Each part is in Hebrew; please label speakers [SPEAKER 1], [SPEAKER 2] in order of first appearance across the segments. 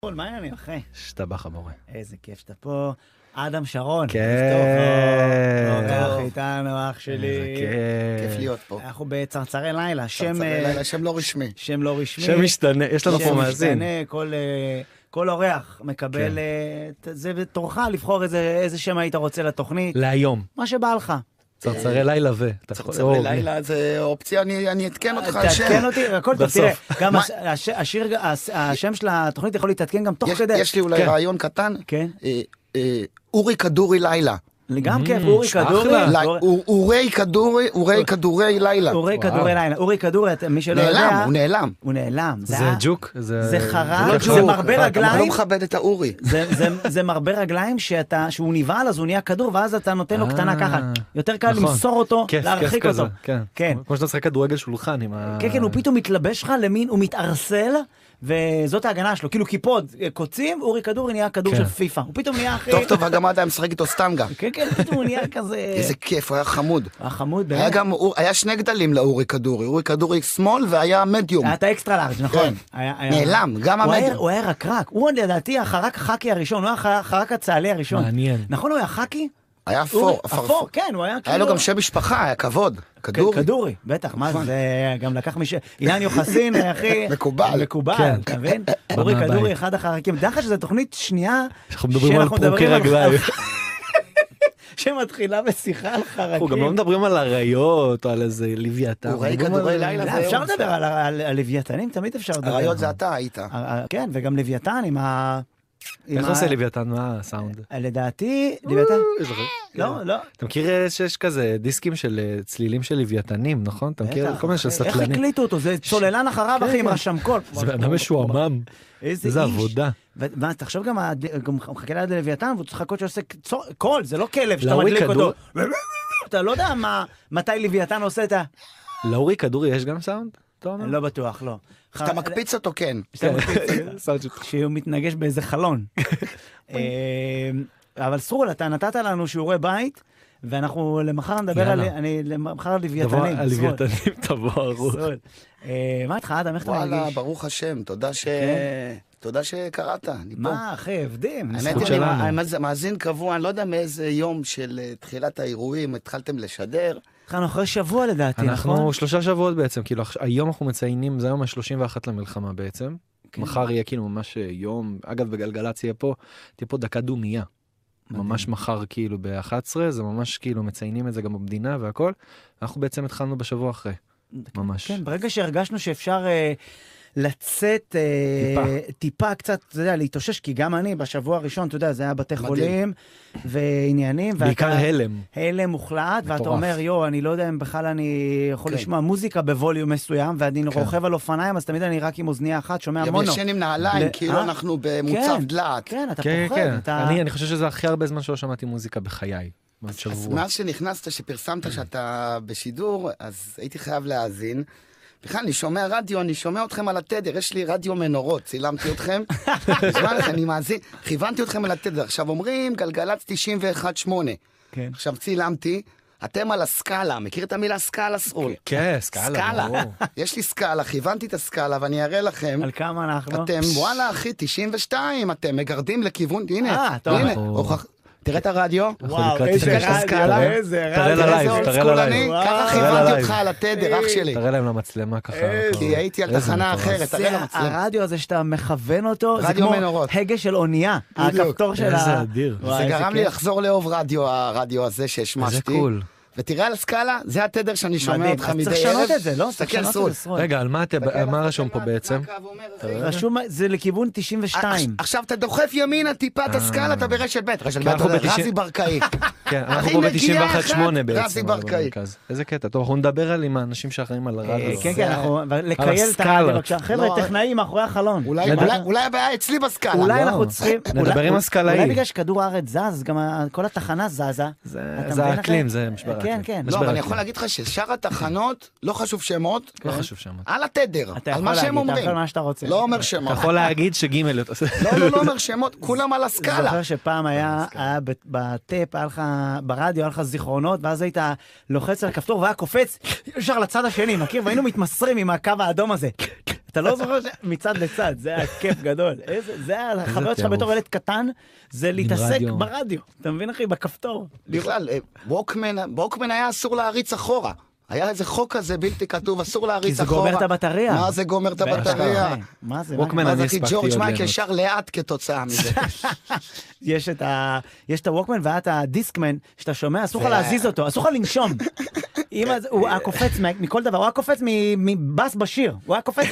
[SPEAKER 1] פול, מה העניינים, אחי?
[SPEAKER 2] שטבח המורה.
[SPEAKER 1] איזה כיף שאתה פה. אדם שרון.
[SPEAKER 2] כן.
[SPEAKER 1] ערב טוב, אורח
[SPEAKER 3] טוב.
[SPEAKER 1] איתנו, אח שלי.
[SPEAKER 3] כיף
[SPEAKER 2] כיף.
[SPEAKER 3] להיות פה.
[SPEAKER 1] אנחנו בצרצרי לילה, שם,
[SPEAKER 3] צרצרי
[SPEAKER 1] אה,
[SPEAKER 3] לילה, שם לא רשמי.
[SPEAKER 1] שם לא רשמי.
[SPEAKER 2] שם משתנה, יש לנו פה
[SPEAKER 1] שם
[SPEAKER 2] מאזין.
[SPEAKER 1] משתנה, כל, אה, כל אורח מקבל,
[SPEAKER 2] כן.
[SPEAKER 1] אה, ת- זה בתורך לבחור איזה איזה שם היית רוצה לתוכנית,
[SPEAKER 2] להיום.
[SPEAKER 1] מה שבא לך.
[SPEAKER 2] צרצרי לילה ו... אתה יכול-
[SPEAKER 3] צרצרי
[SPEAKER 2] או,
[SPEAKER 3] לילה זה אופציה, אני אני אעדכן אותך על שם.
[SPEAKER 1] תעדכן אותי, הכל טוב,
[SPEAKER 2] בסוף.
[SPEAKER 1] תראה, גם
[SPEAKER 3] מה-
[SPEAKER 1] הש- הש- השיר, הש- השם של התוכנית יכול להתעדכן גם תוך
[SPEAKER 3] יש-
[SPEAKER 1] כדי.
[SPEAKER 3] יש לי אולי
[SPEAKER 2] כן.
[SPEAKER 3] רעיון קטן.
[SPEAKER 1] כן.
[SPEAKER 3] אה, אה, אורי כדורי לילה.
[SPEAKER 1] גם כיף, אורי
[SPEAKER 2] Mm, אחלה.
[SPEAKER 1] כדורי.
[SPEAKER 3] לי-
[SPEAKER 1] אור-
[SPEAKER 3] אור- אורי כדורי, אורי כדורי לילה.
[SPEAKER 1] אורי
[SPEAKER 2] וואו.
[SPEAKER 1] כדורי לילה. אורי כדורי, אתה- מי שלא יודע...
[SPEAKER 3] נעלם, הוא נעלם.
[SPEAKER 1] הוא נעלם.
[SPEAKER 2] זה
[SPEAKER 1] היה-
[SPEAKER 2] ג'וק?
[SPEAKER 1] זה חרא,
[SPEAKER 2] לא
[SPEAKER 1] זה
[SPEAKER 2] ג'וק.
[SPEAKER 1] מרבה
[SPEAKER 2] אתה-
[SPEAKER 1] רגליים.
[SPEAKER 3] אתה לא מכבד את האורי.
[SPEAKER 1] זה, זה, זה מרבה רגליים שאתה, שהוא נבהל אז הוא נהיה כדור ואז אתה נותן לו
[SPEAKER 2] אה,
[SPEAKER 1] לא קטנה ככה. יותר קל
[SPEAKER 2] נכון.
[SPEAKER 1] למסור אותו,
[SPEAKER 2] כיף,
[SPEAKER 1] להרחיק
[SPEAKER 2] כיף כזה,
[SPEAKER 1] אותו.
[SPEAKER 2] כן.
[SPEAKER 1] כן.
[SPEAKER 2] כמו שאתה משחק כדורגל שולחן עם ה...
[SPEAKER 1] כן, כן,
[SPEAKER 3] אה.
[SPEAKER 1] הוא פתאום מתלבש לך למין, הוא מתערסל, וזאת ההגנה שלו. כאילו קיפוד, אה, קוצים, אורי כדורי נהיה כדור
[SPEAKER 2] כן.
[SPEAKER 1] של פיפא. הוא פתאום נהיה אחי...
[SPEAKER 3] טוב טוב, הגמד היה משחק איתו סטנגה.
[SPEAKER 1] כן, כן, פתאום הוא נהיה כזה...
[SPEAKER 3] איזה כיף, הוא היה חמוד.
[SPEAKER 1] החמוד,
[SPEAKER 3] היה
[SPEAKER 1] באמת.
[SPEAKER 3] גם, אור- היה שני גדלים לאורי כדורי, אורי כדורי שמאל והיה מדיום.
[SPEAKER 1] היה את האקסטרה לארג', נכון.
[SPEAKER 3] כן.
[SPEAKER 1] היה- היה-
[SPEAKER 3] נעלם, גם
[SPEAKER 1] הוא היה-
[SPEAKER 3] המדיום.
[SPEAKER 1] הוא היה רקרק, הוא לדעתי החרק החאקי הראשון, הוא היה הח- החרק הצה"לי הראשון.
[SPEAKER 2] מעניין.
[SPEAKER 1] נכון, הוא היה חאקי?
[SPEAKER 3] היה
[SPEAKER 1] אורי-
[SPEAKER 3] אפור, אפרפור.
[SPEAKER 1] אפור, כן, הוא היה כאילו...
[SPEAKER 3] היה לו גם שם משפחה, היה כבוד.
[SPEAKER 1] כדורי.
[SPEAKER 3] כדורי. נכון.
[SPEAKER 1] כדורי, בטח, מה זה, גם לקח מי ש... אילן יוחסין, אה, אחי.
[SPEAKER 3] מקובל.
[SPEAKER 1] מקובל,
[SPEAKER 2] כן.
[SPEAKER 1] אתה מבין? אורי
[SPEAKER 2] מהבית.
[SPEAKER 1] כדורי, אחד החרקים. דע לך שזו תוכנית שנייה,
[SPEAKER 2] אנחנו מדברים על
[SPEAKER 1] שאנחנו
[SPEAKER 2] פרוקי
[SPEAKER 1] מדברים על-
[SPEAKER 2] רגליים.
[SPEAKER 1] שמתחילה בשיחה על חרקים.
[SPEAKER 2] אנחנו גם לא מדברים על אריות או על איזה לוויתן.
[SPEAKER 3] הוא ראי
[SPEAKER 2] מדברים
[SPEAKER 3] כדורי
[SPEAKER 2] על-
[SPEAKER 3] לילה.
[SPEAKER 1] לא,
[SPEAKER 3] זה
[SPEAKER 1] אפשר
[SPEAKER 3] יום.
[SPEAKER 1] לדבר על- על על לוויתנים, תמיד אפשר לדבר.
[SPEAKER 3] אריות זה אתה היית.
[SPEAKER 1] אה, אה, כן, וגם לוויתן עם ה... עם
[SPEAKER 2] איך
[SPEAKER 1] ה-
[SPEAKER 2] עושה לוויתן? מה הסאונד?
[SPEAKER 1] אה, לדעתי, לוויתן...
[SPEAKER 2] אה, יש לך-
[SPEAKER 1] לא, לא.
[SPEAKER 2] אתה מכיר אה, שיש כזה דיסקים של אה, צלילים של לוויתנים, נכון? אתה מכיר
[SPEAKER 1] בטח,
[SPEAKER 2] כל מיני של
[SPEAKER 1] אחי. איך
[SPEAKER 2] סטלנים. כן,
[SPEAKER 1] הקליטו אותו? זה צוללן אחריו, אחי, עם רשם קול.
[SPEAKER 2] זה בן אדם משועמם.
[SPEAKER 1] איזה
[SPEAKER 2] איזה
[SPEAKER 1] איש.
[SPEAKER 2] עבודה.
[SPEAKER 1] ו- ואז תחשוב גם, הד- גם הוא מחכה ליד הלוויתן והוא צריך לחכות שעושה צור- קול, זה לא כלב שאתה
[SPEAKER 2] לאורי
[SPEAKER 1] מדליק
[SPEAKER 2] כדור-
[SPEAKER 1] אותו. אתה לא יודע מה, מתי לוויתן עושה את ה...
[SPEAKER 2] לאורי כדורי יש גם סאונד? אתה אומר?
[SPEAKER 1] לא בטוח, לא.
[SPEAKER 3] אתה מקפיץ אותו, כן.
[SPEAKER 1] כשאתה מקפיץ,
[SPEAKER 2] סאונד של-
[SPEAKER 1] כשהוא מתנגש באיזה חלון. אה, אבל סרול, אתה נתת לנו שיעורי בית, ואנחנו למחר נדבר על...
[SPEAKER 2] יאללה.
[SPEAKER 1] אני למחר על
[SPEAKER 2] תבוא
[SPEAKER 1] לוויתנים.
[SPEAKER 2] הלוויתנים, תבוא
[SPEAKER 1] סרול,
[SPEAKER 2] הרוח.
[SPEAKER 1] סרול. אה, מה איתך, אדם? איך אתה
[SPEAKER 3] וואלה,
[SPEAKER 1] מרגיש?
[SPEAKER 3] ברוך השם, תודה ש...
[SPEAKER 1] כן.
[SPEAKER 3] תודה שקראת, אני פה.
[SPEAKER 1] מה, אחי, עבדים.
[SPEAKER 3] האמת,
[SPEAKER 2] זכות
[SPEAKER 3] אני
[SPEAKER 2] שלנו.
[SPEAKER 3] מא- אני מאז- מאזין קבוע, אני לא יודע מאיזה יום של אה, תחילת האירועים התחלתם לשדר.
[SPEAKER 1] אנחנו אחרי שבוע לדעתי, נכון?
[SPEAKER 2] אנחנו שלושה שבועות בעצם, כאילו עכש- היום אנחנו מציינים, זה היום ה-31 למלחמה בעצם.
[SPEAKER 1] כן.
[SPEAKER 2] מחר יהיה כאילו ממש אה, יום, אגב בגלגלצ יהיה פה, תהיה פה דקה דומייה. ממש מחר כאילו ב-11, זה ממש כאילו מציינים את זה גם במדינה והכל. אנחנו בעצם התחלנו בשבוע אחרי, ממש.
[SPEAKER 1] כן, ברגע שהרגשנו שאפשר אה, לצאת אה, טיפה. טיפה קצת, אתה יודע, להתאושש, כי גם אני בשבוע הראשון, אתה יודע, זה היה בתי
[SPEAKER 3] מדהים.
[SPEAKER 1] חולים ועניינים. ואתה-
[SPEAKER 2] בעיקר הלם.
[SPEAKER 1] הלם מוחלט, ואתה
[SPEAKER 2] מטורף.
[SPEAKER 1] אומר, יואו, אני לא יודע אם בכלל אני יכול
[SPEAKER 3] כן.
[SPEAKER 1] לשמוע מוזיקה בווליום מסוים, ואני
[SPEAKER 2] כן.
[SPEAKER 1] רוכב על אופניים, אז תמיד אני רק עם אוזנייה אחת שומע
[SPEAKER 3] גם
[SPEAKER 1] מונו.
[SPEAKER 3] ישן עם
[SPEAKER 1] ל-
[SPEAKER 3] נעליים,
[SPEAKER 1] אה?
[SPEAKER 3] כאילו אנחנו במוצב
[SPEAKER 1] כן.
[SPEAKER 3] דלעת.
[SPEAKER 1] כן, אתה
[SPEAKER 2] כן,
[SPEAKER 1] פוחד,
[SPEAKER 2] כן,
[SPEAKER 1] אתה...
[SPEAKER 2] אני אני חושב שזה הכי הרבה זמן שלא שמעתי מוזיקה בחיי. עוד
[SPEAKER 3] אז
[SPEAKER 2] שבוע.
[SPEAKER 3] מאז שנכנסת,
[SPEAKER 1] אה.
[SPEAKER 3] שפרסמת שאתה בשידור, אז הייתי חייב להאזין. בכלל, אני שומע רדיו, אני שומע אתכם על התדר, יש לי רדיו מנורות, צילמתי אתכם. נשמע לך, אני מאזין, כיוונתי אתכם על התדר. עכשיו אומרים, גלגלצ 91.8.
[SPEAKER 1] כן.
[SPEAKER 3] עכשיו צילמתי, אתם על הסקאלה, מכיר את המילה סקאלה סרול?
[SPEAKER 2] כן, סקאלה.
[SPEAKER 3] סקאלה.
[SPEAKER 2] ברור.
[SPEAKER 3] יש לי סקאלה, כיוונתי את הסקאלה ואני אראה לכם.
[SPEAKER 1] על כמה אנחנו?
[SPEAKER 3] אתם, וואלה אחי, 92, אתם מגרדים לכיוון,
[SPEAKER 1] אה,
[SPEAKER 3] הנה,
[SPEAKER 1] אתה אומר.
[SPEAKER 3] הנה, הוכח- תראה את הרדיו.
[SPEAKER 1] וואו,
[SPEAKER 2] לקראת
[SPEAKER 1] איזה
[SPEAKER 2] תשעים.
[SPEAKER 1] רדיו,
[SPEAKER 3] תראה,
[SPEAKER 1] איזה
[SPEAKER 2] תראה
[SPEAKER 1] רדיו.
[SPEAKER 2] ללייב,
[SPEAKER 3] תראה איזה
[SPEAKER 2] תראה
[SPEAKER 3] אולסקול
[SPEAKER 2] ללייב.
[SPEAKER 3] אני,
[SPEAKER 1] וואו.
[SPEAKER 3] ככה
[SPEAKER 2] תראה
[SPEAKER 3] כיוונתי
[SPEAKER 2] ללייב.
[SPEAKER 3] אותך על התדר, אח שלי.
[SPEAKER 2] תראה להם למצלמה ככה.
[SPEAKER 1] איזה-
[SPEAKER 2] קרוב.
[SPEAKER 3] אה, כי הייתי על
[SPEAKER 2] אה, נכון. איזה
[SPEAKER 3] תחנה
[SPEAKER 2] מטורף.
[SPEAKER 3] אחרת, תראה
[SPEAKER 1] זה
[SPEAKER 3] למצלם.
[SPEAKER 1] הרדיו הזה שאתה מכוון אותו, זה
[SPEAKER 3] רדיו
[SPEAKER 1] כמו
[SPEAKER 3] מנורות.
[SPEAKER 1] הגה של אונייה,
[SPEAKER 3] בדיוק.
[SPEAKER 1] הכפתור של ה...
[SPEAKER 2] איזה אדיר.
[SPEAKER 1] וואי,
[SPEAKER 3] זה
[SPEAKER 1] איזה
[SPEAKER 3] גרם לי
[SPEAKER 1] כיף.
[SPEAKER 3] לחזור לאהוב רדיו, הרדיו הזה שהשמשתי.
[SPEAKER 2] איזה קול.
[SPEAKER 3] ותראה על הסקאלה, זה התדר שאני שומע
[SPEAKER 1] מדהים.
[SPEAKER 3] אותך
[SPEAKER 1] אז
[SPEAKER 3] מדי ערב.
[SPEAKER 1] צריך לשנות את זה, לא? צריך
[SPEAKER 3] תסתכל,
[SPEAKER 1] לשנות
[SPEAKER 3] סרול.
[SPEAKER 1] את זה, סרול.
[SPEAKER 2] רגע, על מה אתם-
[SPEAKER 3] תסתכל אה, על
[SPEAKER 2] מה
[SPEAKER 3] הסקאלה,
[SPEAKER 2] רשום פה
[SPEAKER 3] מה
[SPEAKER 2] בעצם? אה,
[SPEAKER 3] הקו אומר,
[SPEAKER 1] רשום, זה לכיוון
[SPEAKER 3] אה,
[SPEAKER 1] 92.
[SPEAKER 3] עכשיו אתה דוחף ימינה טיפה את הסקאלה, אתה ברשת ב', רשת ב',
[SPEAKER 2] אנחנו
[SPEAKER 3] אתה
[SPEAKER 2] בתשעים-
[SPEAKER 3] רזי ברקאי.
[SPEAKER 2] כן,
[SPEAKER 3] אחי,
[SPEAKER 2] אנחנו פה
[SPEAKER 3] נגיעה
[SPEAKER 2] ב-91.8
[SPEAKER 3] אחת,
[SPEAKER 2] בעצם.
[SPEAKER 3] רזי
[SPEAKER 2] אבל
[SPEAKER 3] ברקאי.
[SPEAKER 2] במרכז. איזה קטע. טוב, אנחנו נדבר על עם האנשים שאחראים על
[SPEAKER 1] אה,
[SPEAKER 2] הרדיו.
[SPEAKER 1] כן,
[SPEAKER 3] זה-
[SPEAKER 1] כן, אנחנו... אבל לקייל את
[SPEAKER 2] הסקאלה.
[SPEAKER 1] הרדיו, בבקשה.
[SPEAKER 3] לא,
[SPEAKER 1] חבר'ה, טכנאי מאחורי החלון.
[SPEAKER 3] אולי-
[SPEAKER 2] לדע-
[SPEAKER 3] אולי- אולי הבעיה אצלי בסקאלה.
[SPEAKER 1] אולי
[SPEAKER 2] לא.
[SPEAKER 1] אנחנו צריכים...
[SPEAKER 2] נדבר
[SPEAKER 1] אולי-
[SPEAKER 2] עם הסקלאי.
[SPEAKER 1] אולי בגלל שכדור הארץ זז, גם ה- כל התחנה זזה.
[SPEAKER 2] זה-
[SPEAKER 1] אתה
[SPEAKER 2] זה
[SPEAKER 1] מבין,
[SPEAKER 2] האקלים,
[SPEAKER 1] אחי?
[SPEAKER 2] זה משבר האקלים.
[SPEAKER 1] כן, כן.
[SPEAKER 2] משבר
[SPEAKER 3] לא, אבל אני
[SPEAKER 2] האקלים.
[SPEAKER 3] יכול להגיד לך ששאר התחנות, לא חשוב שמות,
[SPEAKER 2] לא חשוב שמות.
[SPEAKER 3] על התדר,
[SPEAKER 1] כן.
[SPEAKER 3] על
[SPEAKER 1] אתה יכול
[SPEAKER 3] מה שהם
[SPEAKER 1] להגיד, אתה
[SPEAKER 3] אומרים.
[SPEAKER 1] יכול מה שאתה רוצה.
[SPEAKER 3] לא אומר
[SPEAKER 2] אתה
[SPEAKER 3] שמות.
[SPEAKER 2] יכול להגיד שגימל...
[SPEAKER 3] לא, לא, לא אומר שמות, כולם על
[SPEAKER 1] אני
[SPEAKER 3] הסקאלה.
[SPEAKER 1] זוכר שפעם היה, היה ב- בטאפ, היה לך, ברדיו היה לך זיכרונות, ואז היית לוחץ על הכפתור והיה קופץ ישר לצד השני, מכיר? והיינו מתמסרים עם הקו האדום הזה. אתה לא זוכר ש... מצד לצד, זה היה כיף גדול. איזה- זה היה החוויות שלך
[SPEAKER 2] טירוף.
[SPEAKER 1] בתור ילד קטן, זה להתעסק
[SPEAKER 2] רדיו.
[SPEAKER 1] ברדיו. אתה מבין, אחי? בכפתור.
[SPEAKER 3] בכלל, אה, ווקמן, ווקמן היה אסור להריץ אחורה. היה איזה חוק כזה בלתי כתוב, אסור
[SPEAKER 1] כי
[SPEAKER 3] להריץ
[SPEAKER 1] זה
[SPEAKER 3] אחורה.
[SPEAKER 1] גומר את הבטריה.
[SPEAKER 3] מה זה גומר את הבטריה?
[SPEAKER 1] בטח, אה, מה זה?
[SPEAKER 2] ווקמן.
[SPEAKER 1] מה-
[SPEAKER 3] מה
[SPEAKER 2] אני
[SPEAKER 3] זה כי
[SPEAKER 2] הספקתי
[SPEAKER 3] ג'ורג'
[SPEAKER 2] עוד
[SPEAKER 3] מייק
[SPEAKER 2] ליהנות.
[SPEAKER 3] ישר לאט כתוצאה מזה.
[SPEAKER 1] יש את ה... יש את הווקמן והיה את הדיסקמן, שאתה שומע, אסור לך
[SPEAKER 3] זה-
[SPEAKER 1] להזיז אותו, אסור לך לנשום. אם אז- הוא היה קופץ מה- מכל דבר, הוא היה קופץ מ- מבאס בשיר, הוא היה קופץ,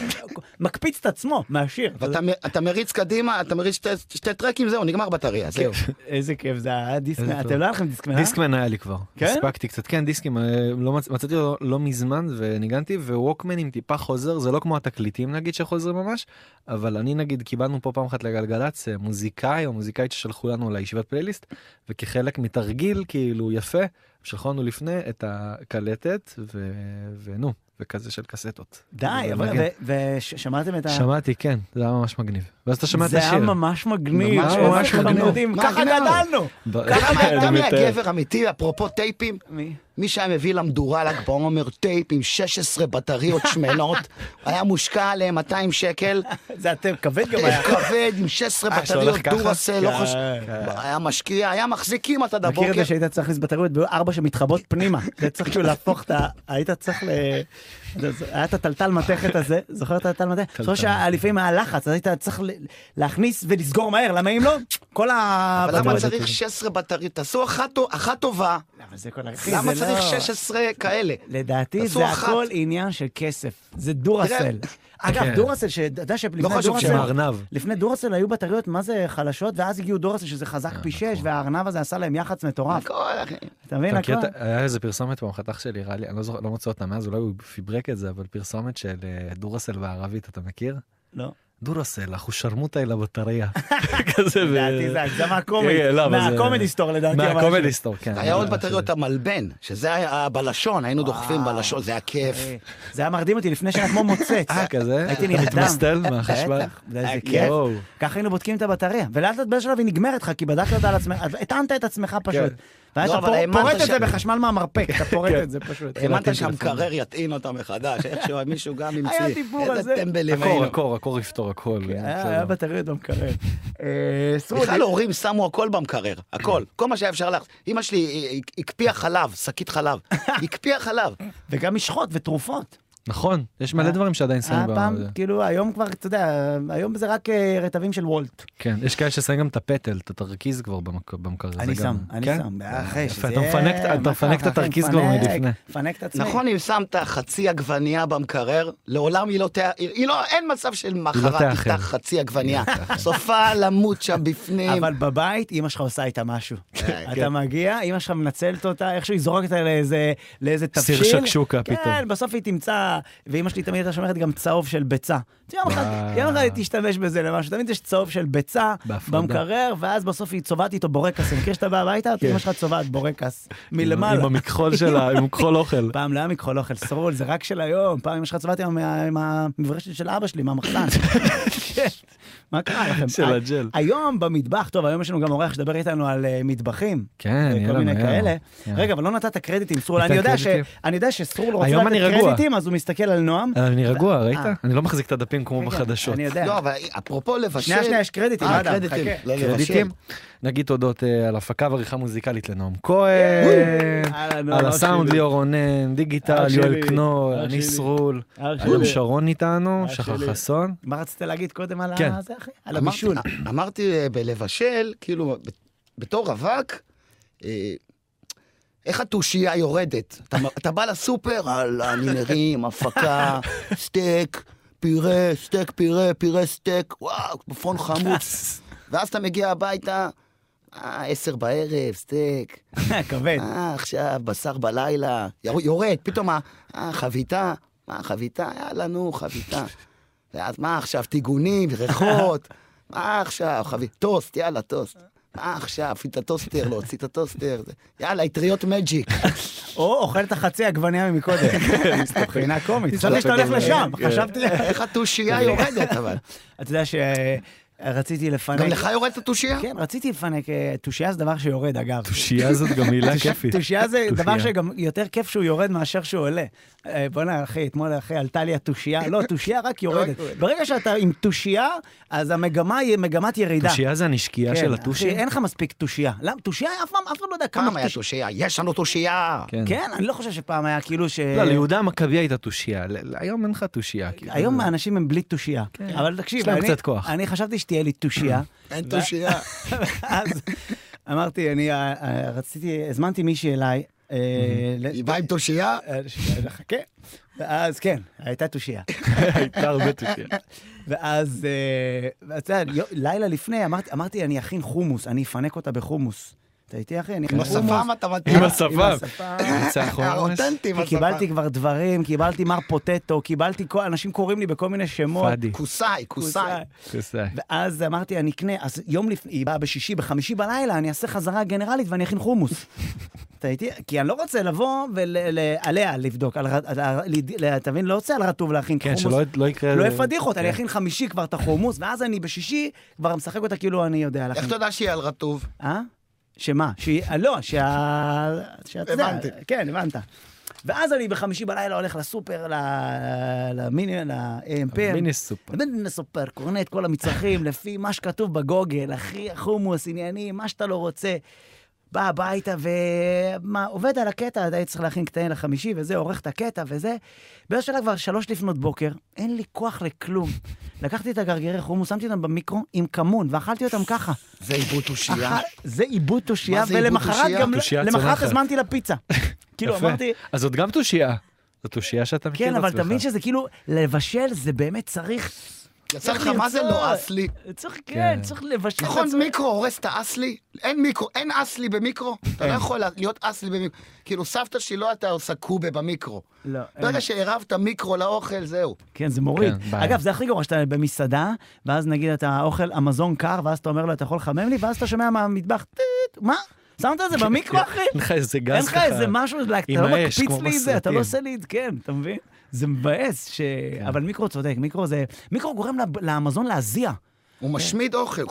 [SPEAKER 1] מקפיץ את עצמו מהשיר.
[SPEAKER 3] ואתה מ- אתה מריץ קדימה, אתה מריץ שתי- שתי טרקים, זהו, נגמר
[SPEAKER 1] כן.
[SPEAKER 3] בטריה, זהו.
[SPEAKER 1] איזה כיף, זה היה דיסקמן,
[SPEAKER 2] איזה
[SPEAKER 1] אתם
[SPEAKER 2] טוב.
[SPEAKER 1] לא היה לכם דיסקמן, אה?
[SPEAKER 2] דיסקמן היה לי כבר,
[SPEAKER 1] כן?
[SPEAKER 2] הספקתי קצת, כן דיסקים, אה, לא מצ- מצאתי אותו לא מזמן וניגנתי וווקמן עם טיפה חוזר, זה לא כמו התקליטים נגיד שחוזרים ממש, אבל אני נגיד קיבלנו פה פעם אחת לגלגלצ אה, מוזיקאי או מוזיקאית ששלחו לנו לישיבת פלייליסט, וכחלק מתרגיל כאילו יפה, שלחו לנו לפני את הקלטת ו... ונו, וכזה של קסטות.
[SPEAKER 1] די,
[SPEAKER 2] זה
[SPEAKER 1] אבל-
[SPEAKER 2] מגן.
[SPEAKER 1] ו- ושמעתם את ה...
[SPEAKER 2] שמעתי כן, זה היה ממש מגניב, ואז אתה שומע את
[SPEAKER 1] זה היה
[SPEAKER 2] השיר.
[SPEAKER 1] ממש מגניב, כן,
[SPEAKER 2] ממש
[SPEAKER 1] איזה
[SPEAKER 2] ממש מגניב.
[SPEAKER 1] חמודים,
[SPEAKER 3] מה
[SPEAKER 1] ככה
[SPEAKER 3] גנב?
[SPEAKER 1] גדלנו.
[SPEAKER 2] ב- כן,
[SPEAKER 3] כמה
[SPEAKER 2] אני
[SPEAKER 3] אתה
[SPEAKER 2] מתאר.
[SPEAKER 3] מהגבר אמיתי, אפרופו טייפים, מי שהיה מביא למדורה ל"ג בעומר טייפ עם 16 בטריות שמנות, היה מושקע עליהם 200 שקל,
[SPEAKER 1] זה אתם, כבד גם היה.
[SPEAKER 3] טייפ כבד עם 16
[SPEAKER 2] אה,
[SPEAKER 3] בטריות
[SPEAKER 2] שהולך ככה?
[SPEAKER 3] דורסל, לא
[SPEAKER 1] כן,
[SPEAKER 3] חשוב,
[SPEAKER 1] כן.
[SPEAKER 3] היה משקיע, היה מחזיקים עד
[SPEAKER 1] מכיר את
[SPEAKER 3] הבוקר.
[SPEAKER 1] זה שהיית צריך להכניס בטריות בארבע שמתחבאות פנימה. זה צריך כאילו להפוך את ה... היית צריך ל... זה- זה- היה את הטלטל מתכת הזה, זוכר את הטלטל מתכת? זוכר שלפעמים היה לחץ, אז היית צריך ל- להכניס ולסגור מהר, למה אם לא? כל ה...
[SPEAKER 3] אבל למה
[SPEAKER 1] בטריות.
[SPEAKER 3] צריך 16 בטריות? תעשו אחת טו- אחת טובה,
[SPEAKER 1] למה זה כל הכי...
[SPEAKER 3] למה
[SPEAKER 1] זה
[SPEAKER 3] צריך
[SPEAKER 1] לא-
[SPEAKER 3] 16 כאלה?
[SPEAKER 1] לדעתי
[SPEAKER 3] תעשו
[SPEAKER 1] זה
[SPEAKER 3] אחת.
[SPEAKER 1] הכל עניין של כסף, זה דורסל. אגב,
[SPEAKER 2] כן.
[SPEAKER 1] דורסל, שאתה יודע שלפני
[SPEAKER 3] לא חשוב
[SPEAKER 1] דורסל,
[SPEAKER 2] שהארנב.
[SPEAKER 1] לפני דורסל היו בטריות מה זה חלשות, ואז הגיעו דורסל שזה חזק
[SPEAKER 2] אה,
[SPEAKER 1] פי שש, והארנב הזה עשה להם יח"צ מטורף.
[SPEAKER 3] הכל, אחי.
[SPEAKER 1] אתה מבין?
[SPEAKER 2] נכון. אתה מכיר,
[SPEAKER 1] הכל?
[SPEAKER 2] את ה- היה איזה פרסומת פעם, חתך שלי, הראה לי, אני לא זוכר, לא מוצא אותה מאז, אולי הוא פיברק את זה, אבל פרסומת של אה, דורסל בערבית, אתה מכיר?
[SPEAKER 1] לא.
[SPEAKER 2] דורסל, אחושרמוטה אל הבטריה. כזה ב...
[SPEAKER 1] לדעתי זה הגזמה קומית,
[SPEAKER 2] כן, לא, אבל זה-
[SPEAKER 1] מהקומדי סטור לדעתי. אבל-
[SPEAKER 2] מהקומדי סטור, כן.
[SPEAKER 3] היה עוד
[SPEAKER 2] שזה-
[SPEAKER 3] בטריות המלבן, שזה היה בלשון, היינו דוחפים בלשון, זה היה כיף.
[SPEAKER 1] אה, זה היה מרדים אותי לפני שנה כמו מוצץ.
[SPEAKER 2] אה, כזה?
[SPEAKER 1] הייתי
[SPEAKER 2] אתה
[SPEAKER 1] נרדם.
[SPEAKER 2] מתמסטל מהחשמל?
[SPEAKER 1] בטח, זה איזה
[SPEAKER 3] אה,
[SPEAKER 1] כיף.
[SPEAKER 2] יואו.
[SPEAKER 1] ככה היינו בודקים את הבטריה, ולאט לאט באיזשהו שלב היא נגמרת לך, כי בדקת אותה על עצמך, אז הטענת את עצמך פשוט. ואז
[SPEAKER 3] לא,
[SPEAKER 1] אתה
[SPEAKER 3] אבל
[SPEAKER 1] פור-
[SPEAKER 3] האמנת
[SPEAKER 1] פורט את
[SPEAKER 3] ש-
[SPEAKER 1] זה בחשמל מהמרפק, אתה פורט
[SPEAKER 2] כן.
[SPEAKER 1] את זה פשוט.
[SPEAKER 3] האמנת שהמקרר יטעין אותה מחדש, איכשהו מישהו גם המציא.
[SPEAKER 1] היה דיבור על זה.
[SPEAKER 3] איזה טמבלים
[SPEAKER 2] הקור,
[SPEAKER 3] היינו.
[SPEAKER 2] הקור, הקור יפתור הכל.
[SPEAKER 1] כן, אה, היה לא היה בטריות במקרר. אה, סרודי.
[SPEAKER 3] בכלל הורים שמו הכל במקרר, הכל, כל מה שהיה אפשר לך. אמא שלי אה, אה, הקפיאה חלב, שקית חלב, הקפיאה חלב.
[SPEAKER 1] וגם משחות ותרופות.
[SPEAKER 2] נכון, יש מלא דברים שעדיין שמים
[SPEAKER 1] היה אה? פעם,
[SPEAKER 2] בעולם.
[SPEAKER 1] כאילו, היום כבר, אתה יודע, היום זה רק אה, רטבים של וולט.
[SPEAKER 2] כן, יש כאלה ששמים גם את הפטל, את התרכיז כבר במק- במקרר. זה
[SPEAKER 1] אני
[SPEAKER 2] גם-
[SPEAKER 1] שם, אני
[SPEAKER 2] כן?
[SPEAKER 1] שם, אחי,
[SPEAKER 2] יפה,
[SPEAKER 1] שזה
[SPEAKER 2] אתה מפנק את- אתה
[SPEAKER 1] מה
[SPEAKER 2] מפנק את
[SPEAKER 1] ככה, אחי,
[SPEAKER 2] התרכיז כבר
[SPEAKER 1] מפנק,
[SPEAKER 2] מלפני.
[SPEAKER 1] מפנק את עצמי.
[SPEAKER 3] נכון, אם שמת חצי עגבנייה במקרר, לעולם היא לא תה... היא לא, אין מצב של מחרת
[SPEAKER 2] תאכל. לא
[SPEAKER 3] תפתח חצי עגבנייה. סופה למות שם בפנים.
[SPEAKER 1] אבל בבית, אימא שלך עושה איתה משהו. אתה
[SPEAKER 3] כן.
[SPEAKER 1] מגיע, אימא שלך מנצלת אותה, איכשהו היא זורקת אותה לאיזה, לאיזה תבשיל.
[SPEAKER 2] שקשוקה
[SPEAKER 1] כן,
[SPEAKER 2] פתאום.
[SPEAKER 1] בסוף היא תמצא, ואימא שלי תמיד הייתה שומרת גם צהוב של ביצה. אז יום
[SPEAKER 3] אה.
[SPEAKER 1] אחד, יום אחד היא תשתמש בזה למשהו, תמיד יש צהוב של ביצה
[SPEAKER 2] בהפרדה.
[SPEAKER 1] במקרר, ואז בסוף היא צובעת איתו בורקס. אני מכיר שאתה בא הביתה, אימא שלך צובעת בורקס
[SPEAKER 2] כן. עם
[SPEAKER 1] מלמעלה.
[SPEAKER 2] המכחול שלה, עם מכחול אוכל.
[SPEAKER 1] פעם לא היה מכחול אוכל סרול, זה רק של היום. פעם אמא שלך צבעתי עם ה- עם המברשת של אבא שלי, מהמחסן. כן. מה קרה לכם?
[SPEAKER 2] של הג'ל.
[SPEAKER 1] היום במטבח, טוב, היום יש לנו גם אורח שדבר איתנו על אה, מטבחים.
[SPEAKER 2] כן,
[SPEAKER 1] אה,
[SPEAKER 2] יאללה,
[SPEAKER 1] כל מיני
[SPEAKER 2] מהר.
[SPEAKER 1] כאלה.
[SPEAKER 2] יאללה.
[SPEAKER 1] רגע, אבל לא נתת קרדיטים, סרול.
[SPEAKER 2] ניתן
[SPEAKER 1] אני יודע ש-
[SPEAKER 2] קרדיטים.
[SPEAKER 1] אני יודע שסרול רוצה
[SPEAKER 2] היום
[SPEAKER 1] לתת
[SPEAKER 2] אני רגוע.
[SPEAKER 1] קרדיטים, אז הוא מסתכל על נועם.
[SPEAKER 2] אני רגוע, ראית?
[SPEAKER 1] אה.
[SPEAKER 2] אני לא מחזיק את הדפים כמו
[SPEAKER 1] רגע,
[SPEAKER 2] בחדשות.
[SPEAKER 1] אני יודע.
[SPEAKER 3] לא, אבל אפרופו לבשל...
[SPEAKER 1] שנייה, שנייה, יש קרדיטים, אוקיי.
[SPEAKER 3] אה,
[SPEAKER 1] אדם,
[SPEAKER 3] קרדיטים.
[SPEAKER 1] חכה.
[SPEAKER 3] לא, לבשל.
[SPEAKER 2] קרדיטים, נגיד תודות אה, על הפקה ועריכה מוזיקלית לנועם כהן,
[SPEAKER 1] אהלן,
[SPEAKER 2] על
[SPEAKER 1] אח
[SPEAKER 2] הסאונד
[SPEAKER 1] שלי.
[SPEAKER 2] ליאור רונן, דיגיטל,
[SPEAKER 1] אח שלי,
[SPEAKER 2] יואל קנור,
[SPEAKER 1] אח
[SPEAKER 2] אני
[SPEAKER 1] שלי.
[SPEAKER 2] סרול,
[SPEAKER 1] אח
[SPEAKER 2] היום
[SPEAKER 1] שלי.
[SPEAKER 2] שרון איתנו,
[SPEAKER 1] אח
[SPEAKER 2] לא, שחר
[SPEAKER 1] שלי.
[SPEAKER 2] חסון.
[SPEAKER 1] מה רצית להגיד קודם על
[SPEAKER 2] כן.
[SPEAKER 1] הזה, אחי? על
[SPEAKER 3] אמרתי-
[SPEAKER 1] הבישול.
[SPEAKER 3] א- אמרתי אה, בלבשל, כאילו, ב- בתור רווק, אה, איך התושייה יורדת? אתה מ- אתה בא לסופר, אהלן, אני מרים, הפקה, סטייק, פירה, סטייק, פירה, פירה, סטייק, וואו, עפון חמוץ. ואז אתה מגיע הביתה, אה, עשר בערב, סטייק.
[SPEAKER 1] כבד.
[SPEAKER 3] אה, עכשיו, בשר בלילה, יור- יורד, פתאום, ה- אה, חביתה, מה, חביתה? יאללה, נו, חביתה. ואז מה עכשיו, טיגונים, ריחות, מה עכשיו, חביתה, טוסט, יאללה, טוסט. מה עכשיו, הפעיל את הטוסטר, להוציא את הטוסטר, זה- יאללה, אטריות מג'יק.
[SPEAKER 1] או אוכל את החצי עגבניה ממקודם. מבחינה קומית. חשבתי שאתה הולך לשם, חשבתי...
[SPEAKER 3] איך התושייה יורדת, אבל.
[SPEAKER 1] אתה יודע ש... רציתי לפנק...
[SPEAKER 3] גם לך יורדת התושייה?
[SPEAKER 1] כן, רציתי לפנק, אה, תושייה זה דבר שיורד, אגב.
[SPEAKER 2] תושייה זאת גם מילה
[SPEAKER 1] תוש-
[SPEAKER 2] כיפית.
[SPEAKER 1] תושייה זה
[SPEAKER 2] תושייה.
[SPEAKER 1] דבר שגם יותר כיף שהוא יורד מאשר שהוא עולה. אה, בוא'נה, אחי, אתמול אחי עלתה לי התושייה, לא, תושייה רק יורדת.
[SPEAKER 3] רק יורדת.
[SPEAKER 1] ברגע שאתה עם תושייה, אז המגמה היא מגמת ירידה.
[SPEAKER 2] תושייה זה הנשקייה
[SPEAKER 1] כן,
[SPEAKER 2] של
[SPEAKER 1] אחי,
[SPEAKER 2] הטושים?
[SPEAKER 1] אין לך מספיק תושייה. למה? תושייה, אף פעם אף אחד לא יודע כמה...
[SPEAKER 3] פעם היה
[SPEAKER 1] תוש-
[SPEAKER 3] תושייה, יש לנו תושייה.
[SPEAKER 1] כן, אני לא חושב שפעם היה כאילו ש...
[SPEAKER 2] לא, ליהודה המכבי הייתה תושייה, ל- ל- היום אין לך תושייה. כאילו.
[SPEAKER 1] היום האנשים הם בלי תושייה. אבל תקשיב,
[SPEAKER 2] כן. יש להם
[SPEAKER 1] אני-
[SPEAKER 2] קצת כוח.
[SPEAKER 1] אני חשבתי שתהיה לי תושייה.
[SPEAKER 3] אין
[SPEAKER 1] תושייה. אז אמרתי, אני אה, אה, רציתי, הזמנתי מישהי אליי. אה, ל-
[SPEAKER 3] היא באה עם תושייה?
[SPEAKER 1] אה, ש- חכה. ואז כן, הייתה תושייה.
[SPEAKER 2] הייתה הרבה תושייה.
[SPEAKER 1] ואז, אה, ואתה יודע, יו- לילה לפני אמרתי- אמרתי, אני אכין חומוס, אני אפנק אותה בחומוס. אתה איתי, אחי? אני אכין
[SPEAKER 3] עם
[SPEAKER 1] חומוס.
[SPEAKER 3] השפם אתה מתאים.
[SPEAKER 2] עם השפם.
[SPEAKER 1] השפם.
[SPEAKER 2] ניצחון.
[SPEAKER 3] אותנטי עם
[SPEAKER 1] כי
[SPEAKER 3] השפם.
[SPEAKER 1] קיבלתי כבר דברים, קיבלתי מר פוטטו, קיבלתי, כל- אנשים קוראים לי בכל מיני שמות.
[SPEAKER 2] פאדי.
[SPEAKER 3] כוסאי, כוסאי.
[SPEAKER 2] כוסאי.
[SPEAKER 1] ואז אמרתי, אני אקנה, אז יום לפני, היא באה בשישי, בחמישי בלילה, אני אעשה חזרה גנרלית ואני אכין חומוס. אתה איתי? כי אני לא רוצה לבוא ועליה לבדוק, על ר- על ר- ל- ל- אתה מבין? לא רוצה על רטוב להכין
[SPEAKER 2] כן,
[SPEAKER 1] חומוס.
[SPEAKER 2] שלא לא יקרה... כן.
[SPEAKER 1] לא יפדיחות, אני אכין חמישי כבר את החומוס, ואז אני בשישי כבר משחק אותה כאילו אני יודע
[SPEAKER 3] איך
[SPEAKER 1] להכין.
[SPEAKER 3] אתה יודע שהיא על רטוב?
[SPEAKER 1] אה? שמה? שהיא... אה, לא, שה... שאתה יודע,
[SPEAKER 3] הבנתי.
[SPEAKER 1] כן, הבנת. ואז אני בחמישי בלילה הולך לסופר, ל- למיני, לאמפר.
[SPEAKER 2] מיני סופר.
[SPEAKER 1] מיני סופר, קונה את כל המצרכים לפי מה שכתוב בגוגל, אחי, חומוס, עניינים, מה שאתה לא רוצה. בא הביתה ומה, עובד על הקטע, אתה צריך להכין קטעים לחמישי וזה, עורך את הקטע וזה. באיזו שלה כבר שלוש לפנות בוקר, אין לי כוח לכלום. לקחתי את הגרגירי חומוס, שמתי אותם במיקרו עם כמון, ואכלתי אותם ככה.
[SPEAKER 3] זה עיבוד תושייה.
[SPEAKER 1] אח- זה עיבוד תושייה,
[SPEAKER 3] מה זה עיבוד
[SPEAKER 1] ולמחרת
[SPEAKER 3] תושייה?
[SPEAKER 1] גם...
[SPEAKER 2] תושייה
[SPEAKER 1] למחרת
[SPEAKER 2] צומחת.
[SPEAKER 1] הזמנתי לה פיצה. כאילו,
[SPEAKER 2] יפה.
[SPEAKER 1] אמרתי,
[SPEAKER 2] אז זאת גם תושייה. זאת תושייה שאתה מכיר
[SPEAKER 1] כן,
[SPEAKER 2] את
[SPEAKER 1] אבל
[SPEAKER 2] עצמך.
[SPEAKER 1] תבין שזה כאילו, לבשל זה באמת צריך...
[SPEAKER 3] יצא לך,
[SPEAKER 1] צריך
[SPEAKER 3] מה זה
[SPEAKER 1] לרצות.
[SPEAKER 3] לא אסלי?
[SPEAKER 1] צריך, כן,
[SPEAKER 2] כן.
[SPEAKER 1] צריך לבשל את
[SPEAKER 3] נכון,
[SPEAKER 1] עצמך.
[SPEAKER 3] מיקרו הורס את האסלי? אין מיקרו, אין אסלי במיקרו. אתה לא יכול להיות אסלי במיקרו. כאילו, סבתא שלי לא הייתה עושה קובה במיקרו.
[SPEAKER 1] לא,
[SPEAKER 3] ברגע
[SPEAKER 1] אין.
[SPEAKER 3] שערבת מיקרו לאוכל, זהו.
[SPEAKER 1] כן, זה מוריד.
[SPEAKER 2] כן, בעיה.
[SPEAKER 1] אגב, זה הכי גרוע שאתה במסעדה, ואז נגיד אתה אוכל המזון קר, ואז אתה אומר לו, אתה יכול לחמם לי, ואז אתה שומע מהמטבח, "טיט". מה? שמת את זה במיקרו, אחי?
[SPEAKER 2] אין לך איזה גז
[SPEAKER 1] אין לך
[SPEAKER 2] ככה.
[SPEAKER 1] איזה משהו, like, אתה
[SPEAKER 2] עם
[SPEAKER 1] לא
[SPEAKER 2] האש,
[SPEAKER 1] מקפיץ
[SPEAKER 2] כמו
[SPEAKER 1] לי את זה, אתה לא
[SPEAKER 2] בסרטים. כן.
[SPEAKER 1] עושה לי את כן, אתה מבין? זה מבאס, ש... אבל מיקרו צודק, מיקרו זה... מיקרו גורם לב- למזון להזיע.
[SPEAKER 3] הוא משמיד אוכל.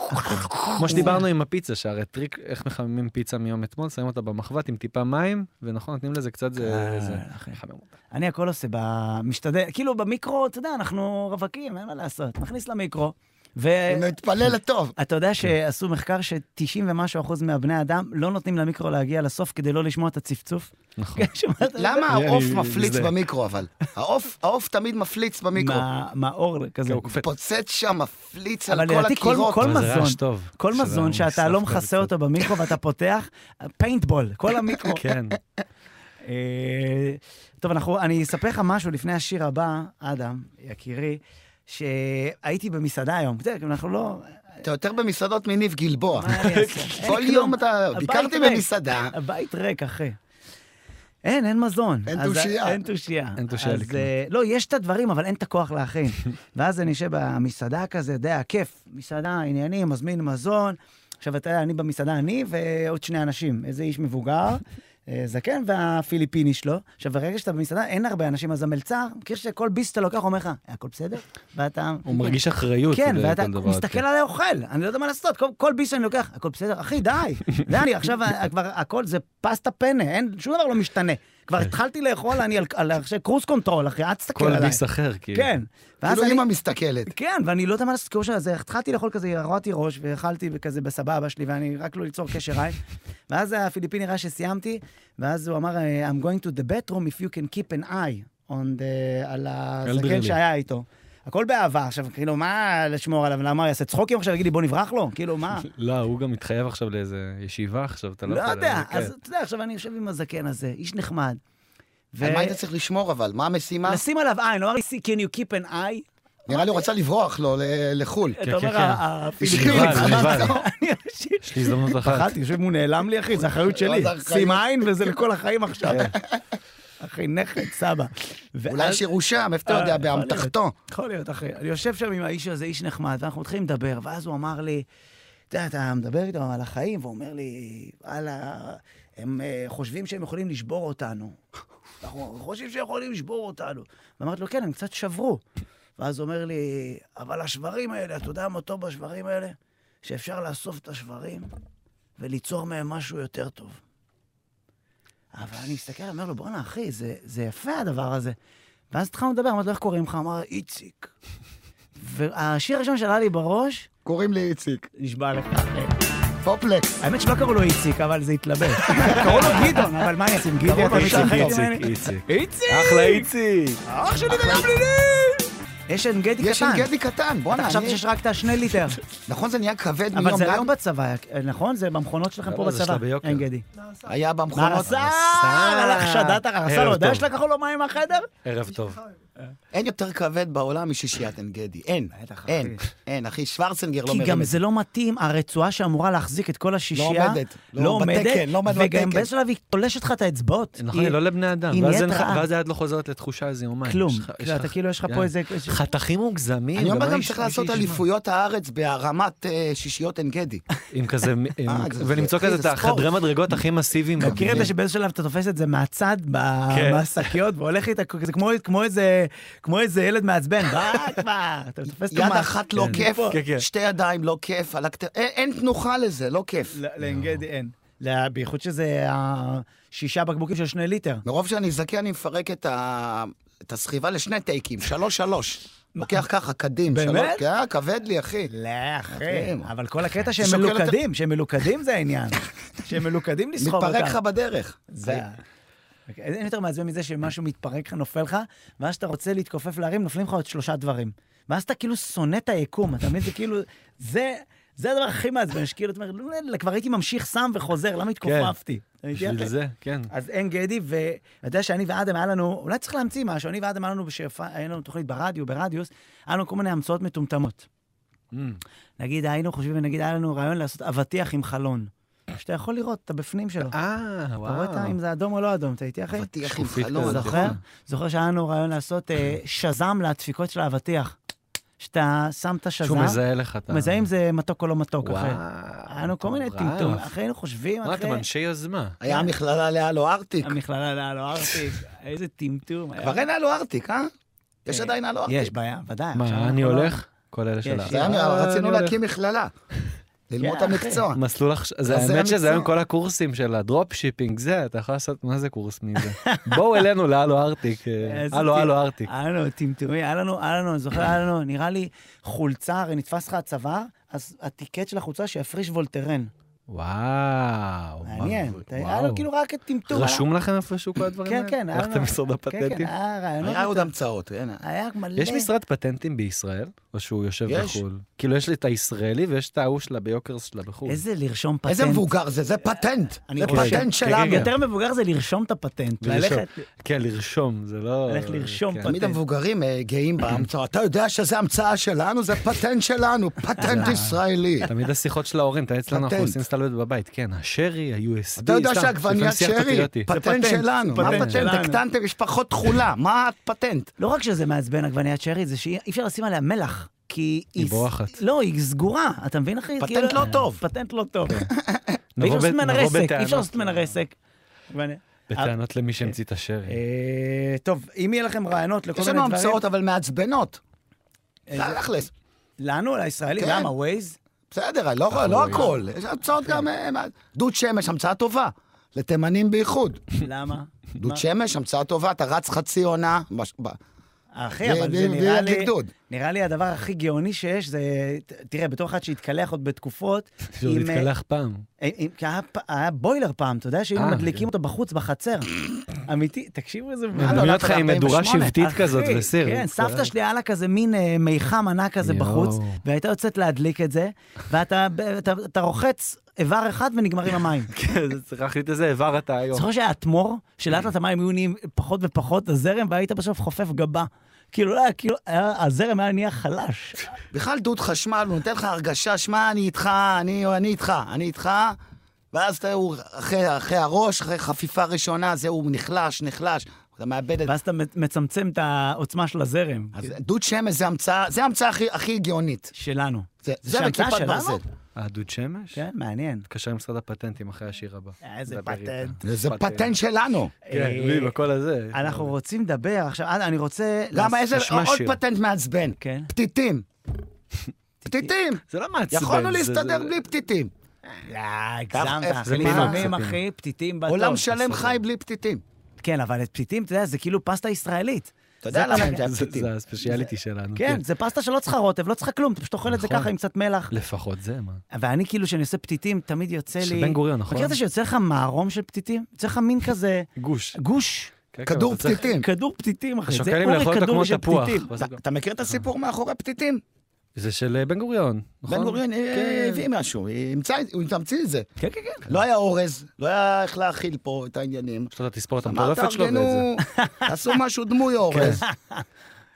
[SPEAKER 2] כמו שדיברנו עם הפיצה, שהרי טריק איך מחממים פיצה מיום אתמול, שמים אותה במחבת עם טיפה מים, ונכון, נותנים לזה קצת
[SPEAKER 1] אה,
[SPEAKER 2] זה... זה- מחמם אותה.
[SPEAKER 1] אני הכל עושה במשתדל, כאילו במיקרו, אתה יודע, אנחנו רווקים, אין מה לעשות. נכניס למיקרו, ו...
[SPEAKER 3] נתפלל לטוב.
[SPEAKER 1] אתה יודע שעשו מחקר ש-90 ומשהו אחוז מהבני אדם לא נותנים למיקרו להגיע לסוף כדי לא לשמוע את הצפצוף?
[SPEAKER 2] נכון.
[SPEAKER 1] כן, שמעת את זה?
[SPEAKER 3] למה
[SPEAKER 2] אני-
[SPEAKER 3] העוף
[SPEAKER 2] אני
[SPEAKER 3] מפליץ
[SPEAKER 2] מזדהה.
[SPEAKER 3] במיקרו אבל? העוף, העוף תמיד מפליץ במיקרו.
[SPEAKER 1] מה- מהאור כזה.
[SPEAKER 2] כן, הוא קופץ.
[SPEAKER 3] פוצץ שם, מפליץ
[SPEAKER 1] אבל
[SPEAKER 3] על כל
[SPEAKER 1] לדעתי כל-
[SPEAKER 3] הקירות.
[SPEAKER 1] כל
[SPEAKER 2] אבל זה רעש
[SPEAKER 1] מזון,
[SPEAKER 2] טוב.
[SPEAKER 1] כל
[SPEAKER 2] של
[SPEAKER 1] מזון שאתה
[SPEAKER 2] המוסף
[SPEAKER 1] לא
[SPEAKER 2] כזה
[SPEAKER 1] מכסה
[SPEAKER 2] קצת.
[SPEAKER 1] אותו במיקרו ואתה פותח, פיינטבול, כל המיקרו.
[SPEAKER 2] כן.
[SPEAKER 1] אה, טוב, אנחנו, אני אספר לך משהו לפני השיר הבא, אדם, יקירי, שהייתי במסעדה היום. זה, אנחנו לא...
[SPEAKER 3] אתה יותר במסעדות מניב גלבוע.
[SPEAKER 1] מה אני אעשה? אין
[SPEAKER 3] כל
[SPEAKER 1] כלום.
[SPEAKER 3] יום אתה...
[SPEAKER 1] הבית
[SPEAKER 3] ביקרתי
[SPEAKER 1] ריק.
[SPEAKER 3] במסעדה.
[SPEAKER 1] הבית ריק, אחי. אין, אין מזון.
[SPEAKER 3] אין
[SPEAKER 1] אז-
[SPEAKER 3] תושייה.
[SPEAKER 1] אין תושייה.
[SPEAKER 2] אין תושייה
[SPEAKER 1] אז,
[SPEAKER 2] לקנות.
[SPEAKER 1] אה, לא, יש את הדברים, אבל אין את הכוח להכין. ואז אני יושב במסעדה כזה, די הכיף. מסעדה, עניינים, מזמין מזון. עכשיו, אתה יודע, אני במסעדה, אני ועוד שני אנשים. איזה איש מבוגר, אה, זקן והפיליפיני שלו. עכשיו, ברגע שאתה במסעדה, אין הרבה אנשים, אז המלצר, מכיר שכל ביס שאתה לוקח, אומר לך, "אה, הכל בסדר? ואתה...
[SPEAKER 2] הוא מרגיש אחריות.
[SPEAKER 1] כן,
[SPEAKER 2] לכל
[SPEAKER 1] ואתה
[SPEAKER 2] דבר,
[SPEAKER 1] מסתכל
[SPEAKER 2] כן.
[SPEAKER 1] עליי אוכל, אני לא יודע מה לעשות, כל, כל ביס שאני לוקח, הכל בסדר, אחי, די, די, אני עכשיו אה, כבר, הכל זה פסטה פנה, אין, שום דבר לא משתנה. כבר התחלתי לאכול, אני על, על, על קרוס קונטרול, אחי, אל תסתכל
[SPEAKER 2] כל
[SPEAKER 1] עליי.
[SPEAKER 2] ביס אחר, כאילו.
[SPEAKER 1] כן. ואז
[SPEAKER 3] כאילו
[SPEAKER 1] אני,
[SPEAKER 3] אימא מסתכלת.
[SPEAKER 1] כן, ואני לא יודע מה לעשות, כאילו שזה, התחלתי לאכול כזה, הרעתי ראש, ואכלתי כזה בסבבה שלי, ואני רק לא ליצור קשר עין. ואז הפיליפיני ראה שסיימתי, ואז הוא אמר, I'm going to the bedroom if you can keep an eye on the, על הזקן
[SPEAKER 2] elderly.
[SPEAKER 1] שהיה איתו. הכל באהבה, עכשיו, כאילו, מה לשמור עליו? למה, הוא יעשה צחוקים עכשיו, יגיד לי, בוא נברח לו? כאילו, מה?
[SPEAKER 2] לא, הוא גם מתחייב עכשיו לאיזה ישיבה עכשיו, אתה לא
[SPEAKER 1] לא
[SPEAKER 2] יכול...
[SPEAKER 1] יודע.
[SPEAKER 2] כן.
[SPEAKER 1] אז אתה יודע, עכשיו אני יושב עם הזקן הזה, איש נחמד. ו-
[SPEAKER 3] על מה היית צריך לשמור אבל? מה המשימה?
[SPEAKER 1] לשים עליו עין, לא הוא אמר לי, "See, can you keep an eye?
[SPEAKER 3] נראה לי הוא רצה לברוח לו ל- לחו"ל.
[SPEAKER 1] אתה אומר,
[SPEAKER 2] כן, כן.
[SPEAKER 1] "ה- הפיליפיני,
[SPEAKER 2] נבל, נבל.
[SPEAKER 1] אני יושב-
[SPEAKER 2] יש לי הזדמנות אחת.
[SPEAKER 1] פחדתי, יושב מול נעלם לי, אחי, זה אחריות שלי.
[SPEAKER 3] לא, זה אחריות. כן,
[SPEAKER 1] שים עין וזה לכל החיים עכשיו. אחי, נכד, סבא.
[SPEAKER 3] אולי יש ירושם, איפה אתה
[SPEAKER 1] אה,
[SPEAKER 3] יודע,
[SPEAKER 1] יכול להיות.
[SPEAKER 3] באמתחתו.
[SPEAKER 1] יכול להיות, אחי. אני יושב שם עם האיש הזה, איש נחמד, ואנחנו מתחילים לדבר, ואז הוא אמר לי, אתה יודע, אתה מדבר איתו על החיים, והוא אומר לי, וואלה, הם אה, חושבים שהם יכולים לשבור אותנו. אנחנו חושבים שהם יכולים לשבור אותנו. ואמרתי לו, כן, הם קצת שברו. ואז הוא אומר לי, אבל השברים האלה, אתה יודע מה טוב בשברים האלה? שאפשר לאסוף את השברים וליצור מהם משהו יותר טוב. אבל אני מסתכל, אומר לו, בואנה, אחי, זה, זה יפה הדבר הזה. ואז התחלנו לדבר, אמרתי לו, איך קוראים לך? אמר, איציק. והשיר הראשון שעלה לי בראש,
[SPEAKER 3] קוראים לי איציק,
[SPEAKER 1] נשבע לך.
[SPEAKER 3] פופלקס.
[SPEAKER 1] האמת שלא קראו לו איציק, אבל זה התלבט. קראו לו גדעון, אבל מה אני אעשה עם גדעון?
[SPEAKER 2] איציק,
[SPEAKER 1] מישהו אחר
[SPEAKER 2] איציק,
[SPEAKER 1] ממני?
[SPEAKER 2] איציק.
[SPEAKER 1] איציק!
[SPEAKER 2] אחלה איציק.
[SPEAKER 1] אח שלי וגם לילי! יש אנגדי קטן.
[SPEAKER 3] יש אינגדי קטן,
[SPEAKER 1] אתה
[SPEAKER 3] בואנה,
[SPEAKER 1] חשבת
[SPEAKER 3] אני-
[SPEAKER 1] שיש רק את השני ליטר.
[SPEAKER 3] נכון זה נהיה כבד
[SPEAKER 1] אבל
[SPEAKER 3] מיום
[SPEAKER 1] זה רק
[SPEAKER 3] ליום?
[SPEAKER 1] בצבא, נכון? זה במכונות שלכם
[SPEAKER 2] לא,
[SPEAKER 1] פה
[SPEAKER 2] לא, זה
[SPEAKER 1] בצבא, אה,
[SPEAKER 2] שלה ביוקר.
[SPEAKER 1] אנגדי.
[SPEAKER 3] היה במכונות,
[SPEAKER 1] הרס"ר! הלך שד"ת הרס"ר,
[SPEAKER 2] ערב
[SPEAKER 1] הוא יודע
[SPEAKER 2] אה, טוב. לא
[SPEAKER 1] שלקחו לו מים מהחדר?
[SPEAKER 2] ערב טוב.
[SPEAKER 3] אין יותר כבד בעולם משישיית אנגדי, אין,
[SPEAKER 1] בטח,
[SPEAKER 3] אין,
[SPEAKER 1] אחי.
[SPEAKER 3] אין, אחי, שוורצנגר לא
[SPEAKER 1] כי גם
[SPEAKER 3] מרמד.
[SPEAKER 1] זה לא מתאים, הרצועה שאמורה להחזיק את כל השישייה,
[SPEAKER 3] עומדת, לא, בתקן, לא עומד
[SPEAKER 1] וגם
[SPEAKER 3] בתקן.
[SPEAKER 1] באיזשהו שלב היא תולשת לך את האצבעות.
[SPEAKER 2] נכון,
[SPEAKER 1] היא-
[SPEAKER 2] היא לא לבני
[SPEAKER 1] היא
[SPEAKER 2] אדם. ואז אין
[SPEAKER 1] נהיית
[SPEAKER 2] לך-
[SPEAKER 1] רעה.
[SPEAKER 2] ואז היד לא חוזרת לתחושה איזה יומיים.
[SPEAKER 1] כלום.
[SPEAKER 2] יש לך- יש
[SPEAKER 1] אתה
[SPEAKER 2] לך-
[SPEAKER 1] כאילו, יש לך
[SPEAKER 2] יאללה.
[SPEAKER 1] פה איזה...
[SPEAKER 2] חתכים מוגזמים.
[SPEAKER 3] אני אומר גם
[SPEAKER 2] לא
[SPEAKER 3] צריך
[SPEAKER 2] איש-
[SPEAKER 3] לעשות
[SPEAKER 2] איש- איש-
[SPEAKER 3] אליפויות הארץ בהרמת אה, שישיות עין גדי.
[SPEAKER 2] עם כזה, עם-
[SPEAKER 1] אה,
[SPEAKER 3] זה-
[SPEAKER 2] ולמצוא
[SPEAKER 3] אחי,
[SPEAKER 2] כזה
[SPEAKER 3] זה
[SPEAKER 2] את החדרי
[SPEAKER 3] ספורט.
[SPEAKER 2] מדרגות הכי מסיביים.
[SPEAKER 1] מכיר את זה שבאיזשהו שלב אתה תופס את זה מהצד, ב-
[SPEAKER 2] כן.
[SPEAKER 1] בשקיות, והולך איתה, זה כמו- כמו איזה- כמו איזה ילד מעצבן, בא כבר, אתה תופס את
[SPEAKER 3] יד
[SPEAKER 1] המעט.
[SPEAKER 3] אחת לא
[SPEAKER 2] כן.
[SPEAKER 3] כיף,
[SPEAKER 2] כן, כן.
[SPEAKER 3] שתי ידיים לא כיף, על הכתר- אין- אין תנוחה לזה, לא כיף.
[SPEAKER 1] לא, לאנגדי אין. לא, בייחוד שזה השישה בקבוקים של שני ליטר.
[SPEAKER 3] מרוב שאני זכה אני מפרק את ה... את הסחיבה לשני טייקים, שלוש שלוש. לוקח ככה, קדים.
[SPEAKER 1] באמת?
[SPEAKER 3] שלוש- כן, כבד לי, אחי.
[SPEAKER 1] לא, אחי,
[SPEAKER 3] אחי.
[SPEAKER 1] אבל כל הקטע שהם
[SPEAKER 3] שוקל יותר-
[SPEAKER 1] מלוכדים, שהם מלוכדים זה העניין. שהם מלוכדים לסחוב אותם.
[SPEAKER 3] מתפרק לך בדרך.
[SPEAKER 1] זה... ה- אין יותר מעצבן מזה שמשהו מתפרק לך, נופל לך, ואז שאתה רוצה להתכופף להרים, נופלים לך עוד שלושה דברים. ואז אתה כאילו שונא את היקום, אתה מבין? זה כאילו, זה, זה הדבר הכי מעצבן, שכאילו, אתה אומר, "לא, לא, לא, כבר הייתי ממשיך שם וחוזר, למה
[SPEAKER 3] כן.
[SPEAKER 1] התכופפתי? אתה מבין?
[SPEAKER 2] כן. בשביל זה, כן.
[SPEAKER 1] אז אין גדי, ואתה יודע שאני ואדם היה לנו, אולי צריך להמציא משהו, אני ואדם היה לנו, בשאיפה- היה לנו תוכנית ברדיו, ברדיוס, היה לנו כל מיני המצאות מטומטמות.
[SPEAKER 2] אמ,
[SPEAKER 1] נגיד, היינו חושבים, נגיד, היה לנו רעיון לעשות אבטיח עם חלון. שאתה יכול לראות את הבפנים שלו.
[SPEAKER 2] אה,
[SPEAKER 1] אתה רואה את ה-
[SPEAKER 2] וואו.
[SPEAKER 1] אם זה אדום או לא אדום, אתה איתי אחי?
[SPEAKER 3] אבטיח עם
[SPEAKER 2] שקופית
[SPEAKER 3] חלון.
[SPEAKER 2] כזאת. אה?
[SPEAKER 1] זוכר? זוכר שהיה לנו רעיון לעשות אה, שז"ם לדפיקות של האבטיח. שאתה שם את השז"ם,
[SPEAKER 2] שהוא מזהה לך את ה...
[SPEAKER 1] מזהה אם זה מתוק או לא מתוק, אחי.
[SPEAKER 2] וואו,
[SPEAKER 1] היה לנו כל מיני
[SPEAKER 2] מטורף.
[SPEAKER 1] טמטום, אחי, היינו חושבים,
[SPEAKER 2] מה,
[SPEAKER 1] אחי,
[SPEAKER 2] אתם אנשי יוזמה.
[SPEAKER 3] היה מכללה להלו ארטיק.
[SPEAKER 1] כן. המכללה להלו ארטיק, איזה טמטום. היה.
[SPEAKER 3] כבר אין הלו ארטיק, אה? יש עדיין הלו
[SPEAKER 1] יש
[SPEAKER 3] ארטיק.
[SPEAKER 1] בעיה, ודאי. עכשיו
[SPEAKER 2] מה,
[SPEAKER 1] אנחנו
[SPEAKER 2] אני
[SPEAKER 1] לא-
[SPEAKER 2] הולך? כל אלה של
[SPEAKER 1] יש,
[SPEAKER 2] ה-
[SPEAKER 1] יש.
[SPEAKER 3] זה היה נראה,
[SPEAKER 2] אה,
[SPEAKER 3] רצינו
[SPEAKER 2] אני הולך.
[SPEAKER 3] להקים מכללה. ללמוד את
[SPEAKER 1] כן, אחי.
[SPEAKER 3] המקצוע.
[SPEAKER 2] מסלול הכש... זה
[SPEAKER 3] אז זה
[SPEAKER 2] האמת שזה
[SPEAKER 3] המקצוע.
[SPEAKER 2] היום כל הקורסים של הדרופ שיפינג, זה, אתה יכול לעשות, מה זה קורס מזה? בואו אלינו להלו ארטיק, אה,
[SPEAKER 1] איזה
[SPEAKER 2] הלו
[SPEAKER 1] טים-
[SPEAKER 2] הלו ארטיק.
[SPEAKER 1] היה לנו טמטומי, היה לנו, היה לנו, אני זוכר, היה לנו, נראה לי, חולצה, הרי נתפס לך הצוואר, אז הטיקט של החולצה שיפריש וולטרן.
[SPEAKER 2] וואו.
[SPEAKER 1] מעניין.
[SPEAKER 2] וואו.
[SPEAKER 1] אתה- היה לו כאילו רק הטמטום.
[SPEAKER 2] רשום לכם איפשהו כל הדברים
[SPEAKER 1] כן,
[SPEAKER 2] האלה?
[SPEAKER 1] כן, היה
[SPEAKER 2] איך
[SPEAKER 1] לנו-
[SPEAKER 2] אתם בסוד
[SPEAKER 1] כן, כן,
[SPEAKER 2] הפטנטים?
[SPEAKER 1] היה רעיונות.
[SPEAKER 3] היה עוד המצאות,
[SPEAKER 2] כן.
[SPEAKER 3] הנה.
[SPEAKER 1] היה מלא.
[SPEAKER 2] יש משרד פטנטים בישראל, או שהוא יושב
[SPEAKER 3] יש.
[SPEAKER 2] בחו"ל? כאילו, יש לי את הישראלי ויש את ההוא שלה ביוקרס שלה בחו"ל.
[SPEAKER 1] איזה לרשום פטנט.
[SPEAKER 3] איזה מבוגר זה, זה פטנט.
[SPEAKER 1] אני
[SPEAKER 3] זה
[SPEAKER 1] חושב-
[SPEAKER 3] פטנט
[SPEAKER 2] כן,
[SPEAKER 3] שלנו.
[SPEAKER 2] כן,
[SPEAKER 1] יותר מבוגר זה לרשום את הפטנט.
[SPEAKER 2] לרשום.
[SPEAKER 1] ללכת.
[SPEAKER 2] כן, לרשום, זה לא...
[SPEAKER 1] הולך לרשום
[SPEAKER 2] כן.
[SPEAKER 1] פטנט.
[SPEAKER 3] תמיד המבוגרים אה, גאים בהמצאה. אתה יודע שזה המצאה שלנו, זה פטנט שלנו, פטנט ישראלי.
[SPEAKER 2] תמיד השיחות של ההורים, אתה אצלנו, אנחנו
[SPEAKER 3] פטנט.
[SPEAKER 2] עושים סטלבט בבית, כן, השרי, ה-USB,
[SPEAKER 3] אתה
[SPEAKER 2] סתם,
[SPEAKER 3] יודע
[SPEAKER 2] לפעמים
[SPEAKER 3] שעגבניית
[SPEAKER 2] שיח
[SPEAKER 3] שרי,
[SPEAKER 2] פטריוטי.
[SPEAKER 1] פטנט,
[SPEAKER 3] פטנט שלנו.
[SPEAKER 1] זה
[SPEAKER 3] מה
[SPEAKER 1] פטנט
[SPEAKER 3] פטנט?
[SPEAKER 1] שלנו.
[SPEAKER 3] הקטנתם משפחות תכולה, מה הפטנט?
[SPEAKER 1] לא רק שזה מעצבן עגבניית שרי, זה שאי אפשר לשים עליה מלח. כי
[SPEAKER 2] היא בורחת.
[SPEAKER 1] לא, היא סגורה, אתה מבין, אחי?
[SPEAKER 3] פטנט
[SPEAKER 1] כאילו-
[SPEAKER 3] לא טוב.
[SPEAKER 1] פטנט לא טוב. ואי
[SPEAKER 2] נבוא
[SPEAKER 1] אפשר לעשות
[SPEAKER 2] ב-
[SPEAKER 1] ממנה
[SPEAKER 2] נבוא
[SPEAKER 1] רסק, אי
[SPEAKER 2] בטענות.
[SPEAKER 1] אפשר לעשות ממנה רסק.
[SPEAKER 2] בטענות למי שהמציא את השרי.
[SPEAKER 1] אה, טוב, אם יהיה לכם רעיונות לכל
[SPEAKER 3] יש
[SPEAKER 1] מיני
[SPEAKER 3] לנו
[SPEAKER 1] דברים... אה,
[SPEAKER 3] המצאות אבל מעצבנות. תכלס,
[SPEAKER 1] לנו, לישראלים?
[SPEAKER 3] כן.
[SPEAKER 1] למה, ווייז?
[SPEAKER 3] בסדר, לא- לא הכל. יש המצאות גם... אה, מה- דוד שמש, המצאה טובה. לתימנים בייחוד.
[SPEAKER 1] למה? מה?
[SPEAKER 3] דוד שמש, המצאה טובה, אתה רץ חצי עונה. בש- ב-
[SPEAKER 1] אחי, אבל
[SPEAKER 3] ו-
[SPEAKER 1] זה
[SPEAKER 3] ו-
[SPEAKER 1] נראה לי...
[SPEAKER 3] וגדוד.
[SPEAKER 1] נראה לי הדבר הכי גאוני שיש זה... ת- תראה, בתור אחד שהתקלח עוד בתקופות...
[SPEAKER 2] שהוא
[SPEAKER 1] עם,
[SPEAKER 2] נתקלח פעם.
[SPEAKER 1] אה, עם- כי היה פ- היה בוילר פעם, אתה יודע שהיינו
[SPEAKER 2] אה,
[SPEAKER 1] מדליקים אותו בחוץ, בחצר. אמיתי, תקשיבו איזה...
[SPEAKER 2] מדמיין אותך עם מדורה
[SPEAKER 3] 48.
[SPEAKER 2] שבטית
[SPEAKER 1] אחי,
[SPEAKER 2] כזאת וסיר.
[SPEAKER 1] כן, סבתא שלי היה לה כזה מין אה, מיחם ענק כזה
[SPEAKER 2] יואו.
[SPEAKER 1] בחוץ, והייתה יוצאת להדליק את זה, ואתה אתה- אתה רוחץ איבר אחד ונגמר עם המים.
[SPEAKER 2] כן, זה צריך להחליט איזה איבר אתה היום.
[SPEAKER 1] זוכר שהיה אטמור, שלאט לאט המים היו נהיים פחות ופחות הזרם, והיית בסוף חופף גבה. כאילו, לא היה, כאילו, היה- הזרם היה נהיה חלש.
[SPEAKER 3] בכלל דוד חשמל, הוא נותן לך הרגשה, שמע, אני איתך, אני, אני איתך, אני איתך. ואז אתה, הוא, אחרי, אחרי הראש, אחרי חפיפה ראשונה, זה הוא נחלש, נחלש, אתה מאבד את...
[SPEAKER 1] ואז אתה מצמצם את העוצמה של הזרם.
[SPEAKER 3] אז דוד שמש זה המצאה, זה ההמצאה הכי, הכי גאונית.
[SPEAKER 1] שלנו.
[SPEAKER 3] זה,
[SPEAKER 1] זה שהמצאה
[SPEAKER 3] וכיפת
[SPEAKER 1] שלנו?
[SPEAKER 3] ברזל.
[SPEAKER 2] הדוד שמש?
[SPEAKER 1] כן, מעניין. אה,
[SPEAKER 2] התקשר למשרד הפטנטים אחרי השיר הבא.
[SPEAKER 1] איזה
[SPEAKER 2] נדבר
[SPEAKER 1] פטנט.
[SPEAKER 2] איתם.
[SPEAKER 3] זה פטנט שלנו.
[SPEAKER 2] כן,
[SPEAKER 1] אה,
[SPEAKER 2] לי, בכל הזה.
[SPEAKER 1] אנחנו רוצים לדבר עכשיו, אה, אני רוצה...
[SPEAKER 3] למה
[SPEAKER 1] לעשות-
[SPEAKER 3] איזה...
[SPEAKER 2] נשמע
[SPEAKER 3] עוד
[SPEAKER 2] שיר.
[SPEAKER 3] פטנט מעצבן.
[SPEAKER 1] כן.
[SPEAKER 3] פתיתים. פתיתים.
[SPEAKER 2] זה לא מעצבן.
[SPEAKER 3] יכולנו
[SPEAKER 2] זה- זה-
[SPEAKER 3] להסתדר בלי פתיתים.
[SPEAKER 1] לא, הגזמת,
[SPEAKER 3] איפה-
[SPEAKER 1] אחי,
[SPEAKER 3] זה פינות,
[SPEAKER 1] לפעמים,
[SPEAKER 2] זה
[SPEAKER 1] אחי, פתיתים בטוב.
[SPEAKER 3] עולם שלם חי בלי פתיתים.
[SPEAKER 1] כן, אבל את פתיתים, אתה יודע, זה כאילו פסטה ישראלית.
[SPEAKER 3] אתה יודע
[SPEAKER 1] זה-
[SPEAKER 3] למה הם
[SPEAKER 1] זה-
[SPEAKER 2] זה-
[SPEAKER 3] פתיתים.
[SPEAKER 2] זה הספציאליטי שלנו.
[SPEAKER 1] כן, זה פסטה שלא צריכה רוטב, לא צריכה כלום, אתה פשוט אוכל את זה
[SPEAKER 2] נכון.
[SPEAKER 1] ככה עם קצת מלח.
[SPEAKER 2] לפחות זה, מה?
[SPEAKER 1] ואני כאילו, כשאני עושה פתיתים, תמיד יוצא לי...
[SPEAKER 2] של בן גוריון, נכון?
[SPEAKER 1] מכיר את זה שיוצא לך מערום של פתיתים? יוצא לך מין כזה
[SPEAKER 2] גוש.
[SPEAKER 1] גוש,
[SPEAKER 2] כן, כן,
[SPEAKER 3] כדור
[SPEAKER 2] אתה צריך-
[SPEAKER 3] פתיתים.
[SPEAKER 1] כדור פתיתים, אחי. זה
[SPEAKER 2] שוקלים
[SPEAKER 1] אורי
[SPEAKER 2] לאכול אותו
[SPEAKER 1] כדור
[SPEAKER 2] כמו
[SPEAKER 1] של
[SPEAKER 2] תפוח.
[SPEAKER 1] פתיתים.
[SPEAKER 2] בסוף
[SPEAKER 3] אתה- אתה מכיר את הסיפור מאחורי פתיתים?
[SPEAKER 2] זה של אה, בן גוריון, נכון?
[SPEAKER 3] בן גוריון אה,
[SPEAKER 2] כן.
[SPEAKER 3] הביא משהו, המצא- הוא המציא את זה.
[SPEAKER 1] כן, כן, כן.
[SPEAKER 3] לא היה אורז, לא היה איך להאכיל פה את העניינים.
[SPEAKER 2] יש לו את התספורת
[SPEAKER 3] אמר,
[SPEAKER 2] המטורפת לא שלו ואת זה.
[SPEAKER 3] תארגנו, תעשו משהו דמוי אורז.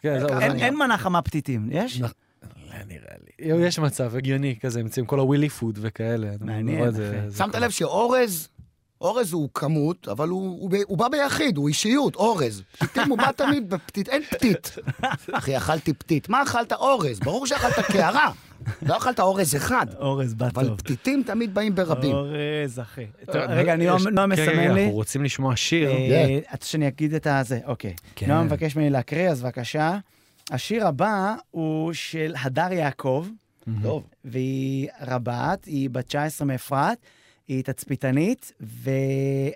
[SPEAKER 2] כן, זהו, זה-
[SPEAKER 1] אין- אין מנה חמה פתיתים, יש?
[SPEAKER 2] נכון. לא נראה לי. יש מצב הגיוני כזה, המציאים כל הווילי פוד וכאלה. אתה
[SPEAKER 1] מעניין,
[SPEAKER 2] רואה את זה-
[SPEAKER 1] אחי.
[SPEAKER 2] זה
[SPEAKER 3] שמת
[SPEAKER 2] כל-
[SPEAKER 3] לב שאורז, אורז הוא כמות, אבל הוא, הוא, ב- הוא בא ביחיד, הוא אישיות, אורז. פתיתים הוא בא תמיד בפתית, אין פתית. אחי, אכלתי פתית. מה אכלת אורז? ברור שאכלת קערה. לא אכלת אורז אחד,
[SPEAKER 1] אורז, בא
[SPEAKER 3] אבל
[SPEAKER 1] טוב.
[SPEAKER 3] פתיתים תמיד באים ברבים.
[SPEAKER 1] אורז, אחי. טוב,
[SPEAKER 2] אה,
[SPEAKER 1] רגע,
[SPEAKER 2] יש-
[SPEAKER 1] נועם נועם
[SPEAKER 2] כן, כן, כן,
[SPEAKER 1] מסמן לי.
[SPEAKER 2] אנחנו רוצים לשמוע שיר.
[SPEAKER 1] אה, את שאני אגיד את הזה, אוקיי.
[SPEAKER 2] כן.
[SPEAKER 1] נועם מבקש ממני להקריא, אז בבקשה. השיר הבא הוא של הדר יעקב,
[SPEAKER 3] טוב.
[SPEAKER 1] והיא רבת, היא בת 19 מאפרת, היא תצפיתנית,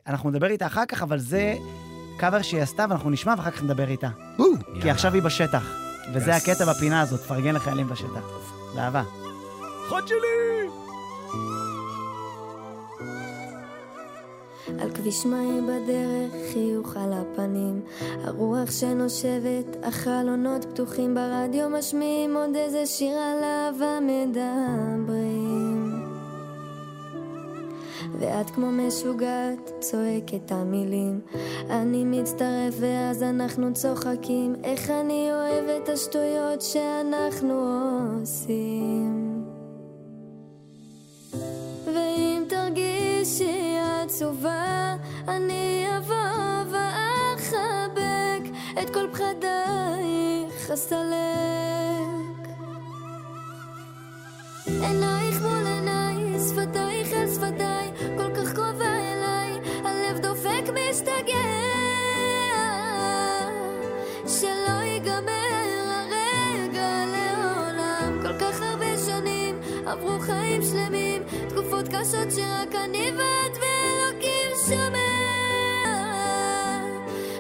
[SPEAKER 1] ואנחנו נדבר איתה אחר כך, אבל זה קאבר שהיא עשתה, ואנחנו נשמע ואחר כך נדבר איתה.
[SPEAKER 3] וואו.
[SPEAKER 1] כי עכשיו היא בשטח, וזה
[SPEAKER 2] יס.
[SPEAKER 1] הקטע בפינה הזאת, פרגן לחיילים בשטח. זה אהבה. חוד שלי!
[SPEAKER 4] על כביש מים בדרך, חיוך על הפנים. הרוח שנושבת, החלונות פתוחים ברדיו משמיעים עוד איזה שיר עליו המדברים. ואת כמו משוגעת, צועקת את המילים. אני מצטרף ואז אנחנו צוחקים. איך אני אוהב את השטויות שאנחנו עושים. ואם תרגישי עצובה, אני אבוא ואחבק את כל פחדייך אסלק. עינייך מול עיניי, שפתייך אל שפתיי, כל כך קרובה אליי, הלב דופק משתגע. שלא ייגמר הרגע לעולם, כל כך הרבה שנים עברו חיים שלמים, תקופות קשות שרק אני ואת ואלוקים שומע.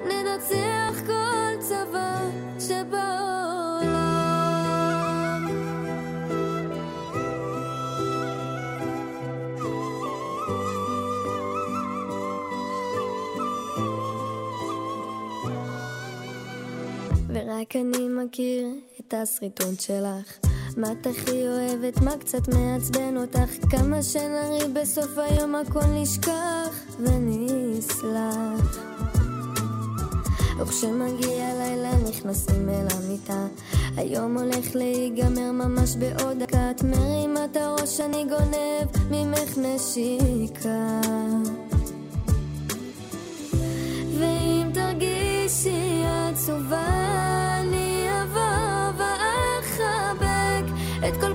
[SPEAKER 4] ננצח כל צבא שבעולם. ורק אני מכיר את השריטון שלך. מה את הכי אוהבת, מה קצת מעצבן אותך? כמה שנרי בסוף היום הכל נשכח ונסלח. וכשמגיע לילה נכנסים אל המיטה היום הולך להיגמר ממש בעוד דקה את מרימה את הראש אני גונב ממך נשיקה ואם תרגישי עצובה, אני אבוא ואחבק את כל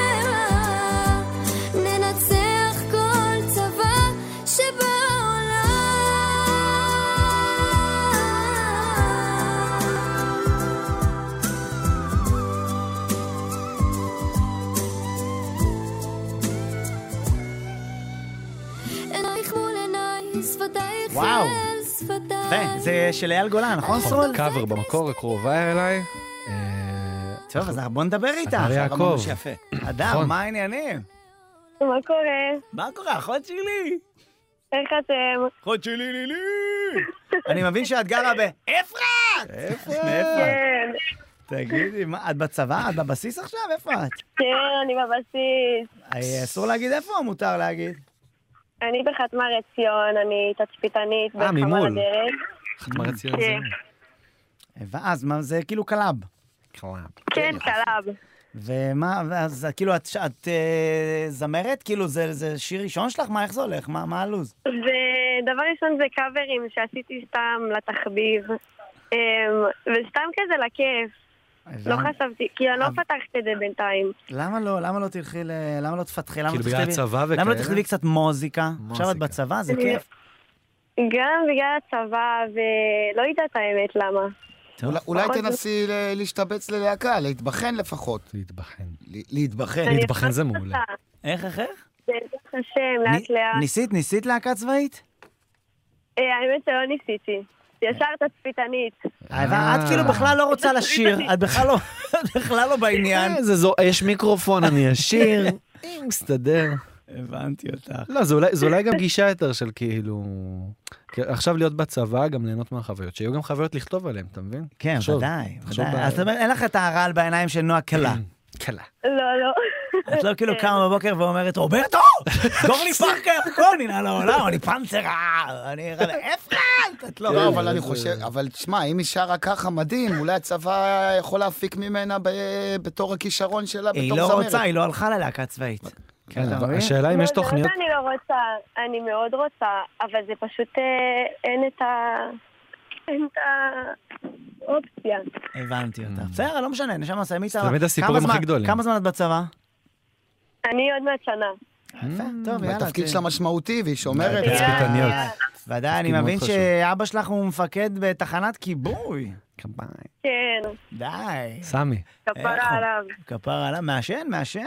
[SPEAKER 4] ננצח כל צבא שבעולם. עינייך מול עיניי, שפתייך
[SPEAKER 1] וואו. כן.
[SPEAKER 4] אל שפתיי.
[SPEAKER 1] יפה, זה של אייל גולן, נכון סרול?
[SPEAKER 2] קאבר במקור הקרובה אליי. אה,
[SPEAKER 1] טוב, אז בוא נדבר
[SPEAKER 2] הדר
[SPEAKER 1] איתה. עכשיו אמרנו
[SPEAKER 2] יעקב.
[SPEAKER 1] שיפה. אדר,
[SPEAKER 2] נכון.
[SPEAKER 1] מה העניינים?
[SPEAKER 5] מה קורה?
[SPEAKER 1] מה קורה, אחות שלי?
[SPEAKER 5] איך אתם?
[SPEAKER 1] אחות שלי, לי, לי. אני מבין שאת גרה באפרת! מאפרת.
[SPEAKER 5] כן,
[SPEAKER 1] תגידי, מה, את בצבא? את בבסיס עכשיו? אה, איפה את?
[SPEAKER 5] כן, אני בבסיס.
[SPEAKER 1] אה, אסור להגיד איפה, מותר להגיד.
[SPEAKER 5] אני בחתמה רציון, אני תצפיתנית
[SPEAKER 2] אה,
[SPEAKER 5] בחמ"ל
[SPEAKER 2] ממול.
[SPEAKER 5] הדרך.
[SPEAKER 2] חתמה רציון זה.
[SPEAKER 5] כן.
[SPEAKER 1] ואז מה, זה כאילו קלאב.
[SPEAKER 2] קלאפ.
[SPEAKER 5] כן, קלב.
[SPEAKER 1] ומה, ואז כאילו את, את אה, זמרת? כאילו זה, זה שיר ראשון שלך? מה, איך זה הולך? מה, מה הלו"ז?
[SPEAKER 5] ודבר ראשון זה קאברים שעשיתי סתם לתחביב. אמ, וסתם כזה לכיף. לא
[SPEAKER 1] למה-
[SPEAKER 5] חשבתי, כי אני לא
[SPEAKER 1] אבל-
[SPEAKER 5] פתחתי את זה בינתיים.
[SPEAKER 1] למה לא, למה לא תלכי ל... למה לא תפתחי? למה לא
[SPEAKER 2] כאילו
[SPEAKER 1] תכתבי-
[SPEAKER 2] בגלל הצבא וכאלה?
[SPEAKER 1] למה לא תכתבי קצת מוזיקה? עכשיו את
[SPEAKER 2] מוזיקה.
[SPEAKER 1] בצבא, זה
[SPEAKER 5] אני-
[SPEAKER 1] כיף.
[SPEAKER 5] גם בגלל הצבא, ולא יודעת האמת למה.
[SPEAKER 1] טוב.
[SPEAKER 3] אולי- אולי
[SPEAKER 5] פחות-
[SPEAKER 3] תנסי ל- להשתבץ ללהקה, להתבחן לפחות.
[SPEAKER 2] להתבחן.
[SPEAKER 3] ל- להתבחן.
[SPEAKER 5] אני
[SPEAKER 2] להתבחן זה
[SPEAKER 5] אחת
[SPEAKER 2] מעולה.
[SPEAKER 5] עושה,
[SPEAKER 1] איך, איך, איך?
[SPEAKER 5] בעזרת השם, לאט
[SPEAKER 1] ני-
[SPEAKER 5] לאט.
[SPEAKER 1] ניסית, ניסית להקה צבאית?
[SPEAKER 5] אה, האמת שלא ניסיתי. ישר תצפיתנית.
[SPEAKER 2] אה.
[SPEAKER 1] אבל את כאילו בכלל לא רוצה לשיר, את בכלל לא, את בכלל לא בעניין.
[SPEAKER 2] אה, זה זו- יש מיקרופון, אני אשיר, אם מסתדר.
[SPEAKER 1] הבנתי אותך.
[SPEAKER 2] לא, זה אולי- זה אולי גם גישה יותר של כאילו... כי עכשיו להיות בצבא, גם ליהנות מהחוויות. שיהיו גם חוויות לכתוב עליהן, אתה מבין?
[SPEAKER 1] כן,
[SPEAKER 2] תחשוב,
[SPEAKER 1] ודאי,
[SPEAKER 2] תחשוב
[SPEAKER 1] ודאי.
[SPEAKER 2] ב-
[SPEAKER 1] אז זאת אומרת, אין לך את הרעל בעיניים של נועה קלה.
[SPEAKER 2] קלה.
[SPEAKER 5] לא, לא.
[SPEAKER 1] את לא כאילו קמה בבוקר ואומרת, רוברטו, סגור לי פארקר, הכל מן העולם, אני פנצרה, אני... אפרת! את לא...
[SPEAKER 3] לא, אבל אני חושב, אבל תשמע, אם היא שרה ככה מדהים, אולי הצבא יכול להפיק ממנה ב- בתור הכישרון שלה, בתור
[SPEAKER 1] היא
[SPEAKER 3] זמרת.
[SPEAKER 1] לא רוצה, היא לא הלכה ללהקה צבאית.
[SPEAKER 2] כן,
[SPEAKER 1] אתה
[SPEAKER 2] אבל
[SPEAKER 1] מבין?
[SPEAKER 2] השאלה אם
[SPEAKER 5] לא,
[SPEAKER 2] יש
[SPEAKER 5] זה לא
[SPEAKER 2] תוכניות...
[SPEAKER 5] שאני לא רוצה, אני מאוד רוצה, אבל זה פשוט אה, אין את ה... אין את האופציה.
[SPEAKER 1] הבנתי אותך.
[SPEAKER 3] Mm.
[SPEAKER 1] בסדר, לא משנה, נשמה סיימי צבא.
[SPEAKER 2] תמיד הסיפורים הכי גדולים.
[SPEAKER 1] כמה זמן את בצבא?
[SPEAKER 5] אני עוד מעט שנה.
[SPEAKER 1] יפה, טוב, יאללה.
[SPEAKER 3] התפקיד
[SPEAKER 1] ת-
[SPEAKER 3] שלה משמעותי, והיא שומרת.
[SPEAKER 5] יאללה,
[SPEAKER 2] תצפיתניות.
[SPEAKER 5] יאללה.
[SPEAKER 1] ודאי, אני
[SPEAKER 2] מאוד
[SPEAKER 1] מבין
[SPEAKER 2] חשוב.
[SPEAKER 1] שאבא שלך הוא מפקד בתחנת כיבוי.
[SPEAKER 5] כן,
[SPEAKER 1] די.
[SPEAKER 2] סמי,
[SPEAKER 1] איך הוא?
[SPEAKER 5] כפרה עליו.
[SPEAKER 1] כפר עליו, מעשן, מעשן?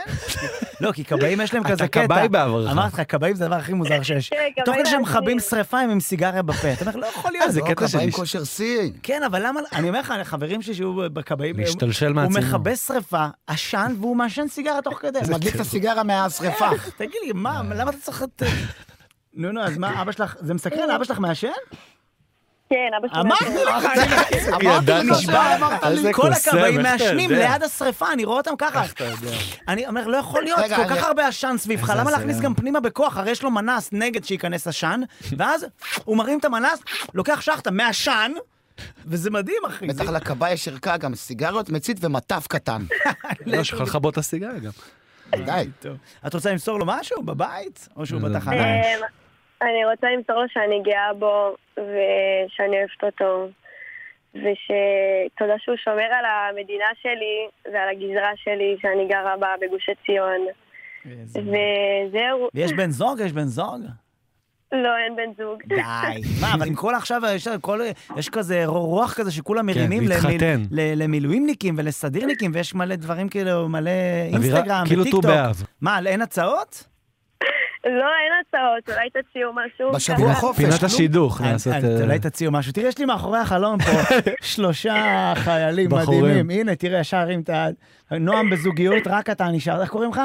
[SPEAKER 1] לא, כי כבאים יש להם
[SPEAKER 2] אתה
[SPEAKER 1] כזה קטע.
[SPEAKER 2] כבאי בעברך.
[SPEAKER 1] אמרתי לך, כבאים זה הדבר הכי מוזר שיש.
[SPEAKER 5] כן, כבאי
[SPEAKER 1] תוך כדי שהם
[SPEAKER 5] מעשנים.
[SPEAKER 1] מכבים שרפה הם עם סיגריה בפה. אתה אומר, לא יכול להיות.
[SPEAKER 2] זה
[SPEAKER 3] לא,
[SPEAKER 2] קטע של
[SPEAKER 3] כבאים
[SPEAKER 2] איש.
[SPEAKER 3] כושר שיא.
[SPEAKER 1] כן, אבל למה, אני אומר לך, חברים שלי שהיו בכבאים, הם-
[SPEAKER 2] להשתלשל
[SPEAKER 1] הוא
[SPEAKER 2] מהצינור.
[SPEAKER 1] מכבה שרפה, עשן, והוא מעשן סיגריה תוך כדי.
[SPEAKER 3] הוא מדליק את הסיגריה מהשרפה.
[SPEAKER 1] איך? תגיד לי,
[SPEAKER 2] אה.
[SPEAKER 1] מה, למה אתה צריך את... אה, נו, נו, אז מה, אבא שלך, זה מסקרן, אבא שלך מעשן?
[SPEAKER 5] כן, אבא שלי.
[SPEAKER 1] אמרתי לך, אני
[SPEAKER 3] אמרתי
[SPEAKER 2] ידעתי.
[SPEAKER 3] לך,
[SPEAKER 1] נשבע,
[SPEAKER 3] אמרת
[SPEAKER 2] אז
[SPEAKER 3] לי.
[SPEAKER 2] זה
[SPEAKER 1] כל
[SPEAKER 2] קוסם,
[SPEAKER 1] הכבאים
[SPEAKER 2] איך אתה
[SPEAKER 1] מעשנים
[SPEAKER 2] יודע?
[SPEAKER 1] ליד השרפה, אני רואה אותם ככה. אני אומר, לא יכול להיות,
[SPEAKER 3] רגע,
[SPEAKER 1] כל
[SPEAKER 3] רגע.
[SPEAKER 1] כך הרבה עשן סביבך,
[SPEAKER 2] איזה אה?
[SPEAKER 1] למה להכניס
[SPEAKER 2] הזיה.
[SPEAKER 1] גם פנימה בכוח? הרי יש לו מנס נגד שייכנס עשן, ואז הוא מרים את המנס, לוקח שחטה מהעשן, וזה מדהים, אחי.
[SPEAKER 3] בטח לכבאי יש ערכה גם סיגריות, מצית ומטף קטן.
[SPEAKER 2] לא, שכח לכבות את הסיגריה גם.
[SPEAKER 3] די.
[SPEAKER 1] טוב. את רוצה למסור לו משהו בבית? או שהוא
[SPEAKER 2] לא.
[SPEAKER 1] בתחנה?
[SPEAKER 5] אמ, אני רוצה למסור לו שאני גאה בו, ושאני אוהבת אותו, ושתודה שהוא שומר על המדינה שלי ועל הגזרה שלי שאני גרה בה בגוש עציון.
[SPEAKER 1] איזה-
[SPEAKER 5] וזהו,
[SPEAKER 1] ויש בן זוג? יש בן זוג?
[SPEAKER 5] לא, אין בן זוג.
[SPEAKER 1] די. מה, אבל עם כל עכשיו, יש, כל, יש כזה רוח כזה שכולם
[SPEAKER 2] כן,
[SPEAKER 1] מרימים
[SPEAKER 2] להתחתן.
[SPEAKER 1] ל, למילואימניקים ולסדירניקים, ויש מלא דברים כאילו, מלא אינסטגרם
[SPEAKER 2] כאילו
[SPEAKER 1] וטיקטוק.
[SPEAKER 2] ט"ו באב.
[SPEAKER 1] מה, אין הצעות?
[SPEAKER 5] לא, אין הצעות, אולי תציעו משהו.
[SPEAKER 3] בשבוע
[SPEAKER 5] ככה.
[SPEAKER 2] פינת-
[SPEAKER 3] חופש,
[SPEAKER 2] פינת
[SPEAKER 3] נו.
[SPEAKER 2] השידוך
[SPEAKER 1] אני-
[SPEAKER 2] נעשות...
[SPEAKER 1] אני- לא
[SPEAKER 2] אה,
[SPEAKER 1] אולי תציעו משהו. תראה, יש לי מאחורי החלון פה שלושה חיילים
[SPEAKER 2] בחורים.
[SPEAKER 1] מדהימים. הנה, תראה, ישר הרים את ה... נועם בזוגיות, רק אתה נשאר. איך קוראים לך?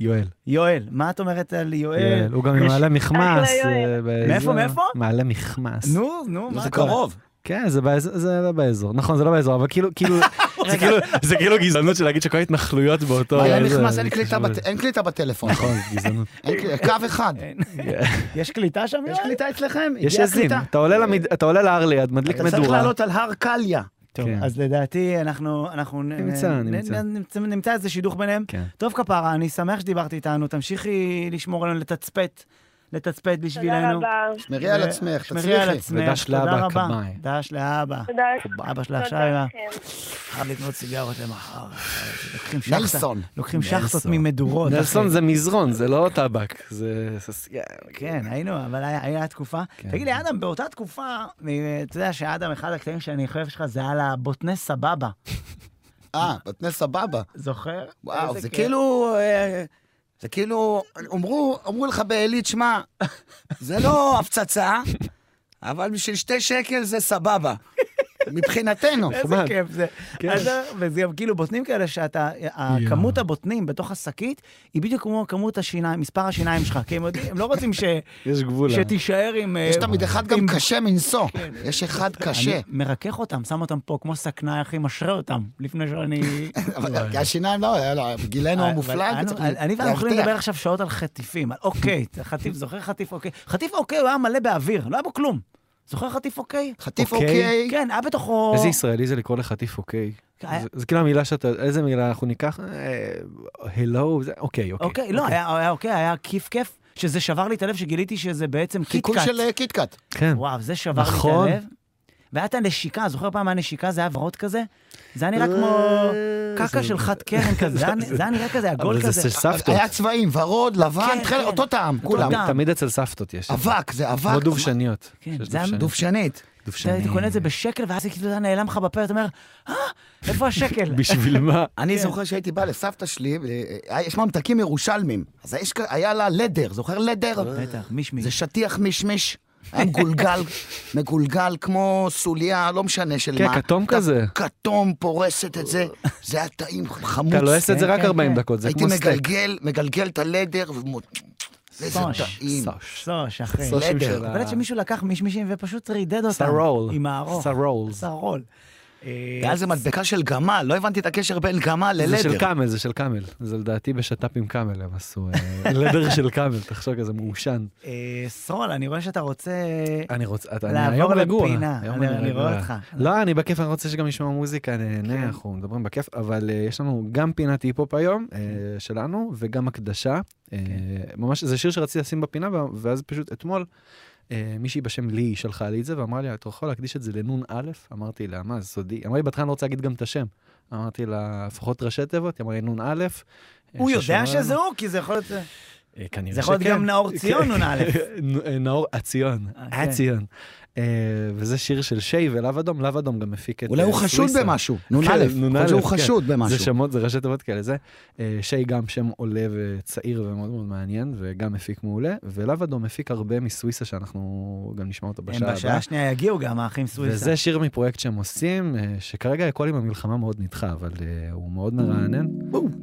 [SPEAKER 2] יואל.
[SPEAKER 1] יואל. מה את אומרת על יואל?
[SPEAKER 2] יואל. כן, הוא גם עם מעלה מכמס.
[SPEAKER 5] אחלה יואל.
[SPEAKER 2] אה, באזור.
[SPEAKER 1] מאיפה, מאיפה?
[SPEAKER 2] מעלה מכמס.
[SPEAKER 1] נו, נו, מה?
[SPEAKER 3] זה
[SPEAKER 1] קורה?
[SPEAKER 3] קרוב.
[SPEAKER 2] כן, זה באזור, זה לא באזור. נכון, זה לא באזור, אבל כאילו, כאילו, זה כאילו, זה כאילו גזענות של להגיד שכל ההתנחלויות באותו...
[SPEAKER 3] היה
[SPEAKER 2] זה-
[SPEAKER 3] נכנס,
[SPEAKER 2] אה, זה
[SPEAKER 3] אין קליטה
[SPEAKER 2] קשור
[SPEAKER 3] בט-
[SPEAKER 2] לזה.
[SPEAKER 3] אין קליטה בטלפון.
[SPEAKER 2] נכון, זה גזענות.
[SPEAKER 3] אין קליטה, קו אחד.
[SPEAKER 1] אין. יש קליטה שם, יואל?
[SPEAKER 3] יש קליטה אצלכם?
[SPEAKER 2] יש
[SPEAKER 3] הגיעה
[SPEAKER 2] עזים,
[SPEAKER 3] הקליטה.
[SPEAKER 2] אתה עולה למיד- אתה עולה להר ליד, מדליק
[SPEAKER 3] אתה צריך
[SPEAKER 2] מדורה.
[SPEAKER 3] לעלות על הר קליה.
[SPEAKER 1] טוב,
[SPEAKER 2] כן.
[SPEAKER 1] אז לדעתי אנחנו... אנחנו נ-
[SPEAKER 2] נמצא,
[SPEAKER 1] נ-
[SPEAKER 2] נמצא.
[SPEAKER 1] נ- נמצא- נמצא איזה שידוך ביניהם.
[SPEAKER 2] כן.
[SPEAKER 1] טוב, כפרה, אני שמח שדיברת איתנו, תמשיכי לשמור עלינו, לתצפת, לתצפת
[SPEAKER 5] תודה
[SPEAKER 1] בשבילנו.
[SPEAKER 5] רבה.
[SPEAKER 3] שמרי על עצמך,
[SPEAKER 1] שמרי על
[SPEAKER 3] תצליחי.
[SPEAKER 1] עצמך,
[SPEAKER 2] ודש
[SPEAKER 1] תודה
[SPEAKER 2] לאבא,
[SPEAKER 1] רבה.
[SPEAKER 2] כבאי.
[SPEAKER 1] דש לאבא.
[SPEAKER 5] תודה.
[SPEAKER 1] אבא שלה
[SPEAKER 5] תודה כן.
[SPEAKER 1] עכשיו, עם ה-
[SPEAKER 5] לכם.
[SPEAKER 1] חייב לקנות סיגרות למחר. לוקחים שחטה-
[SPEAKER 3] נלסון.
[SPEAKER 1] לוקחים שחטות
[SPEAKER 2] נלסון.
[SPEAKER 1] ממדורות. אחי.
[SPEAKER 2] נלסון זה מזרון, זה לא טבק. זה... זה-
[SPEAKER 1] כן, היינו, אבל היה, היה תקופה.
[SPEAKER 2] כן.
[SPEAKER 1] תגיד לי, אדם, באותה תקופה, אה, אתה יודע שאדם, אחד הקטעים שאני חושב שלך זה על הבוטנה סבבה.
[SPEAKER 3] אה, בתנה סבבה.
[SPEAKER 1] זוכר?
[SPEAKER 3] וואו,
[SPEAKER 1] איזה
[SPEAKER 3] זה
[SPEAKER 1] כיף.
[SPEAKER 3] כאילו... אה, זה כאילו, אמרו, אמרו לך בעילית, שמע, זה לא הפצצה, אבל בשביל שתי שקל זה סבבה. מבחינתנו.
[SPEAKER 1] איזה
[SPEAKER 2] נחמד.
[SPEAKER 1] כיף זה.
[SPEAKER 2] כן.
[SPEAKER 1] אז, אה, וזה גם כאילו בוטנים כאלה שאתה, הכמות הבוטנים בתוך השקית היא בדיוק כמו כמות השיניים, מספר השיניים שלך, כי הם יודעים, הם לא רוצים ש-
[SPEAKER 2] יש גבול. לה.
[SPEAKER 1] שתישאר עם...
[SPEAKER 3] יש
[SPEAKER 1] אה,
[SPEAKER 3] תמיד אחד גם
[SPEAKER 1] עם-
[SPEAKER 3] קשה מנשוא.
[SPEAKER 1] כן.
[SPEAKER 3] יש אחד קשה.
[SPEAKER 1] אני מרכך אותם, שם אותם פה כמו סכנאי, אחי, משרה אותם, לפני שאני... אה,
[SPEAKER 3] אבל השיניים לא, היה לו- בגילנו המופלא,
[SPEAKER 1] אבל
[SPEAKER 3] אתה
[SPEAKER 1] אנו-
[SPEAKER 3] צריך
[SPEAKER 1] אני ואנחנו
[SPEAKER 3] לאבטח.
[SPEAKER 1] יכולים לדבר עכשיו שעות על חטיפים, על אוקיי, חטיף, זוכר חטיף אוקיי? חטיף אוקיי, הוא היה מלא באוויר, לא היה בו כלום. זוכר חטיף אוקיי?
[SPEAKER 3] חטיף
[SPEAKER 2] אוקיי.
[SPEAKER 3] אוקיי.
[SPEAKER 1] כן, היה בתוכו...
[SPEAKER 2] איזה ישראלי זה לקרוא לחטיף אוקיי.
[SPEAKER 1] היה-
[SPEAKER 2] זה- זה כאילו המילה שאתה, איזה מילה אנחנו ניקח? אה, הלו, זה- אוקיי, אוקיי.
[SPEAKER 1] אוקיי, לא, היה היה אוקיי, היה כיף כיף, שזה שבר לי את הלב, שגיליתי שזה בעצם
[SPEAKER 3] חיקוי
[SPEAKER 1] קיטקאט.
[SPEAKER 3] של אה, קיטקאט.
[SPEAKER 2] כן.
[SPEAKER 1] וואו, זה שבר לי
[SPEAKER 2] נכון.
[SPEAKER 1] את הלב. והיה את הנשיקה, זוכר פעם הנשיקה, זה היה ורוד כזה? זה היה נראה כמו קקה
[SPEAKER 2] זה-
[SPEAKER 3] אה,
[SPEAKER 1] של חד קרן כזה, זה היה- זה היה נראה כזה,
[SPEAKER 2] אבל
[SPEAKER 1] עגול
[SPEAKER 2] זה
[SPEAKER 1] כזה.
[SPEAKER 2] של סבתות.
[SPEAKER 3] היה צבעים, ורוד, לבן,
[SPEAKER 1] כן,
[SPEAKER 3] תכלת,
[SPEAKER 1] כן.
[SPEAKER 3] אותו טעם, כולם.
[SPEAKER 1] טעם.
[SPEAKER 2] תמיד אצל סבתות יש. את זה.
[SPEAKER 3] אבק, זה אבק.
[SPEAKER 2] כמו דובשניות.
[SPEAKER 1] כן,
[SPEAKER 2] שיש
[SPEAKER 1] זה היה
[SPEAKER 2] דובשניות.
[SPEAKER 3] דובשנית.
[SPEAKER 1] אתה היית קונה את זה בשקל, ואז זה כאילו היה נעלם לך בפה, אתה אומר, אה, איפה השקל?
[SPEAKER 2] בשביל מה? כן.
[SPEAKER 3] אני זוכר שהייתי בא לסבתא שלי, אה, יש ממתקים ירושלמים. אז יש כ- היה לה לדר, זוכר לדר?
[SPEAKER 1] בטח, מישמי.
[SPEAKER 3] זה שטיח מישמיש, היה מגולגל, מגולגל כמו סוליה, לא משנה של
[SPEAKER 2] כן,
[SPEAKER 3] מה.
[SPEAKER 2] כתום
[SPEAKER 3] אתה
[SPEAKER 2] כזה.
[SPEAKER 3] כתום, פורסת את זה, זה היה טעים חמוץ.
[SPEAKER 2] אתה לועס את זה
[SPEAKER 1] כן,
[SPEAKER 2] רק
[SPEAKER 1] כן,
[SPEAKER 2] 40
[SPEAKER 1] כן.
[SPEAKER 2] דקות, זה
[SPEAKER 3] הייתי
[SPEAKER 2] כמו סטייק.
[SPEAKER 3] מגלגל, מגלגל את הלדר, ומות... איזה
[SPEAKER 1] סוש,
[SPEAKER 3] טעים.
[SPEAKER 2] סוש.
[SPEAKER 1] סוש, אחי.
[SPEAKER 3] סוש.
[SPEAKER 2] סושים
[SPEAKER 3] לדר.
[SPEAKER 2] של ה-
[SPEAKER 1] אבל עד שמישהו לקח מישמישים ופשוט רידד אותם.
[SPEAKER 2] סרול.
[SPEAKER 1] לא, עם הארוך.
[SPEAKER 2] סרול.
[SPEAKER 1] סרול. אה,
[SPEAKER 3] היה על זה מדבקה של גמל, לא הבנתי את הקשר בין גמל
[SPEAKER 2] זה
[SPEAKER 3] ללדר.
[SPEAKER 2] של קאמל, זה של קאמל. זה לדעתי בשת"פ עם קאמל הם עשו אה, לדר של קאמל, תחשוב כזה מעושן.
[SPEAKER 1] אה, סרול, אני רואה שאתה רוצה...
[SPEAKER 2] אני רוצה, אתה,
[SPEAKER 1] לעבור
[SPEAKER 2] אני היום רגוע.
[SPEAKER 1] לפינה,
[SPEAKER 2] היום
[SPEAKER 1] אני- אני רואה
[SPEAKER 2] רגוע.
[SPEAKER 1] אותך. כן.
[SPEAKER 2] לא, אני בכיף, אני רוצה שגם נשמע מוזיקה, נהנה, אנחנו מדברים בכיף, אבל אה, יש לנו גם פינת היפ-הופ היום
[SPEAKER 1] כן.
[SPEAKER 2] אה, שלנו, וגם הקדשה. אה, ממש, זה שיר שרציתי לשים בפינה, ו- ואז פשוט אתמול אה, מישהי בשם לי שלחה לי את זה, ואמרה לי, אתה יכול להקדיש את זה לנון א'? אמרתי לה, מה, זה סודי? אמרה לי, בהתחלה אני לא רוצה להגיד גם את השם. אמרתי לה, לפחות ראשי תיבות, היא אמרה לי, נון א'. אה,
[SPEAKER 1] הוא יודע
[SPEAKER 2] ששומר
[SPEAKER 1] שזה
[SPEAKER 2] לנו."
[SPEAKER 1] הוא, כי זה יכול להיות...
[SPEAKER 2] אה, כנראה
[SPEAKER 1] זה יכול להיות
[SPEAKER 2] שכן.
[SPEAKER 1] גם נאור ציון, נון א'.
[SPEAKER 2] נ- נאור עציון,
[SPEAKER 1] אה, כן.
[SPEAKER 2] עציון. אה, וזה שיר של שיי ולאו אדום, לאו אדום גם מפיק את
[SPEAKER 3] אולי
[SPEAKER 2] אה,
[SPEAKER 3] הוא חשוד
[SPEAKER 2] סוויסה.
[SPEAKER 3] במשהו. נ"א,
[SPEAKER 2] כן, נ"א,
[SPEAKER 3] יכול להיות שהוא
[SPEAKER 2] כן.
[SPEAKER 3] חשוד
[SPEAKER 2] זה
[SPEAKER 3] במשהו.
[SPEAKER 2] שמות, זה ראשי תיבות כאלה, זה. אה, שיי גם שם עולה וצעיר ומאוד מאוד מעניין, וגם מפיק מעולה, ולאו אדום מפיק הרבה מסוויסה שאנחנו גם נשמע אותו
[SPEAKER 1] הם
[SPEAKER 2] בשעה הבאה.
[SPEAKER 1] בשעה השנייה יגיעו גם האחים סוויסה.
[SPEAKER 2] וזה שיר מפרויקט שהם עושים, אה, שכרגע הכל עם המלחמה מאוד נדחה, אבל אה, הוא מאוד מרענן.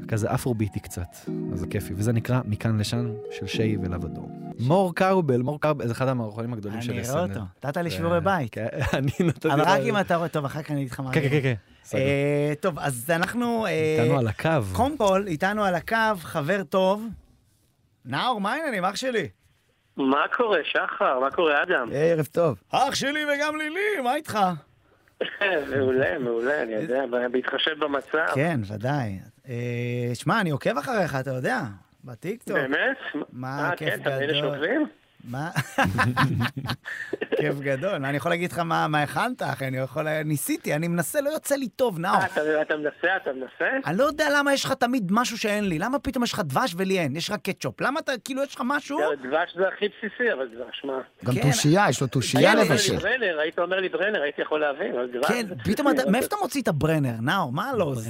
[SPEAKER 2] כזה אפרוביטי קצת, אז זה כיפי. וזה נקרא מכאן לשם של שיי ולאו אדום. מור קרבל, מור קרבל, זה אחד המערכונים הגדולים של
[SPEAKER 1] אני
[SPEAKER 2] SNL.
[SPEAKER 1] אראה אותו. נתת לי
[SPEAKER 2] זה-
[SPEAKER 1] שיעורי בית.
[SPEAKER 2] כן, אני נתתי...
[SPEAKER 1] אבל רק
[SPEAKER 2] לה-
[SPEAKER 1] אם אתה רואה... טוב, אחר כך אני אגיד לך מה...
[SPEAKER 2] כן,
[SPEAKER 1] אני
[SPEAKER 2] כן, כן, כן.
[SPEAKER 1] רואה.
[SPEAKER 2] בסדר.
[SPEAKER 1] אה, טוב, אז אנחנו... אה,
[SPEAKER 2] איתנו על הקו.
[SPEAKER 1] קודם כל, איתנו על הקו, חבר טוב. נאור, מה העניינים, אח שלי?
[SPEAKER 6] מה קורה, שחר? מה קורה, אדם?
[SPEAKER 3] אה, ערב טוב.
[SPEAKER 1] אח שלי וגם לילי, מה איתך?
[SPEAKER 6] אה, מעולה, מעולה, אני
[SPEAKER 1] אה.
[SPEAKER 6] יודע, בהתחשב במצב.
[SPEAKER 1] כן, ודאי. אה, שמע, אני עוקב אחריך, אתה יודע, בטיקטוק.
[SPEAKER 6] באמת?
[SPEAKER 1] מה,
[SPEAKER 6] אה,
[SPEAKER 1] כיף
[SPEAKER 6] כן, אתה מאלה
[SPEAKER 1] גדול.
[SPEAKER 6] שעוקבים?
[SPEAKER 1] מה? כיף גדול. אני יכול להגיד לך מה מה הכנת, אחי, אני יכול... ניסיתי, אני מנסה, לא יוצא לי טוב, נאור.
[SPEAKER 6] אה, אתה- אתה מנסה, אתה מנסה?
[SPEAKER 1] אני לא יודע למה יש לך תמיד משהו שאין לי. למה פתאום יש לך דבש ולי אין? יש רק קטשופ. למה אתה, כאילו, יש לך משהו?
[SPEAKER 6] יאללה, דבש זה הכי בסיסי, אבל דבש, מה?
[SPEAKER 3] גם
[SPEAKER 1] כן.
[SPEAKER 3] תושייה, יש לו תושייה
[SPEAKER 1] כן,
[SPEAKER 6] היית אומר לי
[SPEAKER 3] לבשל.
[SPEAKER 6] ברנר, היית אומר לי ברנר, הייתי יכול להבין, אבל דבש...
[SPEAKER 1] כן,
[SPEAKER 6] זה
[SPEAKER 1] פתאום
[SPEAKER 6] בסיסי,
[SPEAKER 1] אתה...
[SPEAKER 6] אבל-
[SPEAKER 1] מאיפה אתה מוציא את הברנר, נאור? מה הלו"ז?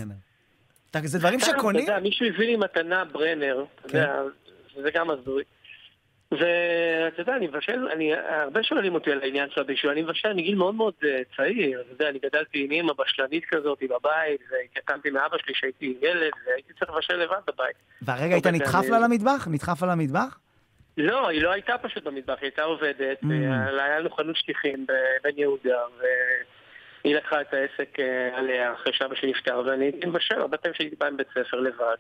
[SPEAKER 1] אתה- זה דברים
[SPEAKER 6] סתם,
[SPEAKER 1] שקונים? כן.
[SPEAKER 6] אתה יודע, מישהו הביא לי מתנה ברנר, אתה יודע, זה גם הזוי. ואתה יודע, אני מבשל, אני, הרבה שואלים אותי על העניין של הבישול, אני מבשל מגיל מאוד מאוד אה, צעיר, אתה יודע, אני גדלתי עם אמא בשלנית כזאת בבית, והתקטנתי מאבא שלי שהייתי ילד, והייתי צריך לבשל לבד בבית.
[SPEAKER 1] והרגע היית
[SPEAKER 6] אוקיי,
[SPEAKER 1] נדחף
[SPEAKER 6] אני-
[SPEAKER 1] לה למטבח? נדחף לה למטבח?
[SPEAKER 6] לא, היא לא הייתה פשוט במטבח, היא הייתה עובדת,
[SPEAKER 1] Mm.
[SPEAKER 6] אה, היה לנו חנות שטיחים בבן יהודה, והיא לקחה את העסק אה, עליה אחרי שאבא שלי נפטר, ואני הייתי מבשל, הרבה פעמים שהייתי בא עם בית ספר לבד.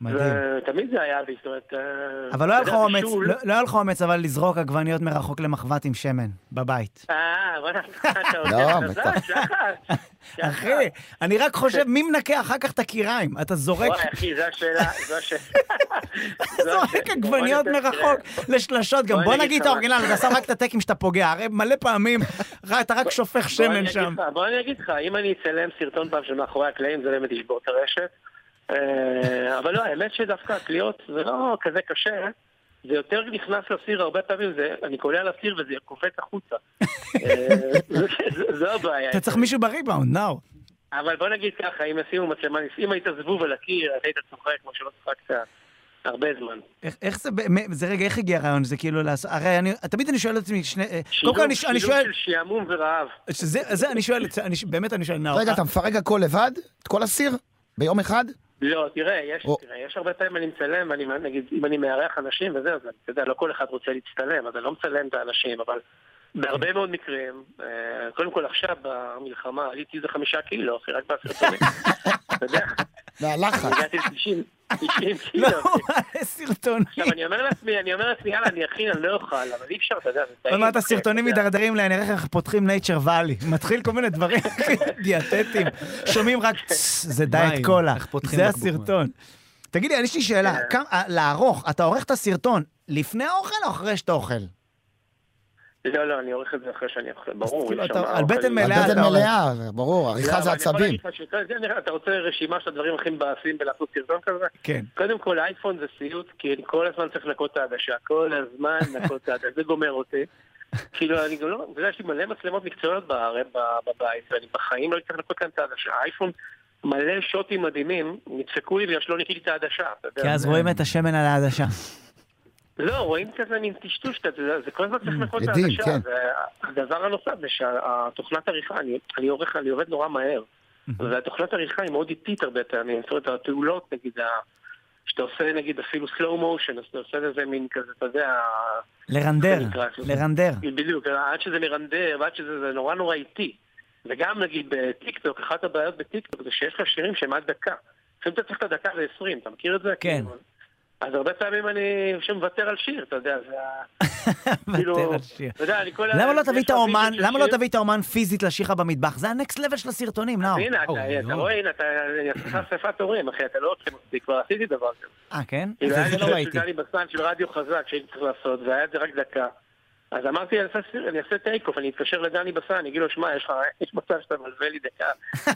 [SPEAKER 1] מדהים.
[SPEAKER 6] תמיד זה היה בי, זאת אומרת... אה,
[SPEAKER 1] אבל לא היה
[SPEAKER 6] אתה
[SPEAKER 1] לך
[SPEAKER 6] יודע,
[SPEAKER 1] אומץ,
[SPEAKER 6] בישול-
[SPEAKER 1] לא לא היה לך אומץ אבל לזרוק עגבניות מרחוק למחבת עם שמן, בבית.
[SPEAKER 6] אה, וואלה, אתה
[SPEAKER 3] לא,
[SPEAKER 6] עובד חזק,
[SPEAKER 3] בטח.
[SPEAKER 6] שחר. שחר.
[SPEAKER 1] אחי, אני רק חושב, מי מנקה אחר כך את הקיריים? אתה זורק,
[SPEAKER 6] וואי, אחי, זו השאלה, זו השאלה. זו
[SPEAKER 1] זורק
[SPEAKER 6] השאלה.
[SPEAKER 1] עגבניות
[SPEAKER 6] בוא נתן-
[SPEAKER 1] מרחוק לשלשות, גם
[SPEAKER 6] בוא
[SPEAKER 1] בוא
[SPEAKER 6] אני אגיד
[SPEAKER 1] נגיד
[SPEAKER 6] לך
[SPEAKER 1] את האורגינל, אתה שם רק את הטקים שאתה פוגע, הרי מלא פעמים, רק- אתה רק שופך
[SPEAKER 6] בוא אני
[SPEAKER 1] שמן
[SPEAKER 6] אגיד
[SPEAKER 1] שם.
[SPEAKER 6] לך, בוא אני אגיד לך, אם אני אצלם סרטון פעם של מאחורי הקלעים, זה באמת ישבור את הרשת. אה, אבל לא, האמת שדווקא הקליעות זה לא כזה קשה. זה יותר נכנס לסיר הרבה פעמים, זה- אני קולע לסיר וזה קופץ החוצה. אה, זה- זו הבעיה.
[SPEAKER 1] אתה צריך מישהו בריבאונד, נאו.
[SPEAKER 6] אבל בוא נגיד ככה, אם ישימו מצלמה, אם היית זבוב על הקיר, אז היית צוחק כמו שלא צחקת. הרבה זמן.
[SPEAKER 1] איך- איך זה, באמת- זה רגע, איך הגיע הרעיון הזה כאילו לעשות, הרי אני, תמיד אני שואל את עצמי, שני, אה, קודם
[SPEAKER 6] שילוב
[SPEAKER 1] כל אני, אני
[SPEAKER 6] שילוב של
[SPEAKER 1] שואל,
[SPEAKER 6] שעמום ורעב.
[SPEAKER 1] שזה, זה אני שואל, את- אני, ש- באמת אני שואל, נאור,
[SPEAKER 3] רגע, אתה מפרק הכל לבד? את כל הסיר? ביום אחד?
[SPEAKER 6] לא, תראה, יש,
[SPEAKER 3] או.
[SPEAKER 6] תראה, יש הרבה פעמים אני מצלם, ואני, נגיד, אם אני מארח אנשים וזה, אז אתה יודע, לא כל אחד רוצה להצטלם, אז אני לא מצלם את האנשים, אבל בהרבה מאוד מקרים, אה, קודם כל עכשיו במלחמה עליתי איזה חמישה קילו, אחי, רק בסרטונים. אתה יודע,
[SPEAKER 3] מהלחץ.
[SPEAKER 6] הגעתי ל-90 90 קילו.
[SPEAKER 1] לא, מלא סרטונים,
[SPEAKER 6] עכשיו אני אומר לעצמי, אני אומר לעצמי, יאללה, אני אכין, אני לא אוכל, אבל אי אפשר, אתה יודע, זה טעים.
[SPEAKER 1] עוד מעט
[SPEAKER 6] אתה
[SPEAKER 1] הסרטונים
[SPEAKER 6] יודע.
[SPEAKER 1] מידרדרים לי, אני אראה איך פותחים נייצ'ר ואלי, מתחיל כל מיני דברים דיאטטיים, שומעים רק "צס", זה דיאט
[SPEAKER 2] מים,
[SPEAKER 1] קולה,
[SPEAKER 2] איך פותחים
[SPEAKER 1] זה
[SPEAKER 2] בקבוק מים.
[SPEAKER 1] הסרטון. תגיד לי, יש לי שאלה,
[SPEAKER 6] כן.
[SPEAKER 1] כמה- אה, לערוך, אתה עורך את הסרטון לפני האוכל או אחרי שאתה אוכל?
[SPEAKER 6] לא, לא, אני עורך את זה אחרי שאני אוכל, ברור.
[SPEAKER 1] כאילו,
[SPEAKER 6] יש
[SPEAKER 1] אתה-
[SPEAKER 6] שם
[SPEAKER 1] על
[SPEAKER 6] אוכל.
[SPEAKER 1] בטן מלאה
[SPEAKER 3] הבטן
[SPEAKER 1] אתה אומר.
[SPEAKER 3] מלאה, זה ברור, עריכה
[SPEAKER 6] לא, אבל
[SPEAKER 3] זה
[SPEAKER 6] אני יכול
[SPEAKER 3] עצבים.
[SPEAKER 6] להגיד לך שכל- זה נראה, כן, אתה רוצה רשימה של הדברים הכי מבאסים בלעשות סרטון כזה?
[SPEAKER 1] כן.
[SPEAKER 6] קודם כל, אייפון זה סיוט, כי אני כל הזמן צריך לנקות את העדשה. כל הזמן לנקות את העדשה, זה גומר אותי. כאילו, אני גם לא... אתה יודע, יש לי מלא מצלמות מקצועיות בארץ, ב- בבית, ואני בחיים לא צריך לנקות להם את העדשה. האייפון, מלא שוטים מדהימים, נדפקו לי בגלל שלא ניקיתי את העדשה. אתה יודע.
[SPEAKER 1] כי אז רואים את השמן על העדשה.
[SPEAKER 6] לא, רואים כזה מין טשטוש, אתה יודע, זה כל הזמן צריך לנקות את
[SPEAKER 3] עדים,
[SPEAKER 6] העדשה.
[SPEAKER 3] כן.
[SPEAKER 6] הדבר הנוסף זה שהתוכנת עריכה, אני- אני עורך, אני עובד נורא מהר. והתוכנת עריכה היא מאוד איטית הרבה פעמים. זאת אומרת, הפעולות, נגיד, ה- שאתה עושה, נגיד, אפילו slow motion, אז אתה עושה לזה מין כזה, אתה יודע,
[SPEAKER 1] לרנדר,
[SPEAKER 6] איך זה נקרא?
[SPEAKER 1] לרנדר.
[SPEAKER 6] בדיוק, עד שזה מרנדר, ועד שזה, זה נורא נורא איטי. וגם, נגיד, בטיקטוק, אחת הבעיות בטיקטוק זה שיש לך שירים שהם עד דקה. לפעמים אתה צריך את הדקה ל-20, אתה מכיר את זה?
[SPEAKER 1] כן.
[SPEAKER 6] כאילו, אז הרבה פעמים אני שמוותר על שיר, אתה יודע, זה ה...
[SPEAKER 1] מוותר
[SPEAKER 6] כאילו,
[SPEAKER 1] על שיר.
[SPEAKER 6] אתה יודע, אני כל ה-
[SPEAKER 1] למה לא תביא
[SPEAKER 6] יש
[SPEAKER 1] את
[SPEAKER 6] לך
[SPEAKER 1] האומן,
[SPEAKER 6] וידאו של
[SPEAKER 1] למה לא
[SPEAKER 6] שיר?
[SPEAKER 1] תביא את האומן פיזית להשאיר לך במטבח? זה הנקסט לבל של הסרטונים, נאור.
[SPEAKER 6] הנה, אתה-
[SPEAKER 2] אוי,
[SPEAKER 6] אתה
[SPEAKER 2] נו.
[SPEAKER 6] רואה, הנה, אתה אני עושה אספת הורים, אחי, אתה לא עושה מספיק, כבר עשיתי דבר כזה.
[SPEAKER 1] אה, כן?
[SPEAKER 6] כאילו,
[SPEAKER 1] זה
[SPEAKER 6] היה
[SPEAKER 1] זה
[SPEAKER 6] לי
[SPEAKER 1] לא
[SPEAKER 6] שיר של
[SPEAKER 1] ראיתי.
[SPEAKER 6] דני בסן של רדיו חזק שהייתי צריך לעשות, והיה את זה רק דקה. אז אמרתי, אני אעשה סיר- אני אעשה טייק אוף, אני אתקשר לדני בסן, אני אגיד לו, שמע, יש לך, יש מצב שאתה מלווה לי דקה,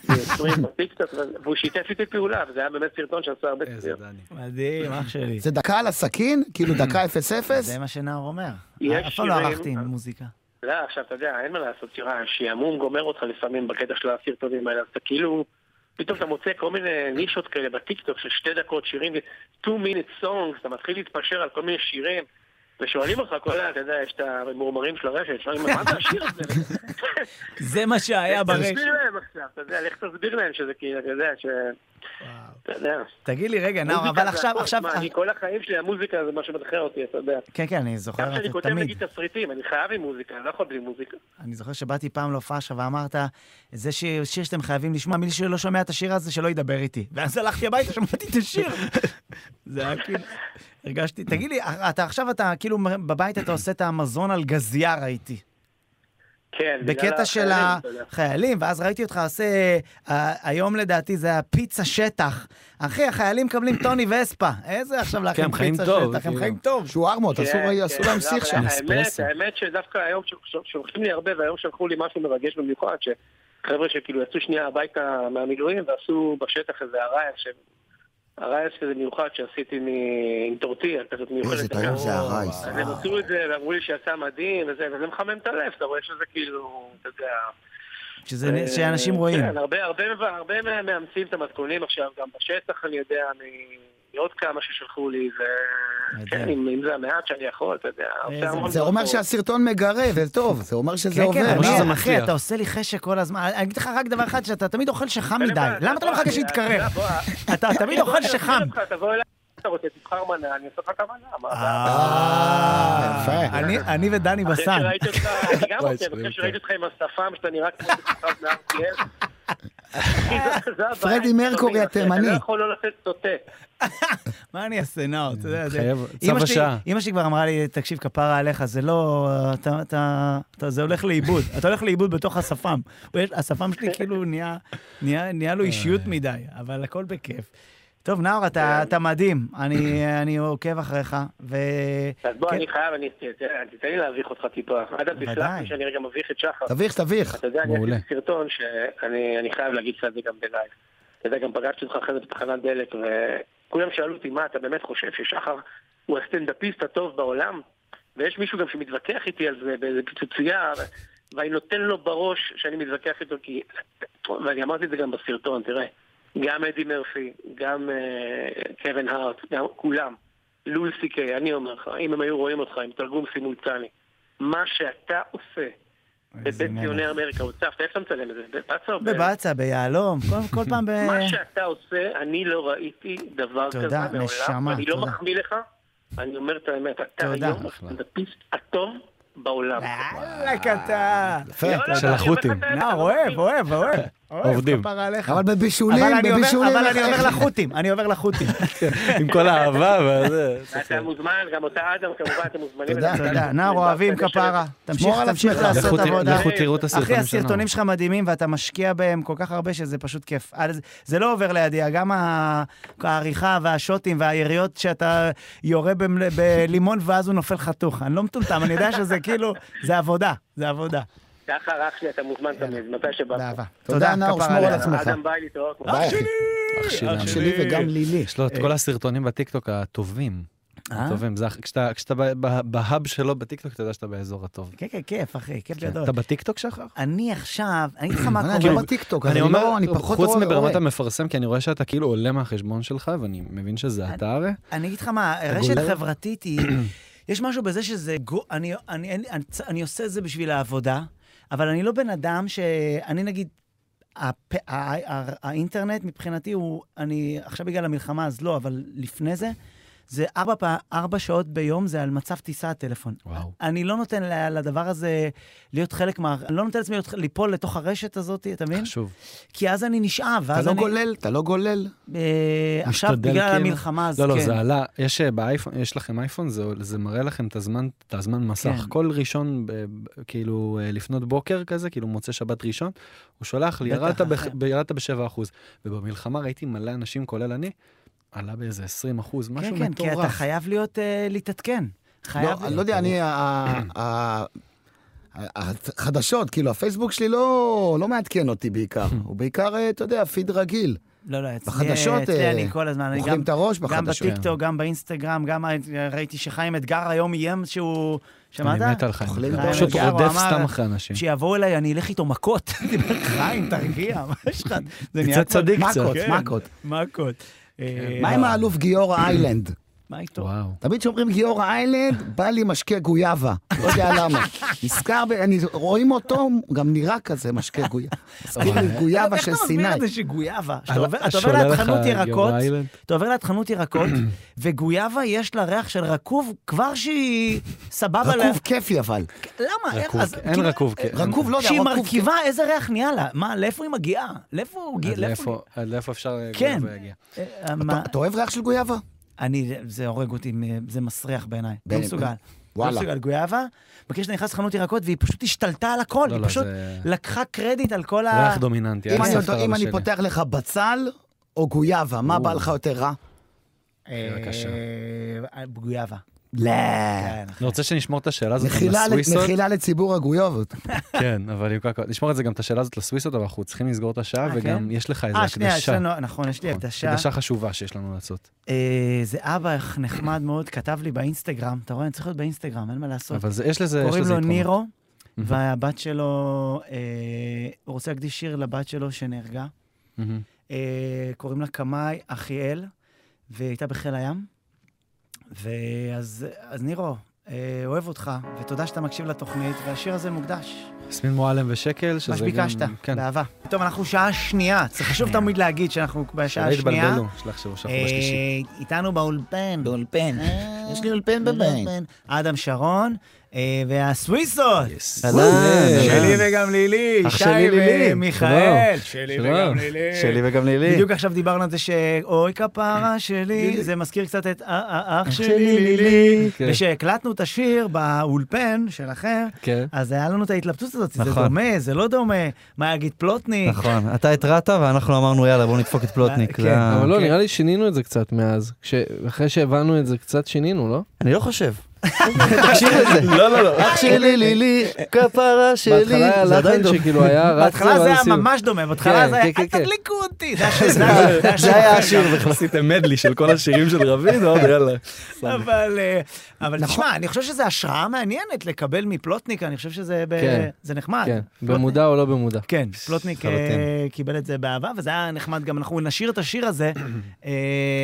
[SPEAKER 6] ועשרים בטיקטוק, ו- והוא שיתף איתי פעולה, וזה היה באמת סרטון שעשה הרבה
[SPEAKER 2] איזה
[SPEAKER 6] סיר.
[SPEAKER 2] דני.
[SPEAKER 1] מדהים, אח שלי.
[SPEAKER 3] זה דקה על הסכין? כאילו דקה 0-0?
[SPEAKER 1] זה מה שנאור אומר.
[SPEAKER 6] יש
[SPEAKER 1] אף פעם לא
[SPEAKER 6] שירים-
[SPEAKER 1] ערכתי עם מוזיקה.
[SPEAKER 6] לא, עכשיו, אתה יודע, אין מה לעשות, תראה, שעמום גומר אותך לפעמים בקטע של הסרטונים האלה, אז אתה כאילו, פתאום אתה מוצא כל מיני נישות כאלה בטיקטוק של שתי דקות שירים, two minute songs, אתה מתחיל להתפשר על כל מיני שירים. ושואלים אותך כל ה... אתה יודע, יש את המורמרים של הרשת, שואלים, מה זה השיר הזה?
[SPEAKER 1] זה מה שהיה ברשת.
[SPEAKER 6] תסביר להם עכשיו, אתה יודע, לך תסביר להם שזה כאילו, אתה יודע, ש... אתה יודע.
[SPEAKER 1] תגיד לי, רגע, כן, נאור,
[SPEAKER 6] מוזיקה
[SPEAKER 1] אבל
[SPEAKER 6] זה
[SPEAKER 1] עכשיו,
[SPEAKER 6] הכל.
[SPEAKER 1] עכשיו...
[SPEAKER 6] מה, אני כל החיים שלי, המוזיקה זה מה שמנחה אותי, אתה יודע.
[SPEAKER 1] כן, כן, אני זוכר,
[SPEAKER 6] גם כשאני
[SPEAKER 1] אתה
[SPEAKER 6] כותב
[SPEAKER 1] תמיד.
[SPEAKER 6] נגיד תסריטים, אני חייב עם מוזיקה, אני לא יכול בלי מוזיקה.
[SPEAKER 1] אני זוכר שבאתי פעם להופעה שלך ואמרת, זה שיר שיר שאתם חייבים לשמוע, מי שלא שומע את השיר הזה, שלא ידבר איתי. ואז הלכתי הביתה, שמעתי את השיר. זה היה כאילו, הרגשתי, תגיד לי, אתה עכשיו, אתה כאילו בבית אתה עושה את המזון על גזייה, ראיתי.
[SPEAKER 6] כן, בגלל
[SPEAKER 1] בקטע של
[SPEAKER 6] החיילים, אתה יודע.
[SPEAKER 1] החיילים, ואז ראיתי אותך עושה, אה, היום לדעתי זה הפיצה שטח. אחי, החיילים מקבלים טוני וספה. איזה עכשיו להכין
[SPEAKER 2] הם חיים
[SPEAKER 1] פיצה
[SPEAKER 2] טוב,
[SPEAKER 1] שטח, הם
[SPEAKER 2] כאילו.
[SPEAKER 1] חיים טוב.
[SPEAKER 3] שוארמות,
[SPEAKER 6] כן,
[SPEAKER 3] אסור-
[SPEAKER 6] כן,
[SPEAKER 3] אסור להם
[SPEAKER 6] לא,
[SPEAKER 3] סיר
[SPEAKER 6] אבל
[SPEAKER 3] שם.
[SPEAKER 6] האמת,
[SPEAKER 2] אספרסו.
[SPEAKER 6] האמת שדווקא היום ש- ש- שולחים לי הרבה, והיום שלחו לי משהו מרגש במיוחד, שחבר'ה שכאילו יצאו שנייה הביתה מהמילואים ועשו בשטח איזה ארייס, ש- ארייס כזה מיוחד שעשיתי מ- עם טורטיה, כזאת מיוחדת.
[SPEAKER 3] איזה טעים זה הרייס.
[SPEAKER 6] אז הם עשו את זה, ואמרו לי שיצא מדהים, וזה, וזה מחמם את הלב, אתה רואה שזה כאילו, אתה יודע...
[SPEAKER 1] שזה-
[SPEAKER 6] אה,
[SPEAKER 1] שאנשים רואים.
[SPEAKER 6] כן, הרבה, הרבה, הרבה מה- מאמצים את המתכונים עכשיו, גם בשטח אני יודע, מעוד כמה ששלחו לי, ו-
[SPEAKER 1] מדהים. אה,
[SPEAKER 6] כן, אם אם זה המעט שאני יכול, אתה יודע.
[SPEAKER 1] איזה-
[SPEAKER 6] עושה המון לא
[SPEAKER 3] זה אומר
[SPEAKER 6] דברים.
[SPEAKER 3] שהסרטון מגרה, זה טוב, זה אומר שזה
[SPEAKER 1] כן, כן,
[SPEAKER 3] עובד.
[SPEAKER 2] אבל שזה
[SPEAKER 1] אני, אחי,
[SPEAKER 2] מצליח.
[SPEAKER 1] אתה עושה לי חשק כל הזמן. אני אגיד לך רק דבר אחד, שאתה תמיד אוכל שחם
[SPEAKER 6] אין
[SPEAKER 1] מדי.
[SPEAKER 6] בעיה,
[SPEAKER 1] למה אתה לא
[SPEAKER 6] בוא,
[SPEAKER 1] מחכה
[SPEAKER 6] אני-
[SPEAKER 1] שיתקרר?
[SPEAKER 6] בוא,
[SPEAKER 1] אתה תמיד
[SPEAKER 6] בוא,
[SPEAKER 1] אוכל
[SPEAKER 6] אני
[SPEAKER 1] שחם.
[SPEAKER 6] אזמין אותך, תבוא אליי, אתה רוצה, תבחר מנה, אני אעשה לך את המנה. מה הבעיה?
[SPEAKER 1] אה,
[SPEAKER 3] יפה.
[SPEAKER 1] אני- אני ודני
[SPEAKER 6] אחרי
[SPEAKER 1] בסן.
[SPEAKER 6] שראיתי אותך, אני גם
[SPEAKER 2] וואי,
[SPEAKER 6] רוצה,
[SPEAKER 2] שרים
[SPEAKER 6] אחרי
[SPEAKER 2] טוב.
[SPEAKER 6] שראיתי אותך עם השפם, שאתה נראה כמו שפם נער כאב. זה הבעיה.
[SPEAKER 3] פרדי מרקורי התימני.
[SPEAKER 6] אתה לא יכול לא לתת סוטה.
[SPEAKER 1] מה אני אעשה, נאור? אתה יודע, זה-
[SPEAKER 2] חייב,
[SPEAKER 1] אמא
[SPEAKER 2] צו
[SPEAKER 1] שלי-
[SPEAKER 2] השעה.
[SPEAKER 1] אמא שלי כבר אמרה לי, תקשיב, כפרה עליך, זה לא... אתה- אתה... אתה- זה הולך לאיבוד. אתה הולך לאיבוד בתוך השפם. הוא יש- השפם שלי כאילו נהיה- נהיה נהיה לו אישיות מדי, אבל הכל בכיף. טוב, נאור, אתה אתה מדהים. אני אני עוקב אחריך, ו...
[SPEAKER 6] אז בוא,
[SPEAKER 1] כן.
[SPEAKER 6] אני חייב, אני... תראה, תתן לי להביך אותך טיפה. אדם,
[SPEAKER 1] בוודאי.
[SPEAKER 6] תסלח לי שאני רגע מביך את שחר.
[SPEAKER 3] תביך, תביך.
[SPEAKER 6] אתה יודע, אני
[SPEAKER 2] מעולה.
[SPEAKER 6] עשיתי סרטון שאני אני חייב להגיד לך את זה גם בלייב. אתה יודע, גם פגשתי אותך אחרי זה בתחנת דלק, וכולם שאלו אותי, מה, אתה באמת חושב ששחר הוא הסטנדאפיסט הטוב בעולם? ויש מישהו גם שמתווכח איתי על זה באיזה פיצוצייה, ו- ואני נותן לו בראש שאני מתווכח איתו, כי... ואני אמרתי את זה גם בסרטון, תראה, גם אדי מרפי, גם אה, קווין הארט, גם כולם. לול סי-קיי, אני אומר לך, אם הם היו רואים אותך עם תרגום סימולטני, מה שאתה עושה
[SPEAKER 1] איזה
[SPEAKER 6] בבית
[SPEAKER 1] מלך.
[SPEAKER 6] ציוני אמריקה, הוצפת, איפה אתה מצלם את זה? בבצר? ב-
[SPEAKER 1] בבצע, ביהלום, כל- כל פעם ב...
[SPEAKER 6] מה שאתה עושה, אני לא ראיתי דבר
[SPEAKER 1] תודה,
[SPEAKER 6] כזה מעולם.
[SPEAKER 1] נשמה,
[SPEAKER 6] אני לא
[SPEAKER 1] תודה.
[SPEAKER 6] מחמיא לך, אני אומר את האמת, אתה
[SPEAKER 1] תודה. אה.
[SPEAKER 6] היום הסטנדאפיסט הטוב בעולם.
[SPEAKER 1] וואלכ אתה.
[SPEAKER 3] יפה.
[SPEAKER 6] לא, לא, לא,
[SPEAKER 2] של
[SPEAKER 6] אני אומר לך
[SPEAKER 2] החות'ים.
[SPEAKER 6] את האמת,
[SPEAKER 1] אה,
[SPEAKER 6] אתה
[SPEAKER 1] אוהב,
[SPEAKER 6] מחמיא.
[SPEAKER 1] אוהב, אוהב. אוהב,
[SPEAKER 2] עובדים.
[SPEAKER 1] כפרה עליך.
[SPEAKER 3] אבל בבישולים,
[SPEAKER 1] אבל אני עובר-
[SPEAKER 3] בבישולים...
[SPEAKER 1] אבל אני
[SPEAKER 3] איך-
[SPEAKER 1] עובר
[SPEAKER 3] איך-
[SPEAKER 1] לחות'ים, אני עובר לחות'ים.
[SPEAKER 2] עם כל האהבה וזה.
[SPEAKER 6] אתה מוזמן, גם אותה אדם, כמובן, אתם מוזמנים.
[SPEAKER 3] תודה.
[SPEAKER 6] לדעת.
[SPEAKER 1] תודה, נער אוהבים כפרה. תמשיך,
[SPEAKER 3] על
[SPEAKER 1] תמשיך
[SPEAKER 3] עצמך.
[SPEAKER 1] לעשות
[SPEAKER 2] לכו ת-
[SPEAKER 1] עבודה.
[SPEAKER 2] לכו תראו את הסרטונים
[SPEAKER 1] אחי,
[SPEAKER 2] שלנו.
[SPEAKER 1] הסרטונים שלך מדהימים, ואתה משקיע בהם כל כך הרבה שזה פשוט כיף. אה, זה- זה לא עובר לידי, גם ה- העריכה והשוטים והיריות שאתה יורה במל- בלימון ואז הוא נופל חתוך. אני לא מטומטם, אני יודע שזה כאילו, זה עבודה, זה עבודה.
[SPEAKER 6] ככה, רק שנייה, אתה מוזמן תמיד, מתי שבא.
[SPEAKER 1] באהבה.
[SPEAKER 3] תודה, נאור,
[SPEAKER 1] כפרה
[SPEAKER 3] שמור על
[SPEAKER 1] עליך.
[SPEAKER 3] עצמך. שמחה.
[SPEAKER 6] אדם ביי להתראות.
[SPEAKER 2] אה,
[SPEAKER 3] ביי, אחי. אח שלי וגם לילי.
[SPEAKER 2] יש לו את כל הסרטונים בטיקטוק הטובים.
[SPEAKER 1] אה?
[SPEAKER 2] הטובים, זה הכי- כשאתה כשאתה ב- ב- בהאב שלו בטיקטוק, אתה יודע שאתה באזור הטוב.
[SPEAKER 1] כן, כן, כיף, אחי, כיף גדול.
[SPEAKER 2] אתה בטיקטוק שחר?
[SPEAKER 1] אני עכשיו, אני אגיד לך מה
[SPEAKER 3] אני
[SPEAKER 1] קורה.
[SPEAKER 3] לא בטיקטוק, אז אני לא, אני פחות
[SPEAKER 2] כאילו, חוץ
[SPEAKER 3] רואה-
[SPEAKER 2] מברמת
[SPEAKER 3] רואה.
[SPEAKER 2] המפרסם, כי אני רואה שאתה כאילו עולה מהחשבון שלך, ואני מבין שזה אתה הרי.
[SPEAKER 1] אני אגיד לך מה, רשת
[SPEAKER 2] גולר?
[SPEAKER 1] חברתית היא... יש משהו בזה שזה... גו- אני, אני, אני, אני, אני עושה את זה בשביל העבודה, אבל אני לא בן אדם ש... אני נגיד... הפ... ה... ה... האינטרנט מבחינתי הוא... אני... עכשיו בגלל המלחמה אז לא, אבל לפני זה, זה ארבע, פע... ארבע שעות ביום, זה על מצב טיסה הטלפון.
[SPEAKER 2] וואו.
[SPEAKER 1] אני לא נותן ל- לדבר הזה להיות חלק מה... אני לא נותן לעצמי להיות- ליפול לתוך הרשת הזאת, אתה מבין?
[SPEAKER 2] חשוב.
[SPEAKER 1] כי אז אני נשאב,
[SPEAKER 3] אתה
[SPEAKER 1] ואז
[SPEAKER 3] לא
[SPEAKER 1] אני...
[SPEAKER 3] גולל, אתה לא גולל.
[SPEAKER 1] אה, עכשיו,
[SPEAKER 2] משתדל
[SPEAKER 1] בגלל
[SPEAKER 2] כאילו.
[SPEAKER 1] המלחמה, אז
[SPEAKER 2] לא, לא,
[SPEAKER 1] כן.
[SPEAKER 2] זה עלה, יש אה, באייפון, יש לכם אייפון, זה, זה מראה לכם את הזמן, את הזמן מסך.
[SPEAKER 1] כן.
[SPEAKER 2] כל ראשון, ב, ב, כאילו, אה, לפנות בוקר כזה, כאילו מוצא שבת ראשון, הוא שולח לי,
[SPEAKER 1] בטח, אה.
[SPEAKER 2] ירדת,
[SPEAKER 1] אחי.
[SPEAKER 2] ב, ירדת ב-7 אחוז. ובמלחמה ראיתי מלא אנשים, כולל אני, עלה באיזה 20 אחוז, משהו
[SPEAKER 1] כן, כן,
[SPEAKER 2] מטורף.
[SPEAKER 1] כי אתה חייב להיות, אה, להתעדכן.
[SPEAKER 3] לא,
[SPEAKER 1] חייב...
[SPEAKER 3] אני לא יודע, אני... ה- ה- ה- ה- החדשות, כאילו, הפייסבוק שלי לא לא מעדכן אותי בעיקר. הוא בעיקר, אה, אתה יודע, פיד רגיל.
[SPEAKER 1] לא, לא, אצלי-
[SPEAKER 3] בחדשות,
[SPEAKER 1] אצלי
[SPEAKER 3] אה,
[SPEAKER 1] אני כל הזמן, אני גם...
[SPEAKER 3] אוכלים את הראש
[SPEAKER 1] גם
[SPEAKER 3] בחדשות. כן.
[SPEAKER 1] בטיקטוק, גם באינסטגרם, גם אה, ראיתי שחיים אתגר היום איים שהוא... שמעת?
[SPEAKER 2] אני מת על חיים.
[SPEAKER 3] אוכלים
[SPEAKER 2] אתה
[SPEAKER 3] את
[SPEAKER 2] פשוט
[SPEAKER 1] הראש.
[SPEAKER 2] רודף
[SPEAKER 1] אמר-
[SPEAKER 2] סתם אחרי אנשים.
[SPEAKER 1] שיבואו אליי, אני אלך איתו מכות. חיים, תרגיע, מה יש לך? זה
[SPEAKER 2] קצת צדיק קצת. כן.
[SPEAKER 3] מכות,
[SPEAKER 1] כן.
[SPEAKER 3] מכות.
[SPEAKER 1] מכות. אה,
[SPEAKER 3] מה עם האלוף גיורא איילנד?
[SPEAKER 1] מה איתו?
[SPEAKER 2] וואו.
[SPEAKER 3] תמיד כשאומרים גיורא איילנד, בא לי משקה גויאבה. לא יודע למה. נזכר, ב- אני- רואים אותו, הוא גם נראה כזה משקה גויאבה. מזכיר לי גויאבה
[SPEAKER 1] איך
[SPEAKER 3] של
[SPEAKER 1] אתה מסביר
[SPEAKER 3] סיני.
[SPEAKER 1] את זה שגויאבה? שאתה
[SPEAKER 2] על-
[SPEAKER 1] עובר- אתה עובר
[SPEAKER 2] שעולה לך
[SPEAKER 1] לחנות
[SPEAKER 2] גיורא
[SPEAKER 1] ירקות,
[SPEAKER 2] איילנד?
[SPEAKER 1] אתה עובר לחנות ירקות, וגויאבה יש לה ריח של רקוב כבר שהיא סבבה. לה-
[SPEAKER 3] רקוב כיפי אבל.
[SPEAKER 1] למה? איך-
[SPEAKER 2] רקוב,
[SPEAKER 1] אז
[SPEAKER 2] אין
[SPEAKER 1] כאילו-
[SPEAKER 2] רקוב, כן.
[SPEAKER 3] רקוב לא יודע,
[SPEAKER 1] כשהיא
[SPEAKER 3] רקוב
[SPEAKER 1] מרכיבה, איזה ריח נהיה לה? מה, לאיפה היא מגיעה? כן. לאיפה הוא הגיע?
[SPEAKER 2] עד לאיפה- עד לאיפה אפשר אה,
[SPEAKER 1] כן.
[SPEAKER 2] גויאבה יגיע?
[SPEAKER 1] אה, מה-
[SPEAKER 3] אתה- אתה אוהב ריח של גויאבה?
[SPEAKER 1] אני, זה הורג אותי, מ- זה מסריח בעיניי. לא
[SPEAKER 3] ב-
[SPEAKER 1] מסוגל. לא
[SPEAKER 3] וואלה.
[SPEAKER 1] מסוגל, גויאבה. בקש אתה נכנס לחנות ירקות, והיא פשוט השתלטה על הכל.
[SPEAKER 2] לא,
[SPEAKER 1] היא
[SPEAKER 2] לא,
[SPEAKER 1] פשוט
[SPEAKER 2] זה-
[SPEAKER 1] לקחה קרדיט על כל ה...
[SPEAKER 2] ריח לא דומיננטי.
[SPEAKER 3] אם
[SPEAKER 2] אל
[SPEAKER 3] אני
[SPEAKER 2] תספר
[SPEAKER 3] אותו-
[SPEAKER 2] על
[SPEAKER 3] אם אני
[SPEAKER 2] השני.
[SPEAKER 3] פותח לך בצל או גויאבה, מה בא לך יותר רע?
[SPEAKER 1] אה,
[SPEAKER 2] בבקשה.
[SPEAKER 1] אה, גויאבה.
[SPEAKER 3] לא.
[SPEAKER 1] כן,
[SPEAKER 2] אני רוצה שנשמור את השאלה הזאת גם
[SPEAKER 3] מחילה ל-
[SPEAKER 2] לסוויסות.
[SPEAKER 3] מחילה לציבור הגויובות.
[SPEAKER 2] כן, אבל יוקר הכל. נשמור את זה גם את השאלה הזאת לסוויסות, אבל אנחנו צריכים לסגור את השעה,
[SPEAKER 1] אה, כן?
[SPEAKER 2] וגם יש לך איזה
[SPEAKER 1] אה, שנייה, יש
[SPEAKER 2] הקדשה.
[SPEAKER 1] לנו, נכון, יש לי הקדשה.
[SPEAKER 2] הקדשה חשובה שיש לנו לעשות.
[SPEAKER 1] אה, זה אבא נחמד מאוד, כתב לי באינסטגרם, אתה רואה, אני צריך להיות באינסטגרם, אין מה לעשות.
[SPEAKER 2] אבל זה- יש לזה, יש
[SPEAKER 1] קוראים
[SPEAKER 2] לזה
[SPEAKER 1] לו
[SPEAKER 2] יתרונות.
[SPEAKER 1] נירו, והבת שלו, אה, הוא רוצה להקדיש שיר לבת שלו שנהרגה.
[SPEAKER 2] מהמם.
[SPEAKER 1] אה, קוראים לה קמאי אחיאל, והיא הייתה בחיל הים. ואז אז נירו, אה, אוהב אותך, ותודה שאתה מקשיב לתוכנית, והשיר הזה מוקדש.
[SPEAKER 2] יסמין מועלם ושקל, שזה
[SPEAKER 1] מה
[SPEAKER 2] גם...
[SPEAKER 1] שביקשת,
[SPEAKER 2] כן.
[SPEAKER 1] באהבה. טוב, אנחנו שעה שנייה, זה חשוב תמיד להגיד שאנחנו בשעה
[SPEAKER 2] שלא
[SPEAKER 1] השנייה.
[SPEAKER 2] יתבלבלו, שלא יחשבו שאנחנו בשלישי.
[SPEAKER 1] אה, איתנו באולפן.
[SPEAKER 3] באולפן.
[SPEAKER 1] אה,
[SPEAKER 3] יש לי אולפן בבית.
[SPEAKER 1] באולפן. אדם שרון, אה, והסוויסות.
[SPEAKER 2] אהלן,
[SPEAKER 1] שלי
[SPEAKER 2] אהלן.
[SPEAKER 1] וגם לילי,
[SPEAKER 2] אח
[SPEAKER 1] שי
[SPEAKER 2] שלי לילי.
[SPEAKER 1] ומיכאל.
[SPEAKER 2] שלום.
[SPEAKER 1] שלי
[SPEAKER 2] שלום.
[SPEAKER 1] וגם לילי.
[SPEAKER 2] שלי וגם לילי.
[SPEAKER 1] בדיוק עכשיו דיברנו על זה שאוי כפרה שלי, זה מזכיר קצת את "אה, אה, אח שלי לילי.
[SPEAKER 2] לילי. כן.
[SPEAKER 1] וכשהקלטנו את השיר באולפן שלכם,
[SPEAKER 2] כן.
[SPEAKER 1] אז היה לנו את ההתלבטות הזאת, זה
[SPEAKER 7] נכון.
[SPEAKER 1] דומה, זה לא דומה, מה יגיד פלוטניק.
[SPEAKER 7] נכון, אתה התרעת ואנחנו אמרנו יאללה בוא נדפוק את פלוטניק.
[SPEAKER 1] כן,
[SPEAKER 7] זה ה-
[SPEAKER 8] אבל לא,
[SPEAKER 1] כן.
[SPEAKER 8] נראה לי שינינו את זה קצת מאז. כש- אחרי שהבנו את זה קצת שינינו, לא?
[SPEAKER 7] אני לא חושב. תקשיב לזה. לא, לא, לא. אח שלי, לילי, כפרה שלי.
[SPEAKER 8] בהתחלה היה
[SPEAKER 7] זה עדיין
[SPEAKER 8] לחן
[SPEAKER 7] דומה.
[SPEAKER 8] שכאילו היה רץ...
[SPEAKER 1] בהתחלה
[SPEAKER 8] לו,
[SPEAKER 1] זה
[SPEAKER 8] ואז
[SPEAKER 1] היה
[SPEAKER 8] עשינו-
[SPEAKER 1] ממש דומה, בהתחלה
[SPEAKER 8] כן,
[SPEAKER 1] זה היה,
[SPEAKER 8] כן,
[SPEAKER 1] אל
[SPEAKER 8] כן, כן.
[SPEAKER 1] תדליקו אותי, זה השיר, זה השיר,
[SPEAKER 7] זה היה
[SPEAKER 1] אחר
[SPEAKER 7] השיר בכלל.
[SPEAKER 8] נכון.
[SPEAKER 2] עשיתם מדלי של כל השירים של רביד, עוד יאללה.
[SPEAKER 1] אבל אה, אבל תשמע, אני חושב שזו השראה מעניינת לקבל מפלוטניק, אני חושב שזה ב-
[SPEAKER 8] כן.
[SPEAKER 1] זה נחמד.
[SPEAKER 8] כן, במודע או לא במודע.
[SPEAKER 1] אה, כן, פלוטניק אה,
[SPEAKER 7] לחלוטין.
[SPEAKER 1] קיבל את זה באהבה, וזה היה נחמד גם. אנחנו נשיר את השיר הזה, אה,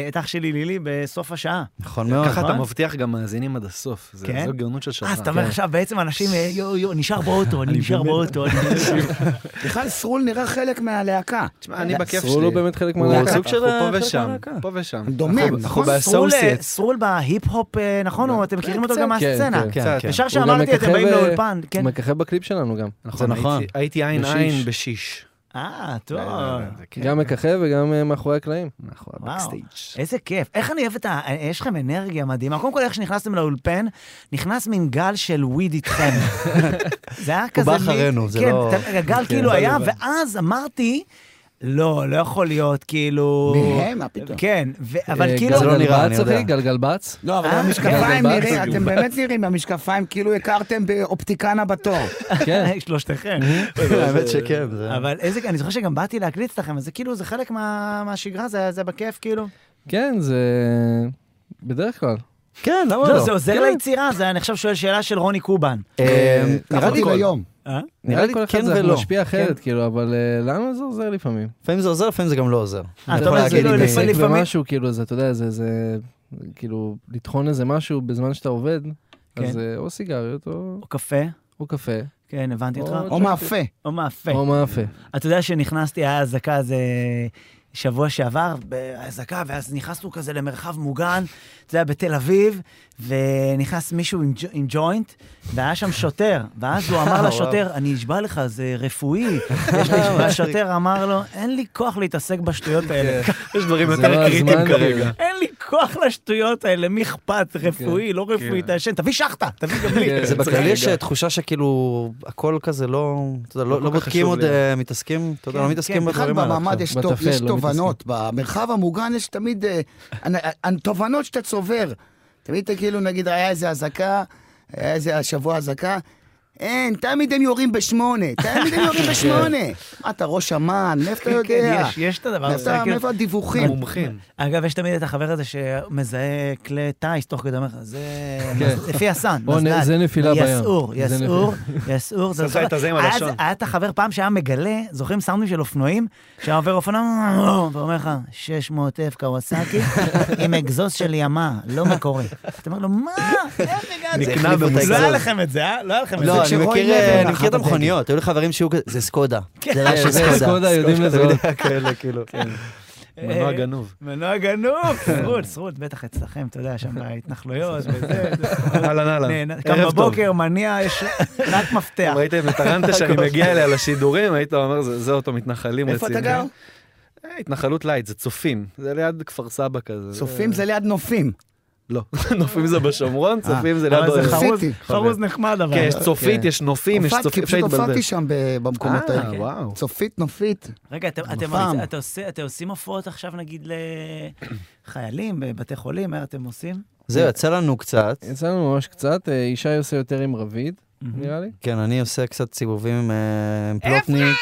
[SPEAKER 1] את אח שלי לילי, בסוף השעה.
[SPEAKER 7] נכון מאוד.
[SPEAKER 2] ככה אתה
[SPEAKER 1] נכון?
[SPEAKER 2] מבטיח גם מאזינים עד הסוף, זה-
[SPEAKER 1] כן?
[SPEAKER 2] זו גאונות של שנה.
[SPEAKER 1] אה, אז אתה אומר
[SPEAKER 2] כן.
[SPEAKER 1] עכשיו, בעצם אנשים, אה, יו, יו, נשאר באוטו, אני נשאר באוטו. אני נשאר-
[SPEAKER 3] בכלל סרול נראה חלק מהלהקה.
[SPEAKER 2] תשמע, אני בכיף שלי.
[SPEAKER 8] סרול הוא באמת חלק
[SPEAKER 2] הוא
[SPEAKER 8] מהלהקה.
[SPEAKER 2] סוג של
[SPEAKER 8] אנחנו
[SPEAKER 2] פה
[SPEAKER 8] חלק
[SPEAKER 2] ושם,
[SPEAKER 8] מהלהקה.
[SPEAKER 2] פה ושם.
[SPEAKER 3] דומם,
[SPEAKER 2] אנחנו- אנחנו
[SPEAKER 3] נכון?
[SPEAKER 1] סרול, אה,
[SPEAKER 2] באסוסייטס.
[SPEAKER 1] סרול בהיפ-הופ, אה, נכון? הוא- אתם מכירים אותו גם
[SPEAKER 8] כן,
[SPEAKER 1] מהסצנה.
[SPEAKER 8] כן,
[SPEAKER 2] קצת,
[SPEAKER 8] כן.
[SPEAKER 1] ישר
[SPEAKER 8] הוא גם
[SPEAKER 1] שאמרתי, אתם
[SPEAKER 8] מככב,
[SPEAKER 1] באים
[SPEAKER 8] אה,
[SPEAKER 1] לאולפן, כן.
[SPEAKER 8] הוא מככב בקליפ שלנו גם.
[SPEAKER 2] נכון,
[SPEAKER 7] זה
[SPEAKER 2] הייתי-
[SPEAKER 7] נכון.
[SPEAKER 2] הייתי עין
[SPEAKER 7] בשיש.
[SPEAKER 2] עין בשיש.
[SPEAKER 1] אה, טוב.
[SPEAKER 2] זה כן.
[SPEAKER 8] גם מככב וגם אה, מאחורי הקלעים.
[SPEAKER 7] נכון.
[SPEAKER 2] אנחנו
[SPEAKER 1] וואו.
[SPEAKER 2] הבקסטייג'.
[SPEAKER 1] איזה כיף. איך אני אוהב את ה... יש לכם אנרגיה מדהימה. קודם כל, איך שנכנסתם לאולפן, נכנס מין גל של וויד איתכם. זה היה כזה...
[SPEAKER 7] בא
[SPEAKER 1] מין-
[SPEAKER 7] אחרינו, זה
[SPEAKER 1] כן,
[SPEAKER 7] לא-
[SPEAKER 1] כן, הגל כאילו היה, ואז אמרתי, לא, לא יכול להיות, כאילו...
[SPEAKER 3] מהם, מה פתאום?
[SPEAKER 1] כן, ו- אבל
[SPEAKER 8] אה,
[SPEAKER 1] כאילו... אה?
[SPEAKER 7] זה לא נראה, אני
[SPEAKER 8] גלגלבץ, אחי,
[SPEAKER 7] יודע.
[SPEAKER 8] גלגלבץ.
[SPEAKER 3] לא, אבל המשקפיים נראים, אתם באמת נראים במשקפיים כאילו הכרתם באופטיקנה בתור.
[SPEAKER 8] כן.
[SPEAKER 1] שלושתכם.
[SPEAKER 7] האמת שכן. זה-
[SPEAKER 1] אבל איזה... אני זוכר שגם באתי להקליט אצלכם, אז זה כאילו, זה חלק מה- מהשגרה, זה זה בכיף, כאילו.
[SPEAKER 8] כן, זה... בדרך כלל.
[SPEAKER 7] כן, למה
[SPEAKER 1] לא,
[SPEAKER 7] לא?
[SPEAKER 1] זה עוזר
[SPEAKER 8] כן.
[SPEAKER 1] ליצירה, זה אני עכשיו שואל שאלה של רוני קובן.
[SPEAKER 7] אה,
[SPEAKER 3] ככה
[SPEAKER 7] נראה לי
[SPEAKER 3] כל היום.
[SPEAKER 1] אה?
[SPEAKER 8] נראה לי כל אחד
[SPEAKER 7] כן
[SPEAKER 8] זה
[SPEAKER 7] ולא.
[SPEAKER 8] משפיע אחרת, כאילו, אבל אה, לנו זה עוזר לפעמים.
[SPEAKER 7] לפעמים זה עוזר, לפעמים זה גם לא עוזר.
[SPEAKER 1] אה, אתה
[SPEAKER 7] יכול
[SPEAKER 1] אומר, זה
[SPEAKER 7] להגיד
[SPEAKER 1] לא,
[SPEAKER 7] אם-
[SPEAKER 1] לפעמים-
[SPEAKER 8] להתעסק במשהו, כאילו, זה, אתה יודע, זה, זה, כאילו, לטחון איזה משהו בזמן שאתה עובד,
[SPEAKER 1] כן.
[SPEAKER 8] אז אה, או סיגריות, או,
[SPEAKER 1] או קפה?
[SPEAKER 8] או קפה,
[SPEAKER 1] כן, הבנתי אותך.
[SPEAKER 8] או-
[SPEAKER 3] או מאפה.
[SPEAKER 1] או מאפה.
[SPEAKER 8] או מאפה.
[SPEAKER 1] אתה יודע שנכנסתי, היה אזעקה איזה שבוע שעבר, באזעקה, ואז נכנסנו כזה למרחב מוגן, זה היה בתל אביב, ונכנס מישהו עם, ג'ו- עם ג'וינט, והיה שם שוטר, ואז הוא אמר
[SPEAKER 7] וואו.
[SPEAKER 1] לשוטר, אני אשבע לך, זה רפואי. יש לי- והשוטר אמר לו, אין לי כוח להתעסק בשטויות האלה.
[SPEAKER 2] כן. יש דברים
[SPEAKER 8] זה לא
[SPEAKER 2] יותר קריטיים
[SPEAKER 8] הזמן,
[SPEAKER 2] כרגע.
[SPEAKER 1] אין לי כוח לשטויות האלה, מי אכפת, רפואי, לא רפואי,
[SPEAKER 2] כן.
[SPEAKER 1] תעשן, תביא שחטה, תביא גם לי.
[SPEAKER 8] כן.
[SPEAKER 7] זה בכללי
[SPEAKER 2] רגע.
[SPEAKER 7] יש תחושה שכאילו, הכל כזה לא, אתה יודע, לא לא
[SPEAKER 2] כל כך
[SPEAKER 7] בודקים
[SPEAKER 2] חשוב
[SPEAKER 7] עוד,
[SPEAKER 2] לי.
[SPEAKER 7] אה, מתעסקים, אתה יודע,
[SPEAKER 1] כן,
[SPEAKER 7] לא
[SPEAKER 1] כן,
[SPEAKER 7] מתעסקים
[SPEAKER 3] בכלל
[SPEAKER 7] בדברים האלה.
[SPEAKER 3] במעמד
[SPEAKER 7] עכשיו.
[SPEAKER 3] יש טוב-
[SPEAKER 8] בטפל,
[SPEAKER 3] יש
[SPEAKER 8] לא
[SPEAKER 3] תובנות, במרחב המוגן יש תמיד אה, הנ- הנ- תובנות שאתה צובר. תמיד אתה כאילו, נגיד, היה איזה אזעקה, היה איזה השבוע אזעקה, אין, תמיד הם יורים בשמונה, תמיד הם יורים בשמונה. מה, אתה ראש אמ"ן, מאיפה אתה
[SPEAKER 1] כן,
[SPEAKER 3] יודע?
[SPEAKER 1] יש, יש את הדבר
[SPEAKER 3] מאיפה
[SPEAKER 1] הזה.
[SPEAKER 3] אתה-
[SPEAKER 1] כאילו-
[SPEAKER 3] מאיפה הדיווחים?
[SPEAKER 2] מומחים.
[SPEAKER 1] אגב, יש תמיד את החבר הזה שמזהה כלי טיס תוך כדי, אומר לך, זה מז- לפי הסאן,
[SPEAKER 8] או נ-
[SPEAKER 1] מזל"ט.
[SPEAKER 8] זה נפילה בים.
[SPEAKER 1] יסעור,
[SPEAKER 8] זה
[SPEAKER 1] יסעור, יסעור. זה
[SPEAKER 2] עשה את הזה עם
[SPEAKER 1] היה
[SPEAKER 2] הלשון.
[SPEAKER 1] זה- היה את החבר פעם שהיה מגלה, זוכרים סאונדים של אופנועים? שהיה עובר אופנוע, ואומר לך, 600,000 קוואסקי עם אגזוז של ימה, לא מקורי. אתה אומר לו, מה? איך הגעת?
[SPEAKER 7] זה החליף אותה
[SPEAKER 1] לא היה
[SPEAKER 7] אגזוז.
[SPEAKER 1] לכם את זה, אה? לא היה לכם את זה.
[SPEAKER 7] לא, אני
[SPEAKER 3] כשרועי
[SPEAKER 7] מכיר,
[SPEAKER 3] לוי
[SPEAKER 7] אה,
[SPEAKER 3] הלך
[SPEAKER 7] אני מכיר את
[SPEAKER 3] בדגל.
[SPEAKER 7] המכוניות, היו לי חברים שהיו כזה, זה סקודה. זה לא רעש של
[SPEAKER 8] זה סקודה, יודעים לזהות.
[SPEAKER 7] תמיד היה כאלה, כאילו.
[SPEAKER 1] אה,
[SPEAKER 2] מנוע גנוב.
[SPEAKER 1] מנוע גנוב, שרוד, שרוד, בטח אצלכם, אתה יודע, שם בהתנחלויות וזה.
[SPEAKER 2] אהלן אהלן.
[SPEAKER 1] נהנה- קם
[SPEAKER 2] ערב טוב.
[SPEAKER 1] בבוקר, מניע, יש רק מפתח.
[SPEAKER 2] אם ראיתם את הרנטה שאני מגיע אליה לשידורים, היית אומר, זה זה אותו מתנחלים
[SPEAKER 3] איפה
[SPEAKER 2] רציניים.
[SPEAKER 3] אתה גר?
[SPEAKER 2] אה, התנחלות לייט, זה צופים. זה ליד כפר סבא כזה.
[SPEAKER 3] צופים זה ליד נופים.
[SPEAKER 2] לא. נופים זה בשומרון,
[SPEAKER 3] אה,
[SPEAKER 2] צופים זה ליד...
[SPEAKER 1] אה, אבל זה
[SPEAKER 2] אוהל.
[SPEAKER 1] חרוז,
[SPEAKER 3] עשיתי.
[SPEAKER 1] חרוז נחמד אבל.
[SPEAKER 2] כן, יש צופית,
[SPEAKER 8] כן.
[SPEAKER 2] יש נופים, יש
[SPEAKER 3] הופעתי-
[SPEAKER 2] צופים, אפשר
[SPEAKER 3] פשוט
[SPEAKER 2] להתבלבל.
[SPEAKER 3] הופעתי שם ב- במקומות
[SPEAKER 2] אה,
[SPEAKER 3] האלה.
[SPEAKER 2] וואו.
[SPEAKER 3] צופית, נופית.
[SPEAKER 1] רגע, אתם- אתם-
[SPEAKER 3] פעם.
[SPEAKER 1] אתה עושה- אתם עושים הופעות עכשיו נגיד לחיילים, בבתי חולים, מה אתם עושים?
[SPEAKER 7] זהו, יצא לנו קצת.
[SPEAKER 8] יצא לנו ממש קצת, אה, ישי עושה יותר עם רביד, נראה לי.
[SPEAKER 7] כן, אני עושה קצת סיבובים עם אה, עם פלופניק.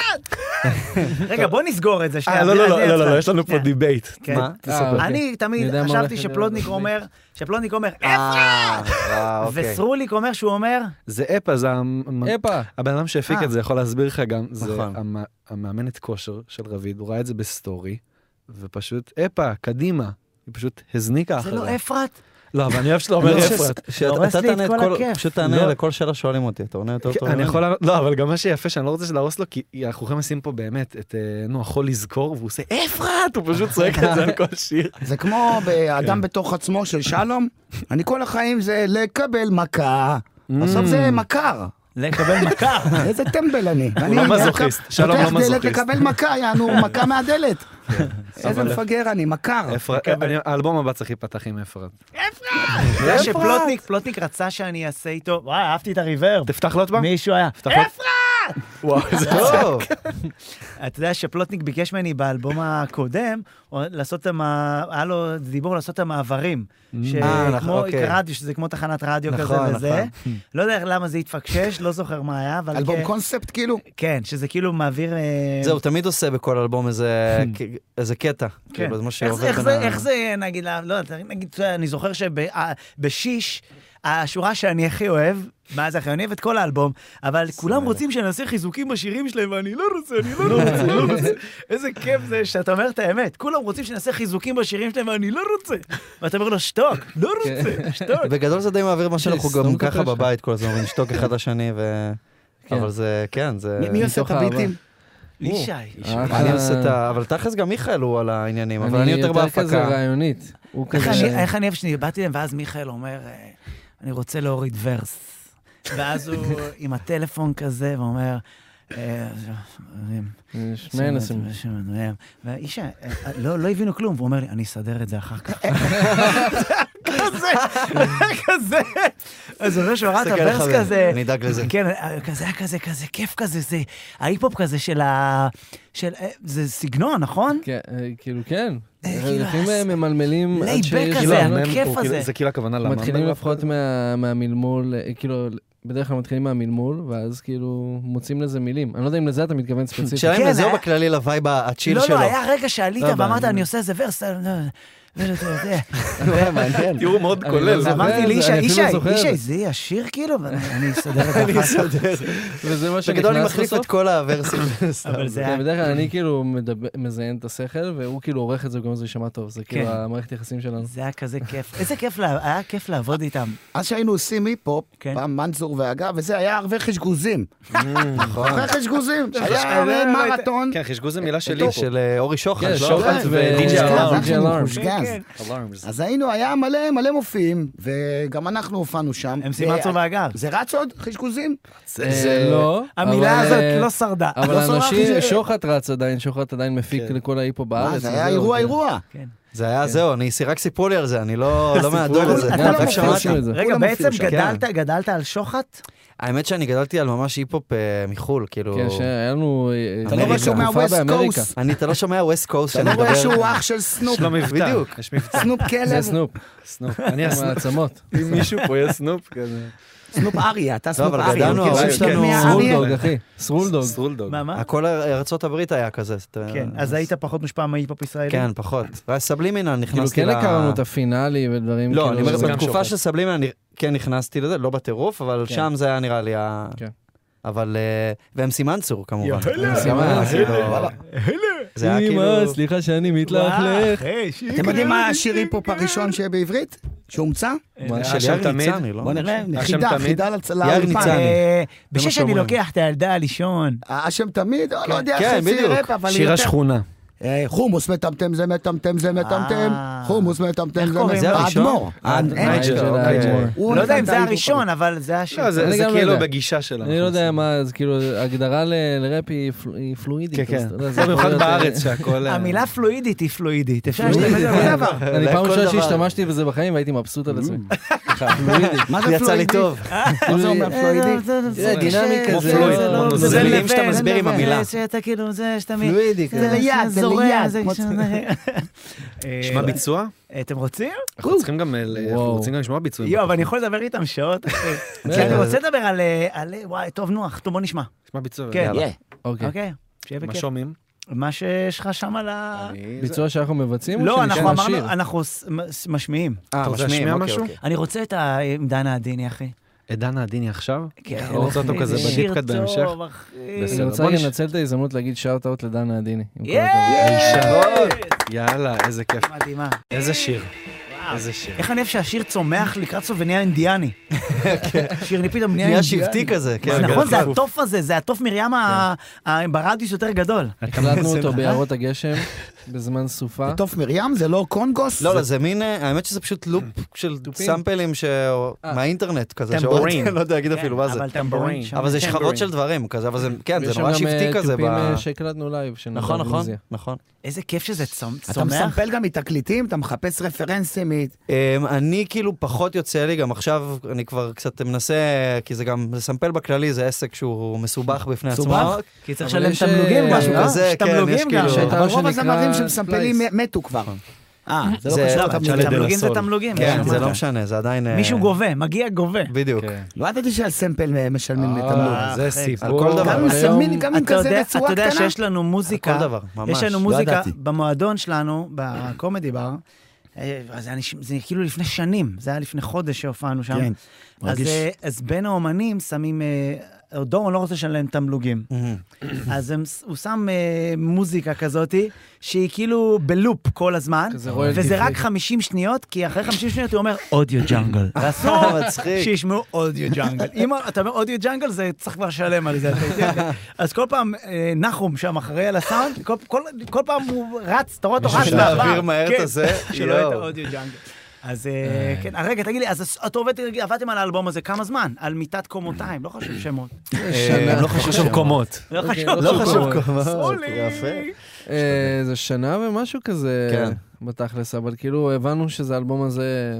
[SPEAKER 1] רגע, בוא נסגור את זה שנייה.
[SPEAKER 2] אה, לא, לא,
[SPEAKER 1] אני
[SPEAKER 2] לא, לא, לא,
[SPEAKER 1] אעצור.
[SPEAKER 2] לא, יש לנו פה
[SPEAKER 1] שנייה.
[SPEAKER 2] דיבייט.
[SPEAKER 1] כן.
[SPEAKER 7] מה?
[SPEAKER 8] תספר.
[SPEAKER 1] אני
[SPEAKER 8] אני
[SPEAKER 1] תמיד
[SPEAKER 8] יודע מה
[SPEAKER 1] חשבתי
[SPEAKER 8] הולך
[SPEAKER 1] שפלודניק
[SPEAKER 8] לדבר.
[SPEAKER 1] אומר, שפלודניק אומר, "אפ",
[SPEAKER 7] אה, וואו, אוקיי.
[SPEAKER 1] וסרוליק אומר שהוא אומר,
[SPEAKER 2] זה אפה, זה המ-
[SPEAKER 8] הפה,
[SPEAKER 2] הבן אדם שהפיק
[SPEAKER 1] אה.
[SPEAKER 2] את זה יכול להסביר לך גם, זה
[SPEAKER 7] נכון.
[SPEAKER 2] המ- המאמנת כושר של רביד, הוא ראה את זה בסטורי, ופשוט, אפה, קדימה. היא פשוט הזניקה
[SPEAKER 1] זה
[SPEAKER 2] אחריה.
[SPEAKER 1] לא אפרת?
[SPEAKER 2] אה, לא, אבל אני אוהב שאתה אומר
[SPEAKER 7] לא,
[SPEAKER 2] אפרת.
[SPEAKER 7] ש- שאתה-
[SPEAKER 1] הורס
[SPEAKER 7] אתה
[SPEAKER 1] לי את
[SPEAKER 7] תענה את
[SPEAKER 1] כל
[SPEAKER 7] כל,
[SPEAKER 1] הכיף.
[SPEAKER 7] פשוט
[SPEAKER 2] לא.
[SPEAKER 7] תענה לכל שאלה שואלים אותי, אתה עונה יותר
[SPEAKER 2] כן,
[SPEAKER 7] טוב.
[SPEAKER 2] אני
[SPEAKER 7] ממני.
[SPEAKER 2] יכול, לענות- לא, אבל גם מה שיפה, שאני לא רוצה להרוס לו, כי אנחנו יכולים לשים פה באמת את, אה, נו, החול לזכור, והוא עושה אפרת, הוא פשוט צועק את זה על כל שיר.
[SPEAKER 3] זה כמו באדם בתוך עצמו של שלום, אני כל החיים זה לקבל מכה.
[SPEAKER 2] Mm.
[SPEAKER 3] בסוף זה מכר.
[SPEAKER 1] לקבל מכה.
[SPEAKER 3] איזה טמבל אני.
[SPEAKER 2] הוא לא מזוכיסט, שלום לא
[SPEAKER 3] פותח דלת
[SPEAKER 2] מזוכיסט.
[SPEAKER 3] לקבל מכה, יענו, מכה מהדלת. איזה מפגר אני, מכר.
[SPEAKER 2] אפרת, אני- האלבום הבא צריך להיפתח עם אפרת.
[SPEAKER 1] אתה יודע שפלוטניק, פלוטניק רצה שאני אעשה איתו, וואי, אהבתי את הריברב.
[SPEAKER 2] תפתח לו עוד פעם?
[SPEAKER 1] מישהו היה,
[SPEAKER 2] תפתח לו-
[SPEAKER 1] אפרת!
[SPEAKER 2] וואו, איזה טוב.
[SPEAKER 1] לא. אתה יודע שפלוטניק ביקש ממני באלבום הקודם, או לעשות את המע... היה לו דיבור לעשות את המעברים.
[SPEAKER 7] אה, נכון,
[SPEAKER 1] שכמו
[SPEAKER 7] אוקיי.
[SPEAKER 1] רדיו, שזה כמו תחנת רדיו כזה
[SPEAKER 7] נכון,
[SPEAKER 1] וזה. לא יודע איך- למה זה התפקשש, לא זוכר מה היה, אבל...
[SPEAKER 3] אלבום
[SPEAKER 1] כן-
[SPEAKER 3] קונספט כאילו.
[SPEAKER 1] כן, שזה כאילו מעביר... אה,
[SPEAKER 7] זהו, תמיד עושה בכל אלבום איזה כ- איזה קטע.
[SPEAKER 1] כן.
[SPEAKER 7] כאילו, זה מה
[SPEAKER 1] איך זה-
[SPEAKER 7] שעובר
[SPEAKER 1] איך
[SPEAKER 7] בין
[SPEAKER 1] זה-
[SPEAKER 7] ה-
[SPEAKER 1] איך זה, נגיד, לא יודעת, נגיד, אני זוכר שבשיש... אה, השורה שאני הכי אוהב, מה זה הכי, אני אוהב את כל האלבום, אבל כולם רוצים שאני אעשה חיזוקים בשירים שלהם, ואני לא רוצה, אני לא רוצה, אני לא רוצה. איזה כיף זה שאתה אומר את האמת. כולם רוצים שאני אעשה חיזוקים בשירים שלהם, ואני לא רוצה. ואתה אומר לו, שתוק, לא רוצה, שתוק.
[SPEAKER 7] בגדול זה די מעביר מה שאנחנו גם
[SPEAKER 8] סתום
[SPEAKER 7] ככה
[SPEAKER 8] את הפה
[SPEAKER 7] בבית כל הזמן, אומרים שתוק אחד לשני ו...
[SPEAKER 8] כן.
[SPEAKER 7] אבל זה, כן, זה...
[SPEAKER 1] מי- מי עושה את
[SPEAKER 8] מתוך אהבה.
[SPEAKER 1] הביטים?
[SPEAKER 7] הוא.
[SPEAKER 1] ישי.
[SPEAKER 8] אחלה.
[SPEAKER 7] אני עושה את ה... אבל תכלס גם מיכאל הוא על העניינים, אבל אני יותר
[SPEAKER 8] אה, אני יותר כזה
[SPEAKER 7] בהפקה.
[SPEAKER 8] רעיונית. הוא
[SPEAKER 1] איך
[SPEAKER 8] כזה...
[SPEAKER 1] אני- איך אני אוהב שבאתי להם, ואז מיכאל אומר, אה, אני רוצה להוריד ורס. ואז הוא עם הטלפון כזה, ואומר, אה,
[SPEAKER 8] שני אנשים.
[SPEAKER 1] והאישה, אה, אה, לא לא הבינו כלום, והוא אומר לי, אני אסדר את זה אחר כך. כזה, כזה. אז הוא אומר שהוא ראה את
[SPEAKER 7] תסתכל על
[SPEAKER 1] הוורס
[SPEAKER 7] חבר,
[SPEAKER 1] כזה.
[SPEAKER 7] אני אדאג לזה.
[SPEAKER 1] כן, אה, כזה היה כזה, כזה כיף כזה, זה ההיפ-הופ כזה של ה... של... אה, זה סגנון, נכון?
[SPEAKER 8] כן, אה, כאילו, כן.
[SPEAKER 1] אה, כאילו,
[SPEAKER 8] הולכים
[SPEAKER 1] אז-
[SPEAKER 8] ממלמלים עד
[SPEAKER 1] לייבק
[SPEAKER 8] שיש...
[SPEAKER 1] כזה,
[SPEAKER 8] להם-
[SPEAKER 1] אני-
[SPEAKER 2] הוא
[SPEAKER 1] הכיף
[SPEAKER 2] כאילו-
[SPEAKER 1] הזה.
[SPEAKER 2] זה כאילו הכוונה למאמבר.
[SPEAKER 8] מתחילים לפחות מה- מהמלמול, אה, כאילו, בדרך כלל מתחילים מהמלמול, ואז כאילו מוצאים לזה מילים. אני לא יודע אם לזה אתה מתכוון ספציפית.
[SPEAKER 7] שאלה
[SPEAKER 1] כן,
[SPEAKER 7] אם לזה או
[SPEAKER 1] היה-
[SPEAKER 7] בכללי לווייב הצ'יל
[SPEAKER 1] לא,
[SPEAKER 7] שלו.
[SPEAKER 1] לא, היה רגע שעלית
[SPEAKER 7] לא הבנתי.
[SPEAKER 1] ואמרת, אני עושה איזה ורס, אה, לא, לא, לא, לא, זה-
[SPEAKER 8] אה, מעניין.
[SPEAKER 2] תראו מאוד
[SPEAKER 8] אני לא
[SPEAKER 2] כולל.
[SPEAKER 8] זוכר.
[SPEAKER 1] אמרתי
[SPEAKER 8] זה,
[SPEAKER 1] לישי,
[SPEAKER 8] אני אפילו
[SPEAKER 1] ישי,
[SPEAKER 8] זוכר את
[SPEAKER 1] ישי,
[SPEAKER 8] זה."
[SPEAKER 1] זה יהיה השיר כאילו? ואני אני אסדר את זה אחר כך.
[SPEAKER 8] וזה מה שנכנס בסוף.
[SPEAKER 7] בגדול אני מחליף את כל הוורסים.
[SPEAKER 1] אבל זה היה
[SPEAKER 8] כן, בדרך כלל אני כאילו מדבר- מזיין את השכל, והוא כאילו עורך את זה, וגם זה יישמע טוב. זה כאילו
[SPEAKER 1] כן.
[SPEAKER 8] המערכת יחסים שלנו.
[SPEAKER 1] זה היה כזה כיף. איזה כיף, לה- היה כיף לעבוד איתם.
[SPEAKER 3] אז שהיינו עושים היפ-הופ,
[SPEAKER 1] כן.
[SPEAKER 3] פעם מנזור והגה, וזה היה הרבה חשגוזים.
[SPEAKER 8] אה,
[SPEAKER 7] נכון.
[SPEAKER 3] הרבה חשגוזים.
[SPEAKER 1] אה, לא,
[SPEAKER 3] היה
[SPEAKER 1] לא, לא,
[SPEAKER 3] מרתון.
[SPEAKER 2] כן, חשגו זה מילה שלי
[SPEAKER 7] שלי,
[SPEAKER 2] פה.
[SPEAKER 7] של אה, אורי שוחט.
[SPEAKER 8] כן,
[SPEAKER 7] לא?
[SPEAKER 8] שוחט
[SPEAKER 3] כן,
[SPEAKER 8] ו...
[SPEAKER 2] DJ Alarm.
[SPEAKER 8] DJ Alarm.
[SPEAKER 3] DJ Alarm.
[SPEAKER 1] כן,
[SPEAKER 2] Alarms.
[SPEAKER 3] אז היינו, היה מלא מלא מופעים, וגם אנחנו הופענו שם.
[SPEAKER 1] הם
[SPEAKER 3] ו-
[SPEAKER 1] סימצו והגר.
[SPEAKER 3] זה רץ עוד? חשגוזים?
[SPEAKER 8] אה, לא.
[SPEAKER 1] המילה
[SPEAKER 8] אבל,
[SPEAKER 1] הזאת
[SPEAKER 8] אה,
[SPEAKER 1] לא שרדה.
[SPEAKER 8] אבל
[SPEAKER 3] לא סלח לי
[SPEAKER 8] אנשים,
[SPEAKER 3] ש-
[SPEAKER 8] שוחט רץ עדיין, שוחט עדיין מפיק
[SPEAKER 7] כן.
[SPEAKER 8] לכל ההיפו
[SPEAKER 7] אה,
[SPEAKER 3] מה,
[SPEAKER 8] בארץ.
[SPEAKER 3] זה היה
[SPEAKER 8] וזהו,
[SPEAKER 3] אירוע
[SPEAKER 8] כן.
[SPEAKER 3] אירוע.
[SPEAKER 1] כן.
[SPEAKER 7] זה היה, זהו, אני, רק סיפרו לי על זה, אני לא לא מהדור
[SPEAKER 1] כולם-
[SPEAKER 7] הזה.
[SPEAKER 1] אתה
[SPEAKER 7] כן,
[SPEAKER 1] לא
[SPEAKER 7] רק
[SPEAKER 1] מופיע
[SPEAKER 7] שמעתי.
[SPEAKER 8] שם. את זה.
[SPEAKER 1] רגע,
[SPEAKER 7] כולם
[SPEAKER 1] בעצם
[SPEAKER 7] מופיעו שם,
[SPEAKER 1] גדלת,
[SPEAKER 7] כן.
[SPEAKER 1] גדלת על שוחט?
[SPEAKER 7] האמת שאני גדלתי על ממש היפ-הופ אה, מחול, כאילו...
[SPEAKER 8] כן, שהיה לנו... אה,
[SPEAKER 7] אתה לא רואה שהוא
[SPEAKER 8] תקופה
[SPEAKER 3] מהווסט
[SPEAKER 8] באמריקה.
[SPEAKER 3] קוסט.
[SPEAKER 7] אני, אתה לא שומע ווסט קוסט
[SPEAKER 3] אתה
[SPEAKER 7] שאני
[SPEAKER 3] לא
[SPEAKER 7] מדבר...
[SPEAKER 3] רואה שהוא אח של סנופ,
[SPEAKER 2] יש לו מבטא.
[SPEAKER 7] בדיוק.
[SPEAKER 2] יש מבטא.
[SPEAKER 3] סנופ
[SPEAKER 8] זה
[SPEAKER 3] כלב,
[SPEAKER 8] סנופ.
[SPEAKER 2] סנופ.
[SPEAKER 8] אני מעצמות.
[SPEAKER 2] אם מישהו פה יהיה סנופ כזה.
[SPEAKER 3] סנופ אריה, אתה
[SPEAKER 7] לא,
[SPEAKER 3] סנופ
[SPEAKER 7] אבל
[SPEAKER 3] אריה.
[SPEAKER 1] כן,
[SPEAKER 7] גדלנו,
[SPEAKER 3] מכיר
[SPEAKER 7] ההורים
[SPEAKER 3] סנופ
[SPEAKER 7] שלנו-
[SPEAKER 3] מאריה?
[SPEAKER 8] סרולדוג, אחי. סרולדוג.
[SPEAKER 2] סרולדוג.
[SPEAKER 1] מה, מה?
[SPEAKER 7] הכל ארצות הברית היה כזה. אתה-
[SPEAKER 1] כן, אז היית פחות מושפע מההיפ-הופ ישראלי?
[SPEAKER 7] כן, פחות. סבלימינל
[SPEAKER 8] כאילו
[SPEAKER 7] נכנסתי ל...
[SPEAKER 8] כן הכרנו את הפינאלי ודברים
[SPEAKER 7] לא,
[SPEAKER 8] כאילו-
[SPEAKER 7] אני אומר,
[SPEAKER 2] זה גם
[SPEAKER 7] בתקופה
[SPEAKER 2] שוחד.
[SPEAKER 7] של סבלימינל אני כן נכנסתי לזה, לא בטירוף, אבל שם זה היה נראה לי ה...
[SPEAKER 8] כן.
[SPEAKER 7] אבל... אה, והם סימנצור כמובן.
[SPEAKER 1] יאללה.
[SPEAKER 7] הם סימנצור,
[SPEAKER 8] יאללה.
[SPEAKER 7] כאילו, זה היה כאילו...
[SPEAKER 8] אמא, סליחה שאני מתלכלך.
[SPEAKER 3] אתם
[SPEAKER 2] כן,
[SPEAKER 3] יודעים מה השיר היפ-הופ הראשון שבעברית? שהומצא?
[SPEAKER 7] מה,
[SPEAKER 2] אה, השם
[SPEAKER 7] של יאיר
[SPEAKER 2] תמיד?
[SPEAKER 7] ניצני, לא?
[SPEAKER 3] בוא נראה,
[SPEAKER 2] השם
[SPEAKER 3] חידה,
[SPEAKER 2] תמיד? אה,
[SPEAKER 3] חידה לצ-
[SPEAKER 7] יאיר
[SPEAKER 3] לאולפן.
[SPEAKER 7] ניצן.
[SPEAKER 1] בשש אני
[SPEAKER 7] שאומרים.
[SPEAKER 1] לוקח את הילדה לישון.
[SPEAKER 3] השם תמיד, לא יודע
[SPEAKER 7] כן,
[SPEAKER 3] איך זה
[SPEAKER 7] בדיוק.
[SPEAKER 3] ראפ, אבל
[SPEAKER 2] שיר
[SPEAKER 3] יותר...
[SPEAKER 2] השכונה.
[SPEAKER 3] אה, חומוס מטמטם זה מטמטם זה מטמטם,
[SPEAKER 1] אה.
[SPEAKER 3] חומוס מטמטם
[SPEAKER 1] איך
[SPEAKER 3] זה
[SPEAKER 1] קוראים
[SPEAKER 3] מטמטם.
[SPEAKER 1] לו?
[SPEAKER 7] זה הראשון?
[SPEAKER 3] האדמו"ר. האד-
[SPEAKER 7] אה,
[SPEAKER 3] אין-
[SPEAKER 7] נייג'ל,
[SPEAKER 8] נייג'ל,
[SPEAKER 7] אוקיי.
[SPEAKER 8] נייג'ל.
[SPEAKER 3] הוא
[SPEAKER 1] לא יודע אם
[SPEAKER 3] נתן
[SPEAKER 1] זה
[SPEAKER 3] את ההיפ-הופ
[SPEAKER 1] הראשון, אבל זה השיר.
[SPEAKER 2] לא, זה
[SPEAKER 8] אני
[SPEAKER 2] זה
[SPEAKER 8] גם לא
[SPEAKER 2] כאילו
[SPEAKER 8] יודע.
[SPEAKER 2] בגישה שלנו.
[SPEAKER 8] אני לא יודע מה, זה כאילו, הגדרה ל- לראפ היא פל- היא פלואידית.
[SPEAKER 7] כן, כן.
[SPEAKER 8] אז אתה יודע, זה
[SPEAKER 2] זה
[SPEAKER 8] יכול
[SPEAKER 2] במיוחד
[SPEAKER 8] להיות, אה,
[SPEAKER 2] בארץ שהכל... אה,
[SPEAKER 1] המילה פלואידית היא פלואידית. אפשר להשתמש בזה.
[SPEAKER 8] כן. אני פעם
[SPEAKER 7] לכל
[SPEAKER 8] ראשונה
[SPEAKER 7] דבר.
[SPEAKER 8] שהשתמשתי בזה בחיים והייתי מבסוט על עצמי.
[SPEAKER 3] מה זה
[SPEAKER 7] יצא לי
[SPEAKER 3] פלואידי?
[SPEAKER 7] טוב.
[SPEAKER 8] אה,
[SPEAKER 1] אה,
[SPEAKER 3] מה זה אומר פלואידי?
[SPEAKER 8] זה דינמי
[SPEAKER 1] קשה,
[SPEAKER 8] כזה.
[SPEAKER 1] זה
[SPEAKER 2] פלואיד,
[SPEAKER 1] לא-
[SPEAKER 2] כמו פלואיד.
[SPEAKER 1] זה
[SPEAKER 7] זה
[SPEAKER 1] לא
[SPEAKER 7] מילים שאתה
[SPEAKER 1] לבן,
[SPEAKER 7] מסביר
[SPEAKER 1] זה
[SPEAKER 7] עם
[SPEAKER 1] לא-
[SPEAKER 7] המילה.
[SPEAKER 1] זה- שאתה כאילו, זה שאתה מ-
[SPEAKER 7] פלואידי
[SPEAKER 1] זה
[SPEAKER 7] כזה.
[SPEAKER 1] ליד, זה ליד.
[SPEAKER 3] כמו צ-
[SPEAKER 2] נשמע ביצוע?
[SPEAKER 1] אתם רוצים?
[SPEAKER 2] אנחנו צריכים גם... אה, ל- אנחנו
[SPEAKER 8] וואו.
[SPEAKER 2] רוצים גם לשמוע ביצועים.
[SPEAKER 1] יואו, אבל אני יכול לדבר איתם שעות. כי כן, אני רוצה לדבר על... אה, על- וואי, טוב, נוח, טוב, בוא נשמע.
[SPEAKER 2] כן, נשמע ביצוע.
[SPEAKER 1] כן,
[SPEAKER 2] יאללה.
[SPEAKER 8] אוקיי.
[SPEAKER 1] אוקיי? שיהיה
[SPEAKER 2] מה
[SPEAKER 1] בכיף.
[SPEAKER 2] שומעים?
[SPEAKER 1] מה שיש לך שם על ה...
[SPEAKER 8] ביצוע שאנחנו מבצעים? או
[SPEAKER 1] לא, אנחנו
[SPEAKER 8] שנשמע
[SPEAKER 1] אמרנו,
[SPEAKER 8] שיר?
[SPEAKER 1] אנחנו ס- מ- משמיעים.
[SPEAKER 7] אה,
[SPEAKER 2] אתה רוצה
[SPEAKER 7] משמיעים,
[SPEAKER 2] להשמיע
[SPEAKER 7] אוקיי,
[SPEAKER 2] משהו?
[SPEAKER 7] אוקיי.
[SPEAKER 1] אני רוצה את ה... עם דנה עדיני, אחי.
[SPEAKER 2] את דנה עדיני עכשיו?
[SPEAKER 1] כן,
[SPEAKER 2] אני רוצה אותו
[SPEAKER 1] אחי,
[SPEAKER 2] כזה
[SPEAKER 1] זה
[SPEAKER 2] בדיפ
[SPEAKER 1] שיר
[SPEAKER 2] קאט בהמשך.
[SPEAKER 1] טוב, אחי.
[SPEAKER 2] בסדר.
[SPEAKER 8] אני רוצה
[SPEAKER 2] בוא נש-
[SPEAKER 8] לנצל את ההזדמנות להגיד שאוט אאוט לדנה עדיני. עם כל
[SPEAKER 1] יאיי!
[SPEAKER 8] הכבוד.
[SPEAKER 2] יאללה, איזה כיף.
[SPEAKER 1] מדהימה.
[SPEAKER 2] איזה שיר. איזה שיר.
[SPEAKER 1] איך אני אוהב שהשיר צומח לקראת סוף ונהיה אינדיאני.
[SPEAKER 2] כן.
[SPEAKER 1] שיר לי פתאום נהיה
[SPEAKER 7] נהיה
[SPEAKER 1] אינדיאני.
[SPEAKER 7] שבטי כזה,
[SPEAKER 1] זה
[SPEAKER 7] כן.
[SPEAKER 1] נכון, זה
[SPEAKER 2] חפוף.
[SPEAKER 1] התוף הזה, זה התוף מרים ה-
[SPEAKER 2] כן.
[SPEAKER 1] ה- ברדיוס יותר גדול.
[SPEAKER 8] הקלטנו אותו
[SPEAKER 7] אה?
[SPEAKER 8] ביערות הגשם בזמן סופה.
[SPEAKER 3] תוף מרים זה לא קונגוס?
[SPEAKER 7] לא, לא, זה מין, אה, האמת שזה פשוט לופ של סאמפלים ש-
[SPEAKER 8] אה.
[SPEAKER 7] מהאינטרנט כזה. שאורן-
[SPEAKER 2] טמבורין.
[SPEAKER 7] לא יודע
[SPEAKER 8] כן,
[SPEAKER 7] להגיד אפילו מה זה.
[SPEAKER 1] אבל טמבורין. שם
[SPEAKER 7] אבל זה שכבות
[SPEAKER 2] טמבורין.
[SPEAKER 7] של דברים כזה, אבל זה, כן,
[SPEAKER 8] ויש
[SPEAKER 7] זה
[SPEAKER 8] שם
[SPEAKER 7] נורא
[SPEAKER 8] גם, אה,
[SPEAKER 7] שבטי כזה.
[SPEAKER 8] תופים,
[SPEAKER 7] ב-
[SPEAKER 8] אה, שהקלטנו לייב. של
[SPEAKER 7] נכון, נכון,
[SPEAKER 8] נורוויזיה.
[SPEAKER 7] נכון.
[SPEAKER 1] איזה כיף שזה צומ-
[SPEAKER 3] אתה
[SPEAKER 1] צומח.
[SPEAKER 3] מסמפל גם מתקליטים? אתה מחפש רפרנסים? מ-
[SPEAKER 7] אמ, אני כאילו פחות יוצא לי, גם עכשיו אני כבר קצת מנסה, כי זה גם, לסמפל בכללי זה עסק שהוא מסובך בפני עצמו.
[SPEAKER 1] מסובך? כי צריך
[SPEAKER 8] אבל
[SPEAKER 1] לשלם
[SPEAKER 8] יש,
[SPEAKER 1] תמלוגים לא?
[SPEAKER 7] אה,
[SPEAKER 1] משהו כזה,
[SPEAKER 7] כזה,
[SPEAKER 1] יש
[SPEAKER 7] כן, יש
[SPEAKER 1] תמלוגים גם.
[SPEAKER 7] כאילו-
[SPEAKER 8] שהייתה
[SPEAKER 3] אבל
[SPEAKER 8] מה
[SPEAKER 3] רוב
[SPEAKER 8] שנקרא
[SPEAKER 3] הזמרים שמסמפלים
[SPEAKER 8] slice.
[SPEAKER 3] מתו כבר.
[SPEAKER 1] אה,
[SPEAKER 7] נכון. זה לא קשור,
[SPEAKER 1] אבל
[SPEAKER 7] אפשר
[SPEAKER 1] תמלוגים זה
[SPEAKER 7] לדנסול.
[SPEAKER 1] תמלוגים.
[SPEAKER 7] כן,
[SPEAKER 1] מה
[SPEAKER 7] זה
[SPEAKER 1] אמרת?
[SPEAKER 7] לא משנה, זה עדיין... אה,
[SPEAKER 1] מישהו גובה, מגיע גובה.
[SPEAKER 7] בדיוק.
[SPEAKER 2] כן.
[SPEAKER 3] לא ידעתי שעל סמפל אה, משלמים
[SPEAKER 8] אה,
[SPEAKER 3] לתמלוג.
[SPEAKER 2] אה, זה סיפור.
[SPEAKER 7] על כל דבר.
[SPEAKER 3] גם
[SPEAKER 8] אבל
[SPEAKER 3] אם מסמנים,
[SPEAKER 8] היום-
[SPEAKER 3] גם עם
[SPEAKER 1] אתה
[SPEAKER 3] כזה
[SPEAKER 1] יודע-
[SPEAKER 3] בצורה
[SPEAKER 1] אתה יודע
[SPEAKER 3] קטנה.
[SPEAKER 1] שיש לנו מוזיקה,
[SPEAKER 7] כל דבר, ממש.
[SPEAKER 1] יש לנו
[SPEAKER 7] לא
[SPEAKER 1] מוזיקה
[SPEAKER 7] ידעתי.
[SPEAKER 1] במועדון שלנו, בקומדי בר, אה, זה היה נש- זה כאילו לפני שנים, זה היה לפני חודש שהופענו שם.
[SPEAKER 9] כן,
[SPEAKER 1] אז,
[SPEAKER 9] מרגיש-
[SPEAKER 1] אה, אז בין האומנים שמים, אה, דורון לא רוצה לשלם תמלוגים.
[SPEAKER 7] Mm-hmm.
[SPEAKER 1] אז הם, ס- הוא שם אה, מוזיקה כזאתי, שהיא כאילו בלופ כל הזמן,
[SPEAKER 8] כזה royalty
[SPEAKER 1] וזה רק
[SPEAKER 8] free.
[SPEAKER 1] 50 שניות, כי אחרי 50 שניות הוא אומר אודיו ג'אנגל. ואסור שישמעו אודיו ג'אנגל. אם אתה אומר אודיו ג'אנגל, זה צריך כבר לשלם על זה. אתה יודע. אז כל פעם אה, נחום שם אחראי על הסאונד, כל- כל- כל פעם הוא רץ, אתה רואה אותו רץ
[SPEAKER 7] בשביל להעביר מהר את
[SPEAKER 1] כן,
[SPEAKER 7] הזה,
[SPEAKER 1] שלא יהיה את
[SPEAKER 7] יואו.
[SPEAKER 1] האודיו ג'אנגל. אז אה, כן, אז רגע, תגיד לי, אז הס- אתה עובד, עבדתם על האלבום הזה כמה זמן? על מיטת קומותיים, לא חשוב שמות.
[SPEAKER 7] אה, לא חשוב
[SPEAKER 2] חשוב קומות.
[SPEAKER 1] לא
[SPEAKER 8] אוקיי,
[SPEAKER 1] חשוב,
[SPEAKER 8] לא
[SPEAKER 1] לא
[SPEAKER 8] חשוב
[SPEAKER 1] חשוב.
[SPEAKER 7] קומות. אוקיי,
[SPEAKER 1] סולי.
[SPEAKER 7] יפה.
[SPEAKER 8] אה, זה שנה ומשהו כזה,
[SPEAKER 7] כן.
[SPEAKER 8] בתכלס, אבל כאילו הבנו שזה האלבום הזה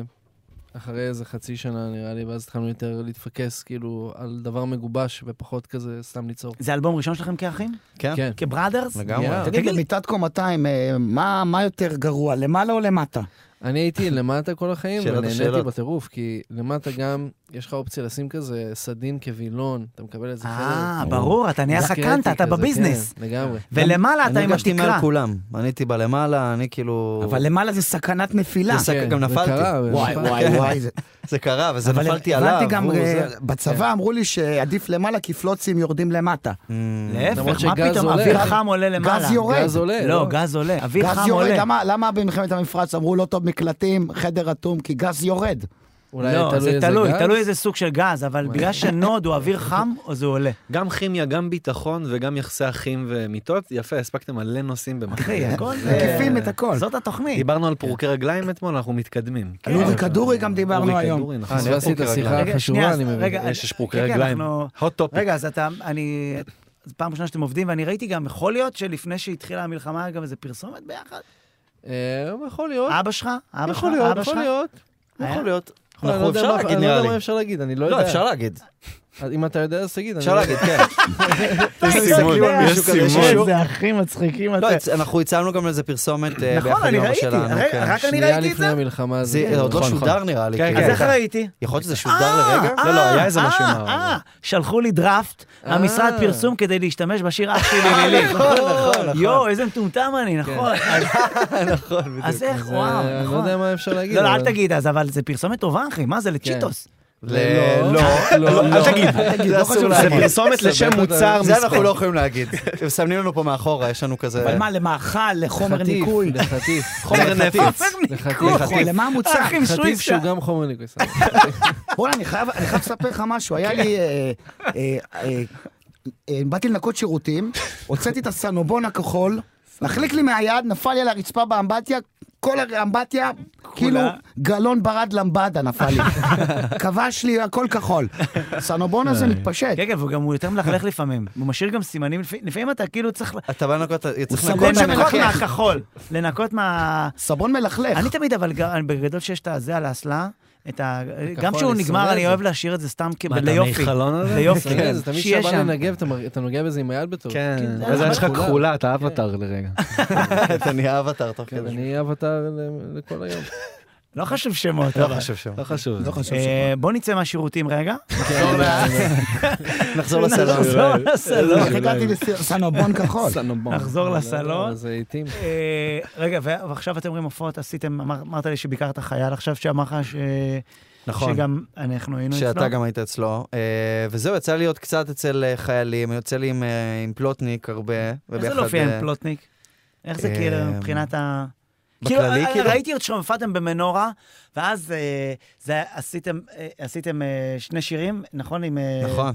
[SPEAKER 8] אחרי איזה חצי שנה נראה לי, ואז התחלנו יותר להתפקס כאילו על דבר מגובש ופחות כזה סתם ליצור.
[SPEAKER 1] זה אלבום ראשון שלכם כאחים?
[SPEAKER 7] כן.
[SPEAKER 8] כן.
[SPEAKER 1] כבראדרס?
[SPEAKER 7] לגמרי.
[SPEAKER 8] Yeah.
[SPEAKER 3] תגיד
[SPEAKER 1] תגיד
[SPEAKER 3] לי,
[SPEAKER 1] לי,
[SPEAKER 3] מיטת קומתיים, אה, מה מה יותר גרוע, למעלה או למטה?
[SPEAKER 8] אני הייתי למטה כל החיים,
[SPEAKER 7] שאלת
[SPEAKER 8] ונהניתי
[SPEAKER 7] השאלות.
[SPEAKER 8] בטירוף, כי למטה גם, יש לך אופציה לשים כזה סדין כווילון, אתה מקבל איזה
[SPEAKER 1] אה, ברור, אתה נהיה סקרנטה, אתה
[SPEAKER 8] כזה,
[SPEAKER 1] בביזנס.
[SPEAKER 8] כן, לגמרי.
[SPEAKER 1] ולמעלה אתה עם
[SPEAKER 7] אני הגשתי
[SPEAKER 1] התקרה.
[SPEAKER 7] מעל כולם, אני הייתי בלמעלה, אני כאילו...
[SPEAKER 3] אבל למעלה זה סכנת נפילה.
[SPEAKER 7] זה- גם
[SPEAKER 8] כן, זה
[SPEAKER 7] נפלתי.
[SPEAKER 8] קרה,
[SPEAKER 3] וואי, וואי, וואי. זה-
[SPEAKER 7] זה קרה, וזה
[SPEAKER 3] אבל
[SPEAKER 7] נפלתי עליו.
[SPEAKER 3] הבנתי גם,
[SPEAKER 7] הוא
[SPEAKER 3] אה,
[SPEAKER 7] זה.
[SPEAKER 3] בצבא אמרו לי שעדיף למעלה כי פלוצים יורדים למטה.
[SPEAKER 7] אמ,
[SPEAKER 1] להפך, מה
[SPEAKER 8] למרות שגז
[SPEAKER 1] פתאום,
[SPEAKER 8] עולה.
[SPEAKER 1] אוויר חם עולה למעלה.
[SPEAKER 3] Mm. גז יורד.
[SPEAKER 8] גז עולה.
[SPEAKER 1] לא, גז עולה, אוויר
[SPEAKER 3] גז
[SPEAKER 1] חם
[SPEAKER 3] יורד,
[SPEAKER 1] עולה.
[SPEAKER 3] למה- למה במלחמת המפרץ אמרו לא טוב מקלטים, חדר אטום, כי גז יורד.
[SPEAKER 8] אולי
[SPEAKER 1] לא, זה
[SPEAKER 8] איזה
[SPEAKER 1] תלוי,
[SPEAKER 8] גז.
[SPEAKER 1] תלוי איזה סוג של גז, אבל
[SPEAKER 8] וואי.
[SPEAKER 1] בגלל שנוד הוא אוויר חם, אז הוא עולה.
[SPEAKER 2] גם כימיה, גם ביטחון וגם יחסי אחים ומיטות. יפה, הספקתם מלא נושאים
[SPEAKER 1] אחי,
[SPEAKER 2] במקרה.
[SPEAKER 1] הכל...
[SPEAKER 3] מקיפים את הכל.
[SPEAKER 1] זאת התוכנית.
[SPEAKER 2] דיברנו על פורקי רגליים אתמול, אנחנו מתקדמים.
[SPEAKER 1] כן.
[SPEAKER 2] כן.
[SPEAKER 3] אורי כדורי גם דיברנו
[SPEAKER 2] אורי
[SPEAKER 3] היום.
[SPEAKER 2] כדורי, נכון.
[SPEAKER 8] אז עשית
[SPEAKER 7] אוקיי,
[SPEAKER 8] שיחה
[SPEAKER 1] רגע, שנייה,
[SPEAKER 8] חשובה, אני מבין.
[SPEAKER 1] רגע,
[SPEAKER 2] יש שפרוקי
[SPEAKER 1] כן, כן,
[SPEAKER 2] רגליים.
[SPEAKER 1] אנחנו-
[SPEAKER 2] hot topic.
[SPEAKER 1] רגע, אז אתה, אני... זו פעם ראשונה שאתם עובדים, ואני ראיתי גם, יכול להיות שלפני שהתחילה המלחמה, גם איזה פרסומת ביחד?
[SPEAKER 8] אה, יכול להיות.
[SPEAKER 1] אבא שלך? אבא שלך?
[SPEAKER 8] יכול להיות,
[SPEAKER 1] אבא
[SPEAKER 8] יכול
[SPEAKER 1] שלך?
[SPEAKER 8] להיות.
[SPEAKER 1] היה?
[SPEAKER 7] יכול להיות.
[SPEAKER 8] אני לא
[SPEAKER 7] אנחנו
[SPEAKER 8] יודע
[SPEAKER 7] אפשר
[SPEAKER 8] מה-
[SPEAKER 7] להגיד,
[SPEAKER 8] אני לא
[SPEAKER 7] נראה
[SPEAKER 8] יודע
[SPEAKER 7] לי.
[SPEAKER 8] מה אפשר להגיד, אני לא יודע.
[SPEAKER 7] לא, אפשר להגיד.
[SPEAKER 8] אז אם אתה יודע, לא אז תגיד. אני
[SPEAKER 7] אפשר
[SPEAKER 8] לא-
[SPEAKER 7] להגיד, כן.
[SPEAKER 1] אתה
[SPEAKER 7] סימון,
[SPEAKER 1] יודע,
[SPEAKER 7] יש סימון.
[SPEAKER 1] איזה אחים מצחיקים
[SPEAKER 7] לא,
[SPEAKER 1] אתם.
[SPEAKER 7] הצ- אנחנו הצלנו גם לזה פרסומת אה,
[SPEAKER 1] נכון,
[SPEAKER 7] ביחד
[SPEAKER 1] אני
[SPEAKER 7] עם אבא
[SPEAKER 1] ראיתי,
[SPEAKER 7] שלנו.
[SPEAKER 1] הרי-
[SPEAKER 7] כן.
[SPEAKER 1] רק אני
[SPEAKER 8] שנייה
[SPEAKER 1] ראיתי את
[SPEAKER 8] לפני
[SPEAKER 1] זה?
[SPEAKER 8] המלחמה.
[SPEAKER 7] זה אה, עוד לא
[SPEAKER 8] נכון,
[SPEAKER 7] שודר נראה לי.
[SPEAKER 2] כן,
[SPEAKER 7] כן.
[SPEAKER 1] אז איך ראיתי?
[SPEAKER 7] יכול להיות שזה שודר לרגע?
[SPEAKER 2] לא, לא, היה איזה
[SPEAKER 1] אה,
[SPEAKER 2] משהו עם
[SPEAKER 1] אה,
[SPEAKER 2] ה-
[SPEAKER 1] שלחו לי דראפט, המשרד
[SPEAKER 8] אה.
[SPEAKER 1] פרסום כדי להשתמש בשיר אח שלי מילים.
[SPEAKER 7] נכון, נכון.
[SPEAKER 1] יואו, איזה מטומטם אני, נכון. אז- אז איך,
[SPEAKER 8] אז, אה,
[SPEAKER 1] וואו,
[SPEAKER 8] אני לא
[SPEAKER 1] נכון.
[SPEAKER 8] יודע מה אפשר להגיד.
[SPEAKER 1] לא, לא,
[SPEAKER 8] אבל-
[SPEAKER 1] אל תגיד אז, אבל זה פרסומת טובה, אחי, מה זה, לצ'יטוס.
[SPEAKER 7] ל-
[SPEAKER 8] לא,
[SPEAKER 7] לא.
[SPEAKER 8] לא,
[SPEAKER 7] לא,
[SPEAKER 8] לא.
[SPEAKER 7] אל תגיד.
[SPEAKER 3] לא
[SPEAKER 7] אסור
[SPEAKER 3] חשוב
[SPEAKER 2] זה
[SPEAKER 7] להגיד.
[SPEAKER 2] פרסומת לשם
[SPEAKER 8] סבבה,
[SPEAKER 2] מוצר
[SPEAKER 7] זה
[SPEAKER 2] מספר.
[SPEAKER 7] אנחנו לא יכולים להגיד. הם מסמנים לנו פה מאחורה, יש לנו כזה...
[SPEAKER 3] אבל מה, למאכל, לחומר
[SPEAKER 8] חטיף,
[SPEAKER 3] ניקוי.
[SPEAKER 8] לחטיף.
[SPEAKER 2] חומר נפיץ.
[SPEAKER 8] לחטיף.
[SPEAKER 3] נכון, למה המוצר?
[SPEAKER 1] אחים
[SPEAKER 8] חטיף
[SPEAKER 1] סוויסה.
[SPEAKER 8] שהוא גם חומר ניקוי. סתם.
[SPEAKER 3] בוא'נה, אני חייב אני חייב לספר לך משהו.
[SPEAKER 1] כן.
[SPEAKER 3] היה לי... אה, אה, אה, אה, באתי לנקות שירותים, הוצאתי את הסנובון הכחול, נחליק לי מהיד, נפל לי על הרצפה באמבטיה, כל האמבטיה, כאילו גלון ברד למבדה נפל לי. כבש לי הכל כחול.
[SPEAKER 1] אה.
[SPEAKER 3] הסנובון
[SPEAKER 7] אה.
[SPEAKER 3] הזה מתפשט.
[SPEAKER 1] כן, כן, והוא גם הוא יותר מלכלך לפעמים. הוא משאיר גם סימנים, לפי- לפעמים אתה כאילו צריך
[SPEAKER 7] אתה בא לנקות, צריך
[SPEAKER 3] סגור
[SPEAKER 7] לנקות
[SPEAKER 3] שם
[SPEAKER 7] את
[SPEAKER 1] לנקות
[SPEAKER 3] מלכלך.
[SPEAKER 1] מהכחול. לנקות מה...
[SPEAKER 3] סבון מלכלך.
[SPEAKER 1] אני תמיד, אבל ג- בגדול שיש את הזה על האסלה, את ה... גם
[SPEAKER 8] אני
[SPEAKER 1] כשהוא
[SPEAKER 8] שונא
[SPEAKER 1] נגמר,
[SPEAKER 8] את
[SPEAKER 1] אני
[SPEAKER 8] זה.
[SPEAKER 1] אוהב להשאיר את זה סתם
[SPEAKER 2] מה, אתה
[SPEAKER 1] כליופי.
[SPEAKER 2] מחלון הזה?
[SPEAKER 1] ליופי,
[SPEAKER 8] כן,
[SPEAKER 1] כן.
[SPEAKER 8] זה תמיד
[SPEAKER 1] שיהיה
[SPEAKER 8] כשאתה בא
[SPEAKER 1] שם.
[SPEAKER 8] לנגב, אתה מר- אתה נוגע בזה עם היד בטוח.
[SPEAKER 2] כן,
[SPEAKER 1] זה
[SPEAKER 2] ואז
[SPEAKER 1] ממש
[SPEAKER 2] יש לך
[SPEAKER 8] כחולה.
[SPEAKER 2] כחולה, אתה
[SPEAKER 1] כן.
[SPEAKER 2] אבטאר לרגע.
[SPEAKER 7] זה. אתה נהיה אבטר תוך
[SPEAKER 8] כן,
[SPEAKER 7] כדי.
[SPEAKER 8] אני אבטר ל- לכל היום.
[SPEAKER 1] לא חשוב שמות.
[SPEAKER 7] לא
[SPEAKER 1] אבל.
[SPEAKER 7] חשוב שם.
[SPEAKER 2] לא חשוב.
[SPEAKER 1] אה, בוא נצא מהשירותים רגע.
[SPEAKER 7] נחזור לסלון.
[SPEAKER 1] נחזור לסלון.
[SPEAKER 3] איך הגעתי לסנובון כחול?
[SPEAKER 1] נחזור לסלון.
[SPEAKER 8] זה עיתים.
[SPEAKER 1] אה, רגע, ו- ועכשיו אתם אומרים הופעות, עשיתם, אמר- אמרת לי שביקרת חייל עכשיו שאמר לך ש...
[SPEAKER 7] נכון.
[SPEAKER 1] שגם אנחנו היינו אצלו.
[SPEAKER 7] שאתה גם היית אצלו. אה, וזהו, יצא לי להיות קצת אצל אה, חיילים, יוצא לי עם, אה, עם פלוטניק הרבה.
[SPEAKER 1] איך
[SPEAKER 7] וביחד,
[SPEAKER 1] זה להופיע
[SPEAKER 7] אה,
[SPEAKER 1] עם פלוטניק? איך זה
[SPEAKER 7] אה,
[SPEAKER 1] כאילו מבחינת ה...
[SPEAKER 7] בכללי,
[SPEAKER 1] אה,
[SPEAKER 7] כאילו?
[SPEAKER 1] ראיתי עוד שהופעתם במנורה, ואז אה, זה- עשיתם, אה, עשיתם אה, שני שירים, נכון? עם, אה,
[SPEAKER 7] נכון.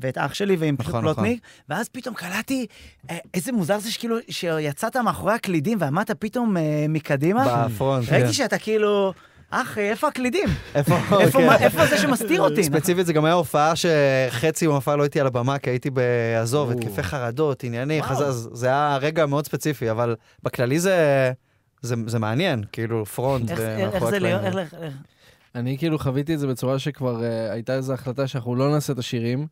[SPEAKER 1] ואת אח שלי ועם פשוט
[SPEAKER 7] נכון, נכון.
[SPEAKER 1] פלוטניק, ואז פתאום קלטתי אה, איזה מוזר זה שכאילו, שיצאת מאחורי הקלידים ועמדת פתאום אה, מקדימה.
[SPEAKER 7] בפרונט.
[SPEAKER 1] ראיתי
[SPEAKER 7] כן.
[SPEAKER 1] שאתה כאילו, אח, אה, איפה הקלידים?
[SPEAKER 7] איפה?
[SPEAKER 1] איפה
[SPEAKER 7] כן.
[SPEAKER 1] מה- איפה זה שמסתיר אותי?
[SPEAKER 7] ספציפית, זה גם היה הופעה שחצי מההופעה לא הייתי על הבמה, כי הייתי בעזוב,
[SPEAKER 2] או.
[SPEAKER 7] התקפי חרדות, ענייני,
[SPEAKER 1] וואו.
[SPEAKER 7] חזז, זה היה רגע מאוד ספציפי, אבל בכללי זה... זה, זה מעניין, כאילו פרונט
[SPEAKER 1] איך- איך- איך
[SPEAKER 7] ומאחורי
[SPEAKER 1] זה להיות?
[SPEAKER 7] הקלעים.
[SPEAKER 1] איך- איך- איך-
[SPEAKER 8] אני כאילו חוויתי את זה בצורה שכבר אה, הייתה איזו החלטה שאנחנו לא נעשה את השירים,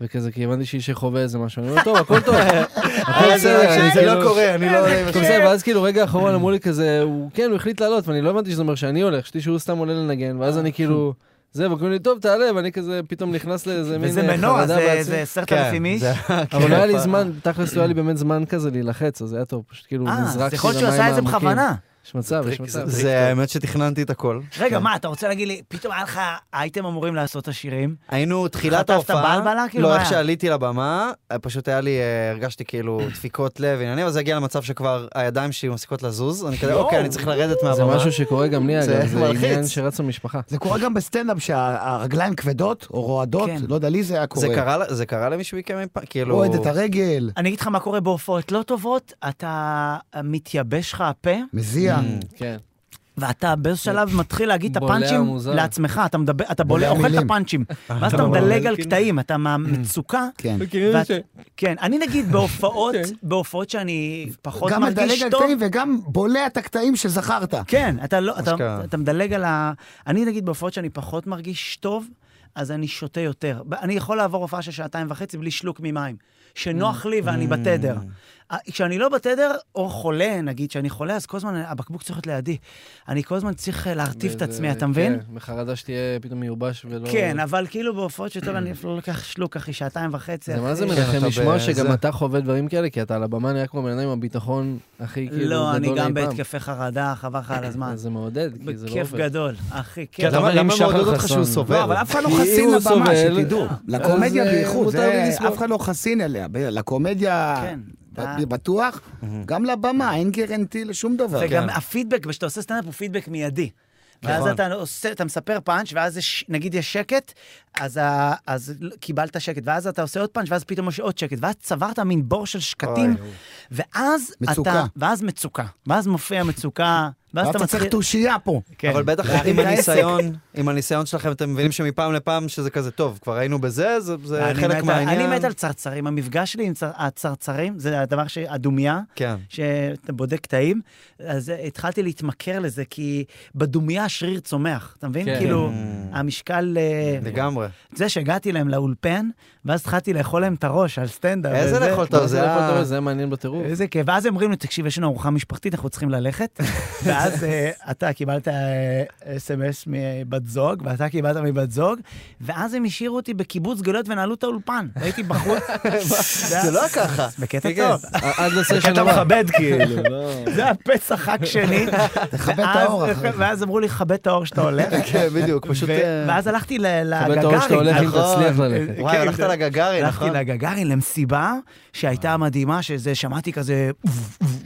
[SPEAKER 8] וכזה, כי הבנתי שאיש שחווה איזה משהו. אני אומר, טוב, הכל טוב. הכל
[SPEAKER 7] אה,
[SPEAKER 8] בסדר,
[SPEAKER 7] זה-
[SPEAKER 8] אני
[SPEAKER 7] זה
[SPEAKER 8] כאילו-
[SPEAKER 7] לא קורה, אני לא עולה עם
[SPEAKER 8] הכל בסדר, ואז כאילו רגע אחרון אמרו לי כזה, הוא כן, הוא החליט לעלות, ואני לא הבנתי שזה אומר שאני הולך, חשבתי שהוא סתם עולה לנגן, ואז אני כאילו, זה, וקוראים לי, טוב, תעלה, ואני כזה פתאום נכנס לאיזה מין
[SPEAKER 1] וזה
[SPEAKER 8] אה,
[SPEAKER 1] מנורה,
[SPEAKER 8] חרדה
[SPEAKER 1] זה-
[SPEAKER 8] בעצמי.
[SPEAKER 1] זה עשרת אלפים איש.
[SPEAKER 7] כן, זה-
[SPEAKER 8] אבל לא היה לי
[SPEAKER 7] הופעה.
[SPEAKER 8] זמן, תכלס לא היה לי באמת זמן כזה להילחץ, אז היה טוב, פשוט כאילו
[SPEAKER 1] אה,
[SPEAKER 8] נזרקתי
[SPEAKER 1] אז יכול להיות שהוא עשה
[SPEAKER 8] למים
[SPEAKER 1] את זה
[SPEAKER 8] העמוקים.
[SPEAKER 1] בכוונה.
[SPEAKER 8] יש מצב, יש
[SPEAKER 2] טריק,
[SPEAKER 8] מצב.
[SPEAKER 2] טריק.
[SPEAKER 7] זה האמת שתכננתי את הכל. כן.
[SPEAKER 1] רגע, מה, אתה רוצה להגיד לי, פתאום היה לך, הייתם אמורים לעשות את השירים?
[SPEAKER 7] היינו תחילת
[SPEAKER 1] חטפת
[SPEAKER 7] ההופעה,
[SPEAKER 1] בלבלה? כאילו, מה
[SPEAKER 7] לא, איך
[SPEAKER 1] היה?
[SPEAKER 7] שעליתי לבמה, אה, פשוט היה לי, אה, הרגשתי כאילו דפיקות לב ועניינים, אבל זה הגיע למצב שכבר הידיים שלי מפסיקות לזוז, אני כזה,
[SPEAKER 1] יואו.
[SPEAKER 7] אוקיי, אני צריך לרדת
[SPEAKER 8] זה
[SPEAKER 7] מהבמה.
[SPEAKER 8] משהו שקורה גם לי,
[SPEAKER 7] זה
[SPEAKER 8] אגב, זה
[SPEAKER 7] מלחיץ.
[SPEAKER 8] עניין שרץ במשפחה.
[SPEAKER 9] זה קורה גם בסטנדאפ שהרגליים כבדות או רועדות,
[SPEAKER 1] כן.
[SPEAKER 9] לא יודע, לי זה היה
[SPEAKER 7] זה
[SPEAKER 9] קורה.
[SPEAKER 7] קרה ל- זה קרה למישהו מכם אי פעם? כאילו...
[SPEAKER 9] רועד את הרגל,
[SPEAKER 1] אני אגיד לך מה קורה בהופעות לא טובות, אתה מתייבש לך הפה,
[SPEAKER 9] מזיע.
[SPEAKER 8] כן.
[SPEAKER 1] ואתה באיזשהו שלב מתחיל להגיד את
[SPEAKER 8] בולע
[SPEAKER 1] הפאנצ'ים
[SPEAKER 8] מוזר.
[SPEAKER 1] לעצמך, אתה מדבר, אתה בולע,
[SPEAKER 9] בולע
[SPEAKER 1] אוכל את
[SPEAKER 9] מילים.
[SPEAKER 1] הפאנצ'ים, ואז
[SPEAKER 7] אתה
[SPEAKER 1] אתה
[SPEAKER 7] בולע
[SPEAKER 1] מדלג על
[SPEAKER 2] כאילו.
[SPEAKER 1] קטעים, אתה מהמצוקה.
[SPEAKER 9] כן.
[SPEAKER 1] ואת- כן, אני נגיד בהופעות,
[SPEAKER 8] כן.
[SPEAKER 1] בהופעות שאני פחות
[SPEAKER 9] גם מדלג
[SPEAKER 1] נכון, מרגיש
[SPEAKER 9] על
[SPEAKER 1] טוב,
[SPEAKER 9] קטעים וגם בולע את הקטעים שזכרת.
[SPEAKER 1] כן, אתה לא, אתה,
[SPEAKER 7] אשכרה.
[SPEAKER 1] אתה מדלג על ה... אני נגיד בהופעות שאני פחות מרגיש טוב, אז אני שותה יותר. ב- אני יכול לעבור הופעה של שעתיים וחצי בלי שלוק ממים, שנוח לי
[SPEAKER 8] Mm.
[SPEAKER 1] ואני בתדר. אה, כשאני לא בתדר, או חולה, נגיד, כשאני חולה, אז כל הזמן הבקבוק צריך להיות לידי. אני כל הזמן צריך אה, להרטיב את
[SPEAKER 8] וזה-
[SPEAKER 1] עצמי, אתה מבין?
[SPEAKER 8] כן, בחרדה שתהיה פתאום מיובש ולא...
[SPEAKER 1] כן, אבל כאילו בהופעות שטוב, אני אפילו לא לוקח שלוק, אחי, שעתיים וחצי.
[SPEAKER 8] זה מה
[SPEAKER 1] אחי.
[SPEAKER 8] זה
[SPEAKER 7] כן, אתה
[SPEAKER 8] מנחם לשמוע
[SPEAKER 7] ב-
[SPEAKER 8] שגם
[SPEAKER 7] זה.
[SPEAKER 8] אתה חווה דברים כאלה, כי אתה על הבמה נראה כמו בן אדם עם הביטחון הכי כאילו גדול אי
[SPEAKER 1] לא,
[SPEAKER 8] פעם.
[SPEAKER 1] אני גם בהתקפי חרדה, חבל לך על הזמן.
[SPEAKER 8] אז זה מעודד, כי זה לא
[SPEAKER 1] בכיף
[SPEAKER 8] עובד.
[SPEAKER 1] גדול, אחי, כיף.
[SPEAKER 2] כי אתה
[SPEAKER 7] למה-
[SPEAKER 2] אומר, אם
[SPEAKER 7] למה
[SPEAKER 2] שחר
[SPEAKER 7] מעודד אותך שהוא
[SPEAKER 2] חסון-
[SPEAKER 7] סובל?
[SPEAKER 9] לא, אבל אף אחד לא
[SPEAKER 8] כי
[SPEAKER 9] חסין
[SPEAKER 8] הוא
[SPEAKER 9] לבמה,
[SPEAKER 8] סובל,
[SPEAKER 9] שתדעו. לקומדיה
[SPEAKER 8] אז, אה,
[SPEAKER 9] בייחוד,
[SPEAKER 8] מותר לי
[SPEAKER 9] זה-
[SPEAKER 8] לסבול.
[SPEAKER 9] אף אחד לא חסין אליה. ב- לקומדיה,
[SPEAKER 1] כן,
[SPEAKER 9] ב-
[SPEAKER 1] אתה-
[SPEAKER 9] בטוח, גם לבמה, אין גרנטי לשום דבר.
[SPEAKER 3] כן.
[SPEAKER 8] כן.
[SPEAKER 1] וגם הפידבק, כשאתה עושה סטנדאפ הוא פידבק מיידי. ואז אתה, עושה, אתה מספר פאנץ', ואז יש, נגיד יש שקט, אז, ה, אז ל- קיבלת שקט, ואז אתה עושה עוד פאנץ', ואז פתאום יש עוד שקט, ואז צברת מין בור של שקטים, ואז
[SPEAKER 9] מצוקה.
[SPEAKER 1] אתה... ואז מצוקה. ואז מופיע מצוקה, ואז אתה
[SPEAKER 9] אתה צריך
[SPEAKER 1] מתחיל...
[SPEAKER 9] תושייה פה.
[SPEAKER 1] כן.
[SPEAKER 7] אבל בטח
[SPEAKER 1] להרים
[SPEAKER 7] עם
[SPEAKER 1] את העסק.
[SPEAKER 7] הניסיון, עם הניסיון שלכם, אתם מבינים שמפעם לפעם שזה כזה טוב, כבר היינו בזה, זה- זה
[SPEAKER 1] אני מת
[SPEAKER 7] חלק
[SPEAKER 1] על-
[SPEAKER 7] מהעניין.
[SPEAKER 1] אני מת על צרצרים, המפגש שלי עם צר, הצרצרים, זה הדבר שהדומייה,
[SPEAKER 7] כן.
[SPEAKER 1] שאתה בודק קטעים, אז התחלתי להתמכר לזה, כי בדומייה השריר צומח, אתה מבין?
[SPEAKER 8] כן.
[SPEAKER 1] כאילו, המשקל... אה,
[SPEAKER 7] Mm. לגמרי.
[SPEAKER 1] זה שהגעתי להם לאולפן, ואז התחלתי לאכול להם את הראש על סטנדאפ.
[SPEAKER 7] איזה
[SPEAKER 1] וזה-
[SPEAKER 7] לאכול את
[SPEAKER 8] טוב,
[SPEAKER 7] הראש? זה
[SPEAKER 8] זה לא
[SPEAKER 7] היה-
[SPEAKER 8] יכול להיות, זה היה מעניין בטירוף.
[SPEAKER 1] איזה כיף. ואז הם אומרים לי, תקשיב, יש לנו ארוחה משפחתית, אנחנו צריכים ללכת. ואז אה, אתה קיבלת אה, אס.אם.אס מבת זוג, ואתה קיבלת מבת זוג, ואז הם השאירו אותי בקיבוץ גלויות ונעלו את האולפן. והייתי בחוץ.
[SPEAKER 7] זה לא ככה.
[SPEAKER 1] בקטע
[SPEAKER 7] כן,
[SPEAKER 1] טוב.
[SPEAKER 8] עד לסשן
[SPEAKER 1] אתה
[SPEAKER 8] הבא.
[SPEAKER 1] מכבד כאילו. זה הפסח חג שני.
[SPEAKER 9] תכבד את האור,
[SPEAKER 1] ואז-
[SPEAKER 9] אחי.
[SPEAKER 1] ואז אמרו לי, כבד את האור שאתה הולך.
[SPEAKER 7] כן, בדיוק, פשוט...
[SPEAKER 1] ו- ואז הלכתי ל- לגגארי.
[SPEAKER 8] מכבד את האור שאתה הולך אם
[SPEAKER 1] נכון.
[SPEAKER 8] תצליח ללכת.
[SPEAKER 7] וואי,
[SPEAKER 1] כן,
[SPEAKER 7] הלכת
[SPEAKER 1] זה-
[SPEAKER 7] לגגרי,
[SPEAKER 1] הלכתי
[SPEAKER 7] נכון? אה.
[SPEAKER 1] לגגארין למסיבה שהייתה מדהימה, שזה, שמעתי כזה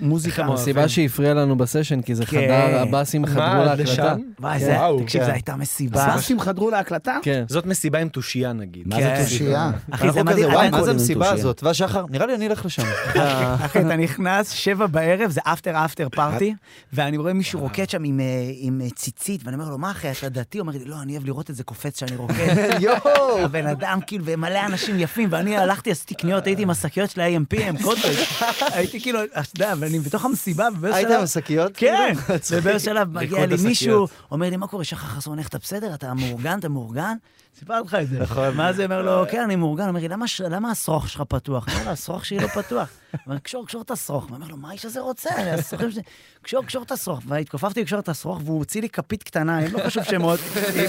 [SPEAKER 1] מוזיקה.
[SPEAKER 7] כן.
[SPEAKER 8] הסיבה שהפריע לנו בסשן, כי זה
[SPEAKER 1] כן.
[SPEAKER 8] חדר, הבאסים חדרו
[SPEAKER 2] עד
[SPEAKER 8] להקלטה.
[SPEAKER 2] לשם?
[SPEAKER 1] וואי, זה-
[SPEAKER 2] וואו,
[SPEAKER 1] תקשיב,
[SPEAKER 2] כן.
[SPEAKER 1] זו הייתה מסיבה.
[SPEAKER 9] הסאסים חדרו להקלטה?
[SPEAKER 8] כן.
[SPEAKER 2] זאת מסיבה עם תושייה נגיד.
[SPEAKER 9] מה זה
[SPEAKER 1] כן.
[SPEAKER 9] תושייה?
[SPEAKER 1] אחי, זה
[SPEAKER 7] אנחנו כזה,
[SPEAKER 1] מדהים.
[SPEAKER 7] וואי,
[SPEAKER 1] אתה-
[SPEAKER 7] מה זה
[SPEAKER 9] קודם
[SPEAKER 7] המסיבה
[SPEAKER 9] תושייה.
[SPEAKER 7] הזאת? והשחר, נראה לי אני אלך לשם.
[SPEAKER 1] אחי, אתה נכנס, שבע בערב, זה אפטר אפטר פארטי, ואני רואה מישהו רוקד שם עם, אה, עם אה, ציצית, ואני אומר לו, מה אחי, אתה דתי? הוא אומר לי, לא, אני אוהב לראות את זה קופץ כשאני רוקד.
[SPEAKER 7] יואו!
[SPEAKER 1] הבן אדם, כאילו, ומלא אנשים יפים, ואני הלכתי, עשיתי קניות, הייתי עם השקיות של ה-AMPM, קוטש. הייתי כאילו, אתה יודע, ואני בתוך המסיבה, ובאיזשהו
[SPEAKER 7] היית
[SPEAKER 1] שלב-
[SPEAKER 7] עם השקיות?
[SPEAKER 1] כן,
[SPEAKER 7] כאילו? מצחיק.
[SPEAKER 1] ובאר שלב מגיע
[SPEAKER 7] ריקוד
[SPEAKER 1] לי מישהו,
[SPEAKER 7] השקיות.
[SPEAKER 1] אומר לי, מה קורה, שחר חסון, איך אתה בסדר? אתה מאורגן, אתה מאורגן? סיפרתי לך את זה. מה זה אומר לו, כן, אני מאורגן. אומר לי, "למה ש- למה השרוך שלך פתוח? אומר לו, השרוך שלי לא פתוח. אומר, קשור, קשור את השרוך. הוא אומר לו, מה האיש הזה רוצה? השרוכים שלי- קשור, קשור את השרוך. והתכופפתי לקשור את השרוך, והוא הוציא לי כפית קטנה, עם לא חשוב שמות,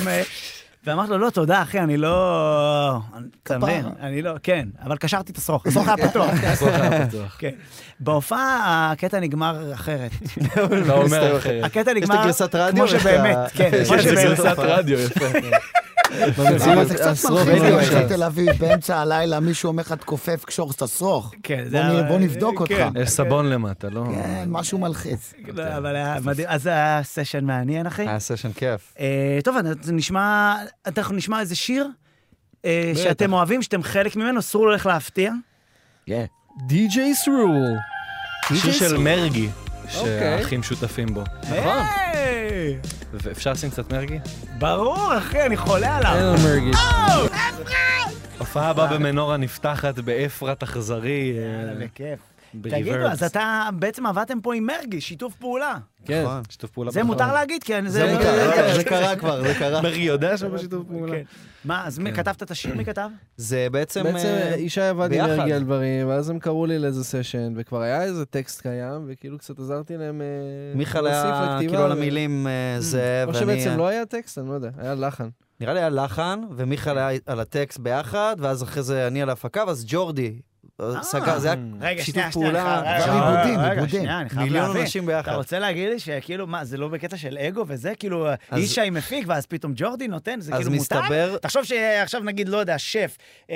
[SPEAKER 1] עם... אה, ואמרתי לו, לא, תודה, אחי, אני לא... אתה מבין? אני לא, כן, אבל קשרתי את השרוך, השרוך היה פתוח. כן. בהופעה הקטע נגמר אחרת.
[SPEAKER 2] אתה לא אומר אחרת.
[SPEAKER 1] הקטע
[SPEAKER 7] יש
[SPEAKER 1] נגמר...
[SPEAKER 7] את הגרסת רדיו?
[SPEAKER 1] כמו שבאמת, כן. כמו
[SPEAKER 2] יש איזה
[SPEAKER 1] שבאמת.
[SPEAKER 2] גרסת רדיו יפה.
[SPEAKER 9] אבל לא, זה קצת
[SPEAKER 8] השרוך
[SPEAKER 9] מרחיק
[SPEAKER 8] לא
[SPEAKER 9] אותי
[SPEAKER 8] נחשב.
[SPEAKER 9] לתל אביב, באמצע הלילה מישהו אומר לך תכופף, קשור את השרוך.
[SPEAKER 1] כן,
[SPEAKER 9] בוא
[SPEAKER 1] זה היה-
[SPEAKER 9] נראה, בוא נבדוק אותך.
[SPEAKER 1] כן.
[SPEAKER 2] יש סבון למטה, לא?
[SPEAKER 9] כן, משהו מלחיץ.
[SPEAKER 1] לא, אבל היה מדהים. אז זה היה סשן מעניין, אחי.
[SPEAKER 7] היה סשן כיף.
[SPEAKER 1] אה, טוב, אז נשמע... אנחנו נשמע איזה שיר אה, שאתם אוהבים, שאתם חלק ממנו, אסור לו לך להפתיע.
[SPEAKER 8] די.ג'יי סרול.
[SPEAKER 2] שיר של מרגי,
[SPEAKER 8] אוקיי.
[SPEAKER 2] שהאחים שותפים בו.
[SPEAKER 1] נכון.
[SPEAKER 2] ואפשר לשים קצת מרגי?
[SPEAKER 1] ברור, אחי, אני חולה עליו. Oh! אה,
[SPEAKER 8] אלן מרגי.
[SPEAKER 2] הופעה הבאה במנורה נפתחת באפרת אכזרי. אה,
[SPEAKER 1] בכיף.
[SPEAKER 2] בריברס.
[SPEAKER 1] תגידו, אז אתה, בעצם עבדתם פה עם מרגי, שיתוף פעולה.
[SPEAKER 8] כן.
[SPEAKER 7] נכון.
[SPEAKER 2] שיתוף פעולה.
[SPEAKER 1] זה
[SPEAKER 2] בחרה.
[SPEAKER 1] מותר להגיד, כי אני- זה...
[SPEAKER 7] זה
[SPEAKER 1] כן.
[SPEAKER 7] קרה, זה קרה כבר, זה קרה. אה,
[SPEAKER 2] מרגי יודע שם בשיתוף פעולה.
[SPEAKER 1] כן. מה, אז מי כתבת את השיר? מי כתב?
[SPEAKER 7] זה בעצם...
[SPEAKER 8] בעצם
[SPEAKER 7] אה,
[SPEAKER 8] ישי עבד עם
[SPEAKER 7] ביחד.
[SPEAKER 8] מרגי על דברים, ואז הם קראו לי לאיזה סשן, וכבר היה איזה טקסט קיים, וכאילו קצת עזרתי להם אה,
[SPEAKER 7] מיכל
[SPEAKER 8] להוסיף
[SPEAKER 7] היה
[SPEAKER 8] לכתיבה,
[SPEAKER 7] כאילו על
[SPEAKER 8] ו-
[SPEAKER 7] המילים אה, זה,
[SPEAKER 8] או
[SPEAKER 7] ואני...
[SPEAKER 8] שבעצם לא היה טקסט, אני לא יודע, היה לחן.
[SPEAKER 1] כן.
[SPEAKER 7] נראה לי היה לחן, ומיכל היה על הטקסט ביחד, ואז אחרי זה אני על ההפקה, ואז ג'ורדי אה, סגר, זה היה
[SPEAKER 1] אה. רגע,
[SPEAKER 7] שיתוף
[SPEAKER 1] שנייה, שנייה,
[SPEAKER 7] פעולה.
[SPEAKER 1] אני חייב-
[SPEAKER 7] גם
[SPEAKER 1] רגע,
[SPEAKER 7] עיבודים,
[SPEAKER 1] רגע,
[SPEAKER 7] עיבודים.
[SPEAKER 1] שנייה, אני חייב
[SPEAKER 7] מיליון
[SPEAKER 1] להבין.
[SPEAKER 7] אנשים ביחד.
[SPEAKER 1] אתה רוצה להגיד לי שכאילו, מה, זה לא בקטע של אגו וזה? כאילו, ישי מפיק, ואז פתאום ג'ורדי נותן, זה
[SPEAKER 7] אז
[SPEAKER 1] כאילו מותר?
[SPEAKER 7] מסתבר-
[SPEAKER 1] תחשוב שעכשיו נגיד, לא יודע, שף, אה,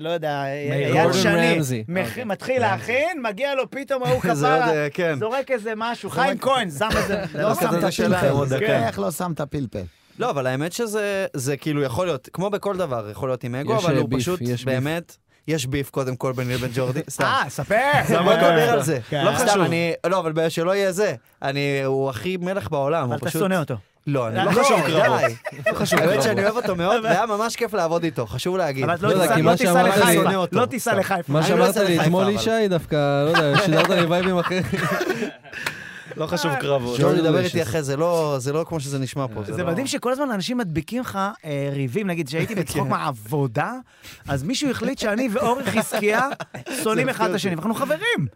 [SPEAKER 1] לא יודע, אייל
[SPEAKER 8] גורדון
[SPEAKER 1] שני,
[SPEAKER 8] רמזי.
[SPEAKER 1] מכ-
[SPEAKER 8] אוקיי.
[SPEAKER 1] מתחיל להכין, מגיע לו פתאום ההוא
[SPEAKER 7] זה עוד,
[SPEAKER 1] כפרה,
[SPEAKER 7] אה, כן.
[SPEAKER 1] זורק איזה משהו, חיים כהן, זם איזה...
[SPEAKER 9] לא
[SPEAKER 7] כזה
[SPEAKER 9] שמת
[SPEAKER 7] שאלה, עוד
[SPEAKER 9] פלפל,
[SPEAKER 7] דקה.
[SPEAKER 9] איך לא שמת פלפל?
[SPEAKER 7] לא, אבל האמת שזה זה כאילו יכול להיות, כמו בכל דבר, יכול להיות עם אגו,
[SPEAKER 8] יש,
[SPEAKER 7] אבל
[SPEAKER 8] אה,
[SPEAKER 7] הוא
[SPEAKER 8] ביף,
[SPEAKER 7] פשוט,
[SPEAKER 8] יש ביף.
[SPEAKER 7] באמת, יש ביף קודם כל ביני לבין ג'ורדי, סתם.
[SPEAKER 1] אה, ספר!
[SPEAKER 7] לא בוא נדבר על זה,
[SPEAKER 1] כן.
[SPEAKER 7] לא חשוב, אני, לא, אבל שלא יהיה זה, אני, הוא הכי מלך בעולם, הוא
[SPEAKER 1] אבל אתה
[SPEAKER 7] פשוט,
[SPEAKER 1] שונא אותו.
[SPEAKER 7] לא, אני לא
[SPEAKER 1] לא,
[SPEAKER 7] חשוב
[SPEAKER 1] די.
[SPEAKER 7] קרבות,
[SPEAKER 8] לא חשוב.
[SPEAKER 7] האמת שאני אוהב אותו מאוד, והיה ממש כיף לעבוד איתו, חשוב להגיד,
[SPEAKER 1] אבל
[SPEAKER 8] לא
[SPEAKER 1] לא
[SPEAKER 8] יודע,
[SPEAKER 1] תיסע-
[SPEAKER 8] כי
[SPEAKER 1] לא
[SPEAKER 8] מה
[SPEAKER 1] תיסע
[SPEAKER 8] שאמרת לי-
[SPEAKER 7] שונא
[SPEAKER 1] לחיפה,
[SPEAKER 7] אותו.
[SPEAKER 1] לא תיסע
[SPEAKER 7] סתם.
[SPEAKER 1] לחיפה.
[SPEAKER 8] מה
[SPEAKER 7] אני לא
[SPEAKER 8] שאמרת
[SPEAKER 7] יוצא
[SPEAKER 8] לי
[SPEAKER 7] לחיפה,
[SPEAKER 8] אתמול
[SPEAKER 7] אבל.
[SPEAKER 8] ישי, דווקא, לא יודע, שידרת לי וייבים אחרים.
[SPEAKER 7] לא חשוב
[SPEAKER 1] אה,
[SPEAKER 7] קרבות,
[SPEAKER 8] ג'ורדי
[SPEAKER 7] ג'ורדי דבר
[SPEAKER 8] לואיס
[SPEAKER 7] איתי אחרי זה, לא, זה לא כמו שזה נשמע פה,
[SPEAKER 1] זה
[SPEAKER 7] לא-
[SPEAKER 1] מדהים שכל הזמן אנשים מדביקים לך אה, ריבים, נגיד שהייתי בצחוק מהעבודה, אז מישהו החליט שאני ואורי חזקיה שונאים אחד את השני, ואנחנו חברים,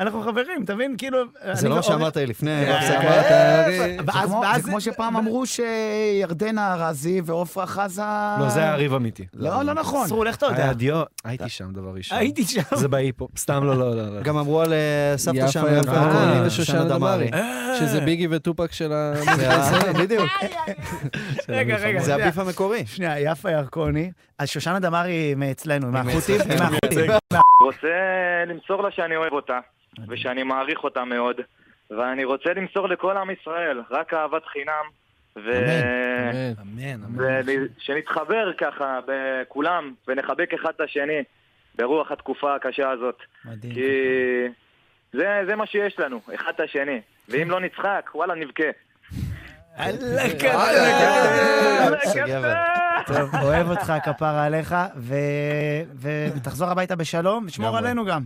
[SPEAKER 1] אנחנו חברים, אתה מבין? כאילו,
[SPEAKER 7] זה
[SPEAKER 1] אני אה,
[SPEAKER 7] לא מה
[SPEAKER 1] ואורי-
[SPEAKER 7] שאמרת לי לפני,
[SPEAKER 8] זה
[SPEAKER 7] בהפסקה.
[SPEAKER 8] אמרת, אה,
[SPEAKER 9] זה
[SPEAKER 1] ואז,
[SPEAKER 9] כמו-
[SPEAKER 1] ואז,
[SPEAKER 9] זה כמו שפעם אמרו שירדנה ארזי ועופרה חזה...
[SPEAKER 7] אה,
[SPEAKER 2] לא, זה היה ריב אמיתי.
[SPEAKER 9] לא, לא נכון.
[SPEAKER 1] צרו, לך אתה יודע.
[SPEAKER 2] היה דיו, הייתי שם דבר ראשון.
[SPEAKER 1] הייתי שם.
[SPEAKER 2] זה בהיפו. סתם לא, לא, לא. לא.
[SPEAKER 7] גם אמרו על אה, סבתא
[SPEAKER 8] יפה,
[SPEAKER 7] שם,
[SPEAKER 8] יפה,
[SPEAKER 7] יפה,
[SPEAKER 8] קוראים לי
[SPEAKER 7] אה,
[SPEAKER 8] ושושנה
[SPEAKER 7] שושנה
[SPEAKER 8] דמארי. שזה ביגי וטופק של ה...
[SPEAKER 7] זה ה- אה, בדיוק,
[SPEAKER 1] אה, רגע, רגע,
[SPEAKER 7] זה
[SPEAKER 1] שנייה.
[SPEAKER 7] הביף המקורי.
[SPEAKER 1] שנייה, יפה ירקוני. אז שושנה דמארי היא מאצלנו, מהחות'ים, היא מהחות'ים.
[SPEAKER 10] רוצה למסור לה שאני אוהב אותה, ושאני מעריך אותה מאוד, ואני רוצה למסור לכל עם ישראל, רק אהבת חינם, ו...
[SPEAKER 8] אמן.
[SPEAKER 2] אמן, אמן.
[SPEAKER 10] ושנתחבר ככה, בכולם, ונחבק אחד את השני, ברוח התקופה הקשה הזאת.
[SPEAKER 1] מדהים.
[SPEAKER 10] כי זה, זה מה שיש לנו, אחד את השני. ואם לא נצחק, וואלה, נבכה.
[SPEAKER 1] אללה,
[SPEAKER 7] זה גבר.
[SPEAKER 1] טוב, אוהב אותך, כפרה עליך, ו- ו- ותחזור הביתה בשלום, ושמור עלינו גם.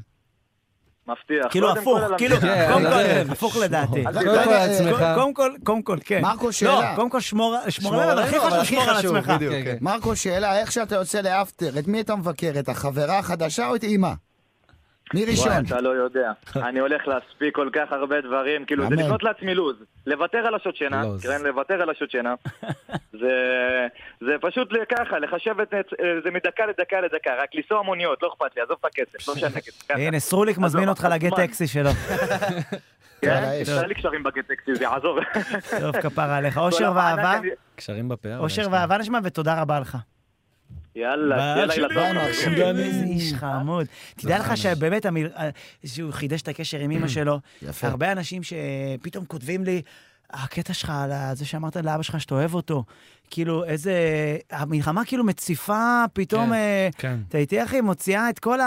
[SPEAKER 10] מבטיח.
[SPEAKER 1] כאילו
[SPEAKER 10] כן, קודם
[SPEAKER 1] הפוך,
[SPEAKER 10] כל על
[SPEAKER 1] כאילו,
[SPEAKER 10] המדינה.
[SPEAKER 8] כן,
[SPEAKER 1] קודם
[SPEAKER 8] כן.
[SPEAKER 1] כל, הפוך לדעתי.
[SPEAKER 9] אז
[SPEAKER 8] קודם
[SPEAKER 9] אתה
[SPEAKER 8] כל
[SPEAKER 9] יודע,
[SPEAKER 8] לעצמך.
[SPEAKER 1] קודם- קודם כל, קודם כל, כן.
[SPEAKER 9] מרקו,
[SPEAKER 1] לא,
[SPEAKER 9] שאלה.
[SPEAKER 1] קודם כל שמור שמור
[SPEAKER 7] שמור
[SPEAKER 1] עלינו, אבל
[SPEAKER 7] עלינו,
[SPEAKER 1] הכי
[SPEAKER 7] אבל
[SPEAKER 1] חשוב
[SPEAKER 7] הכי
[SPEAKER 1] שמור על
[SPEAKER 7] חשוב,
[SPEAKER 1] עצמך.
[SPEAKER 7] בדיוק.
[SPEAKER 8] כן, כן.
[SPEAKER 9] מרקו, שאלה, איך שאתה יוצא לאפטר, את מי אתה מבקר? את החברה החדשה או את אימא? מי
[SPEAKER 10] וואי,
[SPEAKER 9] ראשון?
[SPEAKER 10] אתה לא יודע. אני הולך להספיק כל כך הרבה דברים, כאילו, זה
[SPEAKER 9] אמן. לא,
[SPEAKER 10] לקנות לעצמי לו"ז. לוותר על השעות שינה,
[SPEAKER 2] לו"ז.
[SPEAKER 10] כן, לוותר על השעות שינה. זה- זה פשוט ככה, לחשב את אה, זה מדקה לדקה לדקה, רק לנסוע מוניות, לא אכפת לי, עזוב את הכסף, לא משנה כסף. ככה.
[SPEAKER 1] הנה, סרוליק מזמין
[SPEAKER 10] עזוב,
[SPEAKER 1] אותך לגט
[SPEAKER 10] הזמן.
[SPEAKER 1] טקסי שלו.
[SPEAKER 10] כן,
[SPEAKER 9] יאללה, יש.
[SPEAKER 10] תשאל לי קשרים בגט-טקסי, זה יעזור.
[SPEAKER 1] טוב, כפרה עליך. אושר
[SPEAKER 10] כל המענק
[SPEAKER 1] ואהבה,
[SPEAKER 10] אני-
[SPEAKER 2] קשרים בפאה. אולי
[SPEAKER 1] אושר
[SPEAKER 2] יש לך.
[SPEAKER 1] ואהבה נשמע, ותודה רבה לך.
[SPEAKER 10] יאללה, שיהיה לילה טוב.
[SPEAKER 1] כן. איזה
[SPEAKER 8] אה?
[SPEAKER 1] איש חמוד. תדע לך שבאמת, המיל- שהוא חידש את הקשר עם אמא שלו.
[SPEAKER 9] יפה.
[SPEAKER 1] הרבה אנשים שפתאום כותבים לי, הקטע שלך על ה- זה שאמרת לאבא שלך שאתה אוהב אותו. כאילו, איזה... המלחמה כאילו מציפה, פתאום...
[SPEAKER 8] כן,
[SPEAKER 1] אה,
[SPEAKER 2] כן.
[SPEAKER 1] אתה איתי, אחי, מוציאה את כל ה...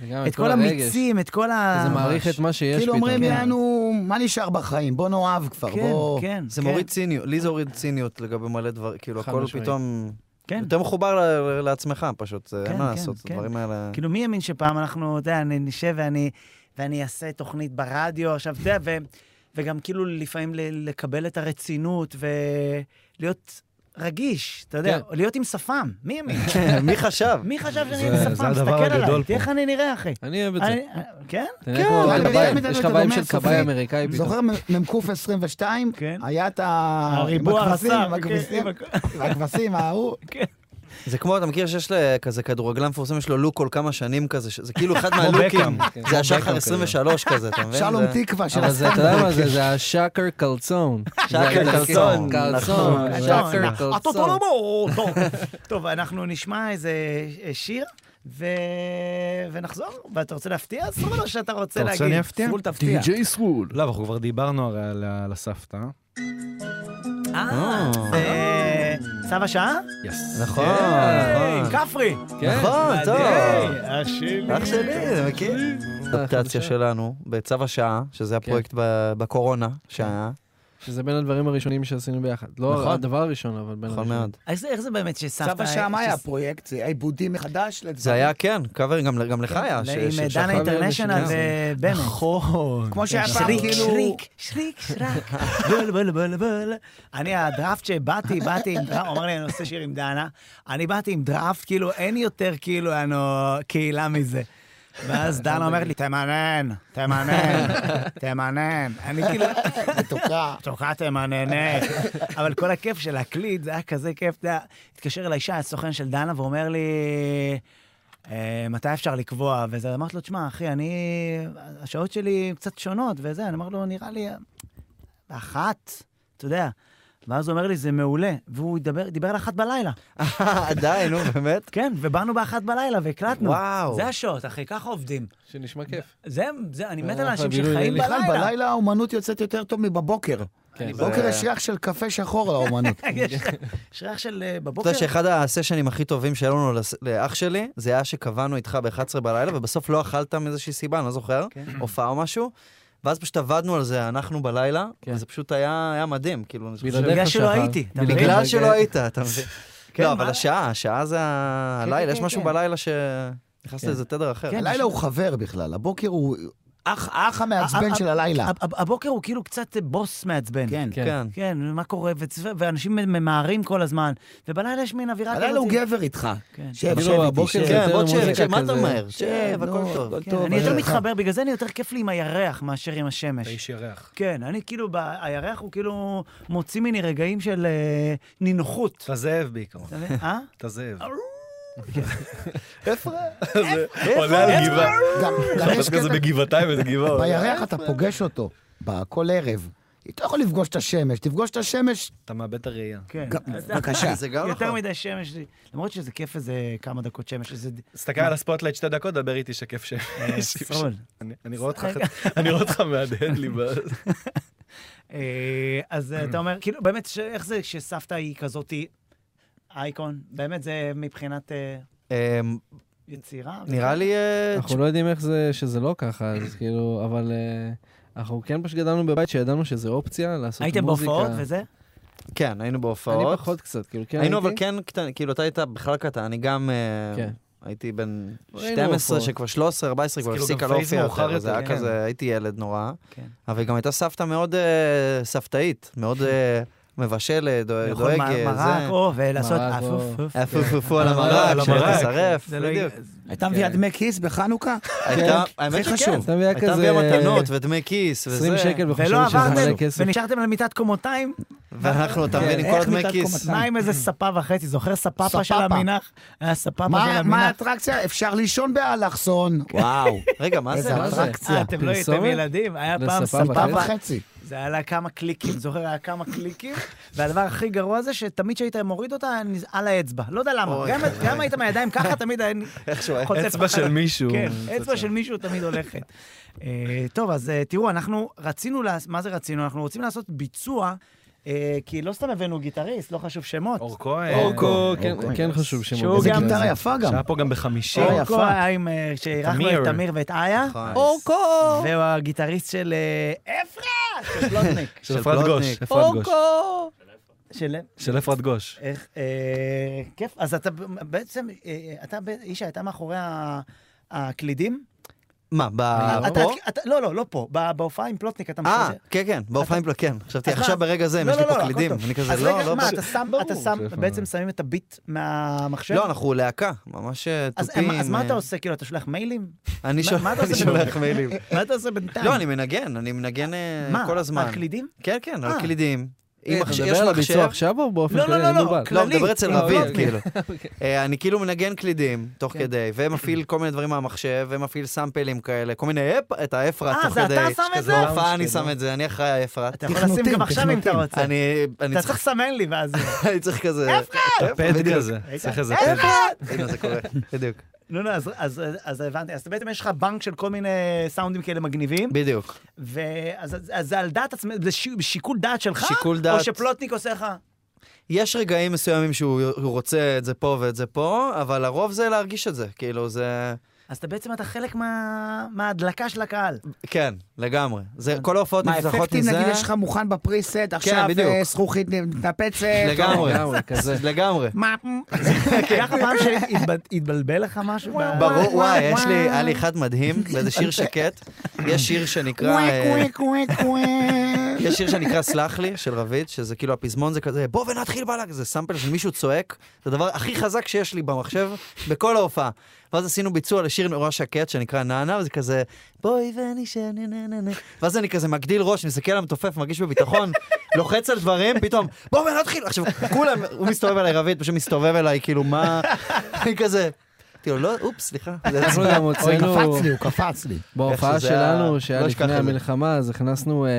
[SPEAKER 8] וגם
[SPEAKER 1] את כל
[SPEAKER 8] הרגש.
[SPEAKER 1] המיצים, את כל ה...
[SPEAKER 8] זה מעריך את מה שיש
[SPEAKER 9] כאילו
[SPEAKER 8] פתאום.
[SPEAKER 9] אומרים
[SPEAKER 8] כן.
[SPEAKER 9] לנו, מה נשאר בחיים? בוא נאהב כבר,
[SPEAKER 1] כן,
[SPEAKER 9] בוא...
[SPEAKER 1] כן.
[SPEAKER 7] זה
[SPEAKER 1] כן.
[SPEAKER 7] מוריד ציניות, לי זה הוריד ציניות לגבי מלא דברים, כאילו
[SPEAKER 8] חד
[SPEAKER 7] הכל
[SPEAKER 8] משמעית.
[SPEAKER 7] פתאום...
[SPEAKER 1] כן.
[SPEAKER 7] יותר מחובר ל- ל- לעצמך פשוט, זה-
[SPEAKER 1] כן,
[SPEAKER 7] אין מה
[SPEAKER 1] כן,
[SPEAKER 7] לעשות,
[SPEAKER 1] כן.
[SPEAKER 7] הדברים האלה...
[SPEAKER 1] כאילו, מי האמין שפעם אנחנו, אתה יודע, אני נשב ואני, ואני אעשה תוכנית ברדיו, עכשיו, אתה יודע, ו, וגם כאילו לפעמים ל- לקבל את הרצינות ולהיות רגיש, אתה יודע,
[SPEAKER 8] כן.
[SPEAKER 1] להיות עם שפם, מי האמין?
[SPEAKER 7] מי חשב?
[SPEAKER 1] מי חשב שאני
[SPEAKER 2] זה-
[SPEAKER 1] עם
[SPEAKER 2] זה
[SPEAKER 1] שפם?
[SPEAKER 2] הדבר
[SPEAKER 1] תסתכל
[SPEAKER 2] הגדול
[SPEAKER 1] עליי,
[SPEAKER 2] פה.
[SPEAKER 1] תראה איך אני נראה, אחי.
[SPEAKER 8] אני אוהב את זה.
[SPEAKER 1] אני- כן?
[SPEAKER 8] אתה נראה כמו
[SPEAKER 9] אבל
[SPEAKER 8] כבאי,
[SPEAKER 9] באמת,
[SPEAKER 8] יש
[SPEAKER 9] אתה
[SPEAKER 8] לך ויים
[SPEAKER 9] אומר,
[SPEAKER 8] של
[SPEAKER 9] סופי.
[SPEAKER 8] כבאי אמריקאי פתאום.
[SPEAKER 9] זוכר מ"ק 22?
[SPEAKER 1] כן.
[SPEAKER 9] היה את ה...
[SPEAKER 1] הריבוע
[SPEAKER 9] עם הכבשים,
[SPEAKER 1] הרס"ר,
[SPEAKER 9] עם
[SPEAKER 1] כן,
[SPEAKER 9] הכבשים,
[SPEAKER 1] עם הכ-
[SPEAKER 9] עם הכבשים, ההוא.
[SPEAKER 7] זה כמו, אתה מכיר שיש לכזה כדורגלן מפורסם, יש לו לוק כל כמה שנים כזה, ש- זה כאילו אחד מהלוקים,
[SPEAKER 2] בקאם, כן.
[SPEAKER 7] זה
[SPEAKER 2] כמו בקאם
[SPEAKER 7] השחר
[SPEAKER 2] כזה.
[SPEAKER 7] 23 כזה, אתה מבין?
[SPEAKER 9] שלום
[SPEAKER 7] זה-
[SPEAKER 9] תקווה של
[SPEAKER 8] אבל זה, אתה יודע
[SPEAKER 9] הסטנדרט.
[SPEAKER 8] מה זה? זה השאקר קלצון. כן,
[SPEAKER 7] שקר קלצון,
[SPEAKER 8] קלצון.
[SPEAKER 7] נכון.
[SPEAKER 8] שקר
[SPEAKER 1] אה, טוב,
[SPEAKER 8] קלצון.
[SPEAKER 1] טוב, טוב. טוב, אנחנו נשמע איזה אה, שיר. ו... ונחזור, ואתה רוצה להפתיע? אז או שאתה רוצה
[SPEAKER 2] אתה
[SPEAKER 1] להגיד?
[SPEAKER 2] רוצה אני אפתיע?
[SPEAKER 1] סרול תפתיע.
[SPEAKER 8] סרול.
[SPEAKER 2] לא, אבל אנחנו כבר דיברנו הרי על ה- על הסבתא.
[SPEAKER 1] אה, זה צו השעה?
[SPEAKER 2] יס.
[SPEAKER 7] נכון,
[SPEAKER 1] היי,
[SPEAKER 7] נכון.
[SPEAKER 1] כן. כפרי.
[SPEAKER 8] כן,
[SPEAKER 7] נכון, טוב.
[SPEAKER 1] היי, אח שלי.
[SPEAKER 7] אח שלי, אתה מכיר? אדפטציה שלנו, בצו השעה,
[SPEAKER 8] כן.
[SPEAKER 7] שזה הפרויקט ב- בקורונה שהיה,
[SPEAKER 8] שזה בין הדברים הראשונים שעשינו ביחד. לא
[SPEAKER 7] נכון.
[SPEAKER 8] הדבר הראשון, אבל בין
[SPEAKER 7] נכון
[SPEAKER 8] הראשונים.
[SPEAKER 7] מאוד.
[SPEAKER 1] איך זה- איך זה באמת שסבתא...
[SPEAKER 9] סבא שם היה
[SPEAKER 1] שס-
[SPEAKER 9] הפרויקט, זה היה עיבודים מחדש לדברים.
[SPEAKER 7] זה היה, כן, קאבר, גם גם לך היה. ש- ש-
[SPEAKER 1] עם
[SPEAKER 7] שחר-
[SPEAKER 1] דנה אינטרנשיונל ובנט.
[SPEAKER 2] נכון.
[SPEAKER 9] כמו שהיה פעם,
[SPEAKER 1] שריק,
[SPEAKER 9] כאילו...
[SPEAKER 1] שריק, שריק, שרק, בול, בול, בול, בול. אני, הדראפט שבאתי, באתי עם דראפט, הוא אמר לי, אני עושה שיר עם דנה, אני באתי עם דראפט, כאילו, אין יותר כאילו, אנו, קהילה מזה. ואז דנה אומרת לי, תמנן, תמנן, תמנן. אני כאילו,
[SPEAKER 9] מתוקה.
[SPEAKER 1] תוקעתם הנהנית. אבל כל הכיף של להקליט, זה היה כזה כיף. אתה יודע, התקשר אליי שי, הסוכן של דנה, ואומר לי, אה, מתי אפשר לקבוע? וזה, אמרתי לו, תשמע, אחי, אני... השעות שלי קצת שונות וזה, אני אומר לו, נראה לי... אה, אחת, אתה יודע. ואז הוא אומר לי, זה מעולה. והוא דבר, דיבר על אחת בלילה.
[SPEAKER 7] עדיין, נו, באמת?
[SPEAKER 1] כן, ובאנו באחת בלילה והקלטנו.
[SPEAKER 7] וואו.
[SPEAKER 1] זה השעות, אחי, ככה עובדים.
[SPEAKER 8] שנשמע כיף.
[SPEAKER 1] זה, זה, אני מת על
[SPEAKER 8] אה,
[SPEAKER 1] אנשים
[SPEAKER 8] בילוי
[SPEAKER 1] שחיים
[SPEAKER 8] לילי.
[SPEAKER 1] בלילה.
[SPEAKER 9] בכלל, בלילה האומנות יוצאת יותר טוב מבבוקר.
[SPEAKER 8] כן,
[SPEAKER 9] בבוקר
[SPEAKER 7] זה-
[SPEAKER 9] יש ריח של קפה שחור לאומנות.
[SPEAKER 1] יש ריח של אה,
[SPEAKER 7] אתה
[SPEAKER 1] בבוקר.
[SPEAKER 7] יודע שאחד הסשנים הכי טובים שהיו לנו לס- לאח שלי, זה היה שקבענו איתך ב-11 בלילה, ובסוף לא אכלת מאיזושהי סיבה, אני לא זוכר,
[SPEAKER 1] כן.
[SPEAKER 7] הופעה או משהו, ואז פשוט עבדנו על זה, אנחנו בלילה, וזה פשוט היה היה מדהים, כאילו, אני חושב...
[SPEAKER 8] בלעדיך
[SPEAKER 1] כן. בגלל שלא
[SPEAKER 8] שחר.
[SPEAKER 1] הייתי, אתה מבין?
[SPEAKER 7] בגלל שלא היית, אתה מבין?
[SPEAKER 1] כן,
[SPEAKER 7] לא,
[SPEAKER 1] מה?
[SPEAKER 7] אבל השעה, השעה זה ה- הלילה, יש משהו בלילה
[SPEAKER 1] כן.
[SPEAKER 7] שנכנס לאיזה תדר אחר.
[SPEAKER 9] הלילה הוא חבר בכלל, הבוקר הוא אח- האח המעצבן
[SPEAKER 1] ה-
[SPEAKER 9] של הלילה.
[SPEAKER 1] הב- הב- הבוקר הוא כאילו קצת אה, בוס מעצבן.
[SPEAKER 9] כן.
[SPEAKER 7] כן.
[SPEAKER 1] כן, מה קורה, וצ- ואנשים ממהרים כל הזמן, ובלילה יש מין אווירה כזאת.
[SPEAKER 9] הלילה הוא גבר איתך.
[SPEAKER 1] כן.
[SPEAKER 9] שב,
[SPEAKER 8] כאילו,
[SPEAKER 9] שב איתי,
[SPEAKER 8] הבוקר
[SPEAKER 9] שב.
[SPEAKER 8] זה-
[SPEAKER 7] כן, בוא
[SPEAKER 8] יותר
[SPEAKER 7] תשב,
[SPEAKER 8] מוזיקה
[SPEAKER 7] תשב, מה אתה
[SPEAKER 8] כזה.
[SPEAKER 7] ממהר? שב, הכל טוב.
[SPEAKER 1] כן, אני
[SPEAKER 9] אה,
[SPEAKER 1] יותר מתחבר, בגלל זה אני יותר כיף לי עם הירח מאשר עם השמש.
[SPEAKER 2] אתה איש ירח.
[SPEAKER 1] כן, אני כאילו, ב- הירח הוא כאילו מוציא ממני רגעים של אה, נינוחות.
[SPEAKER 2] אתה זאב בעיקרון.
[SPEAKER 1] אתה מבין? אה? כן.
[SPEAKER 2] אתה זאב.
[SPEAKER 8] כן.
[SPEAKER 1] עולה על גבעה.
[SPEAKER 9] אה, גם גם יש קטע,
[SPEAKER 2] בגבעתיים איזה גבעון.
[SPEAKER 9] בירח אתה פוגש אותו, ב- כל ערב. אתה לא יכול לפגוש את השמש, תפגוש את השמש,
[SPEAKER 2] אתה מאבד את הראייה.
[SPEAKER 1] כן. אז-
[SPEAKER 9] בבקשה.
[SPEAKER 7] זה גם
[SPEAKER 1] יותר
[SPEAKER 7] נכון.
[SPEAKER 1] מדי שמש לי. למרות שזה כיף איזה כמה דקות שמש, איזה...
[SPEAKER 2] תסתכל על הספוטלייט שתי דקות, דבר איתי שכיף ש...
[SPEAKER 1] אה, שרון.
[SPEAKER 2] אני- אני רואה אותך, אני רואה אותך מהדהד לי. ב-
[SPEAKER 1] אוקיי. אה, אז אתה אומר, כאילו, באמת, ש- איך זה שסבתא היא כזאתי אייקון? באמת, זה מבחינת אה,
[SPEAKER 7] אמ,
[SPEAKER 1] יצירה?
[SPEAKER 7] נראה לי... אה,
[SPEAKER 8] אנחנו לא יודעים איך זה, שזה לא ככה, אז כאילו, אבל אה, אנחנו כן פשוט גדלנו בבית שידענו שזה אופציה לעשות מוזיקה.
[SPEAKER 1] הייתם בהופעות וזה?
[SPEAKER 7] כן, היינו בהופעות.
[SPEAKER 8] אני פחות קצת, כאילו, כן
[SPEAKER 7] היינו
[SPEAKER 8] הייתי.
[SPEAKER 7] אבל כן קטן, כאילו אתה היית בכלל קטן, אני גם אה,
[SPEAKER 8] כן.
[SPEAKER 7] הייתי בן
[SPEAKER 8] ראינו
[SPEAKER 7] 12,
[SPEAKER 8] הופעות.
[SPEAKER 7] שכבר 13, 14, כבר
[SPEAKER 2] כאילו
[SPEAKER 7] הפסיקה
[SPEAKER 2] גם
[SPEAKER 7] לא
[SPEAKER 2] פייס
[SPEAKER 7] הופיעה
[SPEAKER 2] מאוחר
[SPEAKER 7] יותר, זה
[SPEAKER 2] יותר,
[SPEAKER 7] היה
[SPEAKER 1] כן.
[SPEAKER 7] כזה, הייתי ילד נורא,
[SPEAKER 1] כן.
[SPEAKER 7] אבל גם הייתה סבתא מאוד אה, סבתאית, מאוד אה, מבשלת, דואג-
[SPEAKER 1] לאכול
[SPEAKER 7] דואגת,
[SPEAKER 1] מ- מרק,
[SPEAKER 7] זה.
[SPEAKER 1] או, ולעשות
[SPEAKER 8] מרק,
[SPEAKER 1] אפ
[SPEAKER 8] או.
[SPEAKER 1] אפ אפ.
[SPEAKER 7] היה פו פו פו על המרק,
[SPEAKER 2] על המרק.
[SPEAKER 7] שתשרף,
[SPEAKER 1] כן. זה לא הגיע-
[SPEAKER 7] בדיוק.
[SPEAKER 9] הייתה מביאה
[SPEAKER 2] כן.
[SPEAKER 9] דמי כיס בחנוכה?
[SPEAKER 7] הייתה,
[SPEAKER 1] כן.
[SPEAKER 8] כן.
[SPEAKER 7] האמת
[SPEAKER 9] הכי
[SPEAKER 7] שכן,
[SPEAKER 9] חשוב.
[SPEAKER 8] אתה מבין, היה
[SPEAKER 7] הייתה
[SPEAKER 8] כזה
[SPEAKER 7] מביאה מתנות ודמי כיס,
[SPEAKER 8] 20
[SPEAKER 7] וזה,
[SPEAKER 8] שקל
[SPEAKER 1] ולא
[SPEAKER 8] וחושב שזה מלא
[SPEAKER 1] עברתם, אה,
[SPEAKER 8] כסף.
[SPEAKER 1] ונשארתם על מיטת קומותיים?
[SPEAKER 7] ואנחנו, אתה
[SPEAKER 9] כן,
[SPEAKER 7] מבין, עם כל
[SPEAKER 9] איך
[SPEAKER 7] הדמי
[SPEAKER 9] מיטת
[SPEAKER 7] כיס.
[SPEAKER 9] קומתיים?
[SPEAKER 1] מה עם איזה ספה וחצי? זוכר ספאפה של
[SPEAKER 9] ספאפה.
[SPEAKER 1] המנח? היה ספאפה של
[SPEAKER 9] מה- מה
[SPEAKER 1] המנח.
[SPEAKER 9] האטרקציה? אפשר לישון באלכסון. וואו.
[SPEAKER 7] רגע, מה זה?
[SPEAKER 9] איזה
[SPEAKER 7] מה זה?
[SPEAKER 9] אטרקציה.
[SPEAKER 1] כן. אה, אתם לא הייתם
[SPEAKER 8] פרסומת?
[SPEAKER 1] ילדים? היה
[SPEAKER 8] זה
[SPEAKER 1] פעם
[SPEAKER 8] ספאפה.
[SPEAKER 9] פעם
[SPEAKER 1] ספאפה.
[SPEAKER 9] וחצי.
[SPEAKER 1] זה היה לה כמה קליקים, זוכר? היה כמה קליקים, והדבר הכי גרוע זה שתמיד כשהיית מוריד אותה, אני- על האצבע. לא יודע למה.
[SPEAKER 7] אוי,
[SPEAKER 1] גם-
[SPEAKER 7] אוי.
[SPEAKER 1] גם היית מהידיים ככה, תמיד היה
[SPEAKER 7] איכשהו,
[SPEAKER 1] חוטף.
[SPEAKER 2] אצבע של מישהו.
[SPEAKER 1] כן, אצבע של מישהו תמיד הולכת. אה, טוב, אז אה, תראו, אנחנו רצינו, לעש- מה זה רצינו? אנחנו רוצים לעשות ביצוע, אה, כי לא סתם הבאנו גיטריסט, לא חשוב שמות.
[SPEAKER 2] אור כהן.
[SPEAKER 8] אורקו, כן- כן חשוב
[SPEAKER 1] אוקיי. שהוא
[SPEAKER 8] שמות.
[SPEAKER 9] איזה
[SPEAKER 1] גם-
[SPEAKER 9] גיטרה יפה גם.
[SPEAKER 2] שהיה פה גם בחמישי.
[SPEAKER 1] אורקו היה עם, אה, שאירחנו
[SPEAKER 2] תמיר.
[SPEAKER 1] את תמיר ואת איה,
[SPEAKER 7] נכון. אורקו!
[SPEAKER 1] והוא הגיטריסט של אה, אפרת, של פלוטניק.
[SPEAKER 2] של
[SPEAKER 7] של
[SPEAKER 2] אפרת גוש.
[SPEAKER 7] פלוטניק.
[SPEAKER 2] אפרת גוש.
[SPEAKER 1] של...
[SPEAKER 2] של אפרת גוש.
[SPEAKER 1] איך, אה, כיף. אז אתה ב- בעצם, אה, אתה, ב- ישי, אתה מאחורי ה- הקלידים?
[SPEAKER 7] מה,
[SPEAKER 1] אתה-
[SPEAKER 7] ב... פה?
[SPEAKER 1] אתה- לא, לא, לא פה. ב- בהופעה עם פלוטניק אתה
[SPEAKER 7] אה,
[SPEAKER 1] משדר.
[SPEAKER 7] כן, כן, בהופעה עם פלקן. חשבתי,
[SPEAKER 1] אז
[SPEAKER 7] עכשיו
[SPEAKER 1] מה?
[SPEAKER 7] ברגע זה, אם
[SPEAKER 1] לא,
[SPEAKER 7] יש לי
[SPEAKER 1] לא, לא,
[SPEAKER 7] פה
[SPEAKER 1] הכל
[SPEAKER 7] קלידים.
[SPEAKER 1] טוב.
[SPEAKER 7] אני כזה,
[SPEAKER 1] אז
[SPEAKER 7] לא,
[SPEAKER 1] רגע,
[SPEAKER 7] לא...
[SPEAKER 1] מה, אתה שם, אתה שם,
[SPEAKER 8] שיש לנו-
[SPEAKER 1] בעצם שמים את הביט מהמחשב?
[SPEAKER 7] לא, אנחנו להקה, ממש אה,
[SPEAKER 1] אז
[SPEAKER 7] תופים.
[SPEAKER 1] אז מה
[SPEAKER 7] אה,
[SPEAKER 1] אתה עושה? כאילו, אתה שולח מיילים?
[SPEAKER 7] אני
[SPEAKER 1] מה-
[SPEAKER 7] שולח-
[SPEAKER 1] מה אתה
[SPEAKER 7] אני
[SPEAKER 1] עושה
[SPEAKER 7] שולח
[SPEAKER 1] בזה?
[SPEAKER 7] מיילים.
[SPEAKER 1] מה אתה עושה בינתיים?
[SPEAKER 7] לא, אני מנגן, אני מנגן אה,
[SPEAKER 1] מה,
[SPEAKER 7] כל הזמן.
[SPEAKER 1] הקלידים?
[SPEAKER 7] כן, כן,
[SPEAKER 1] אה.
[SPEAKER 7] על קלידים.
[SPEAKER 8] אה,
[SPEAKER 7] עם
[SPEAKER 8] אתה
[SPEAKER 7] מחש-
[SPEAKER 8] מדבר
[SPEAKER 7] יש
[SPEAKER 8] על
[SPEAKER 7] מחשב.
[SPEAKER 8] הביצוע עכשיו או באופן
[SPEAKER 1] לא,
[SPEAKER 8] כללי?
[SPEAKER 1] לא, לא, לא, אוקיי. כן.
[SPEAKER 8] מנובל?
[SPEAKER 7] לא,
[SPEAKER 1] כללי,
[SPEAKER 7] מדבר אצל
[SPEAKER 1] עם
[SPEAKER 7] רביד,
[SPEAKER 1] פלוטניק.
[SPEAKER 7] כאילו. אה, אני כאילו מנגן קלידים, תוך כדי, ומפעיל כל מיני דברים מהמחשב, ומפעיל סאמפלים כאלה, כל מיני, אפ- את האפרת
[SPEAKER 1] אה,
[SPEAKER 7] תוך
[SPEAKER 1] זה
[SPEAKER 7] כדי.
[SPEAKER 1] אתה שם את זה?
[SPEAKER 7] בהופעה אני שם את זה, אני אחראי האפרת.
[SPEAKER 1] אתה יכול לשים גם
[SPEAKER 9] תכנותים,
[SPEAKER 1] עכשיו אם אתה
[SPEAKER 9] תכנותים.
[SPEAKER 1] רוצה.
[SPEAKER 7] אני אני
[SPEAKER 1] אתה צריך
[SPEAKER 7] צריך
[SPEAKER 1] לסמן לי ואז...
[SPEAKER 7] אני צריך כזה...
[SPEAKER 2] אתה פד
[SPEAKER 7] בדיוק.
[SPEAKER 2] כזה. צריך איזה
[SPEAKER 1] אה,
[SPEAKER 2] פד.
[SPEAKER 7] הנה זה קורה, בדיוק.
[SPEAKER 1] לא, לא, אז- אז אז הבנתי. אז בעצם יש לך בנק של כל מיני סאונדים כאלה מגניבים,
[SPEAKER 7] בדיוק.
[SPEAKER 1] ואז אז- אז זה על דעת עצמך, זה ש- שיקול דעת שלך?
[SPEAKER 7] שיקול דעת.
[SPEAKER 1] או שפלוטניק עושה לך?
[SPEAKER 7] יש רגעים מסוימים שהוא הוא רוצה את זה פה ואת זה פה, אבל הרוב זה להרגיש את זה, כאילו זה...
[SPEAKER 1] אז אתה בעצם, אתה חלק מה- מההדלקה של הקהל.
[SPEAKER 7] כן, לגמרי. זה, כל ההופעות
[SPEAKER 9] כן. מה,
[SPEAKER 7] נפתחות
[SPEAKER 9] אפקטים
[SPEAKER 7] מזה.
[SPEAKER 9] נגיד יש לך מוכן בפריסט, עכשיו
[SPEAKER 7] בדיוק.
[SPEAKER 9] אה, זכוכית מתנפצת.
[SPEAKER 7] לגמרי,
[SPEAKER 8] לגמרי, כזה.
[SPEAKER 7] לגמרי.
[SPEAKER 9] מה?
[SPEAKER 1] היה לך פעם שהתבלבל לך משהו? ב-
[SPEAKER 7] ברור, וואי, יש לי, היה לי אחד מדהים, באיזה שיר שקט. יש שיר שנקרא... אה,
[SPEAKER 9] קוויק, קוויק, קוויק.
[SPEAKER 7] יש שיר שנקרא סלח לי, של רביד, שזה כאילו הפזמון זה כזה, בוא ונתחיל בלאק, זה סאמפל של מישהו צועק, זה הדבר הכי חזק שיש לי במחשב, בכל ההופעה. ואז עשינו ביצוע לשיר נורא שקט שנקרא נענה, וזה כזה, בואי ונשאר נה נה נה נה. ואז אני כזה מגדיל ראש, מסתכל על המתופף, מרגיש בביטחון, לוחץ על דברים, פתאום, בוא ונתחיל. עכשיו, כולם, הוא מסתובב אליי, רביד פשוט מסתובב אליי, כאילו, מה... אני כזה...
[SPEAKER 9] אמרתי לו, לא, אופס, סליחה.
[SPEAKER 8] אנחנו גם הוצאנו... בהופעה
[SPEAKER 9] איך שזה היה-
[SPEAKER 8] שלנו, שהיה
[SPEAKER 9] לא אשכח
[SPEAKER 8] לפני
[SPEAKER 9] את זה.
[SPEAKER 8] המלחמה, אז הכנסנו אה,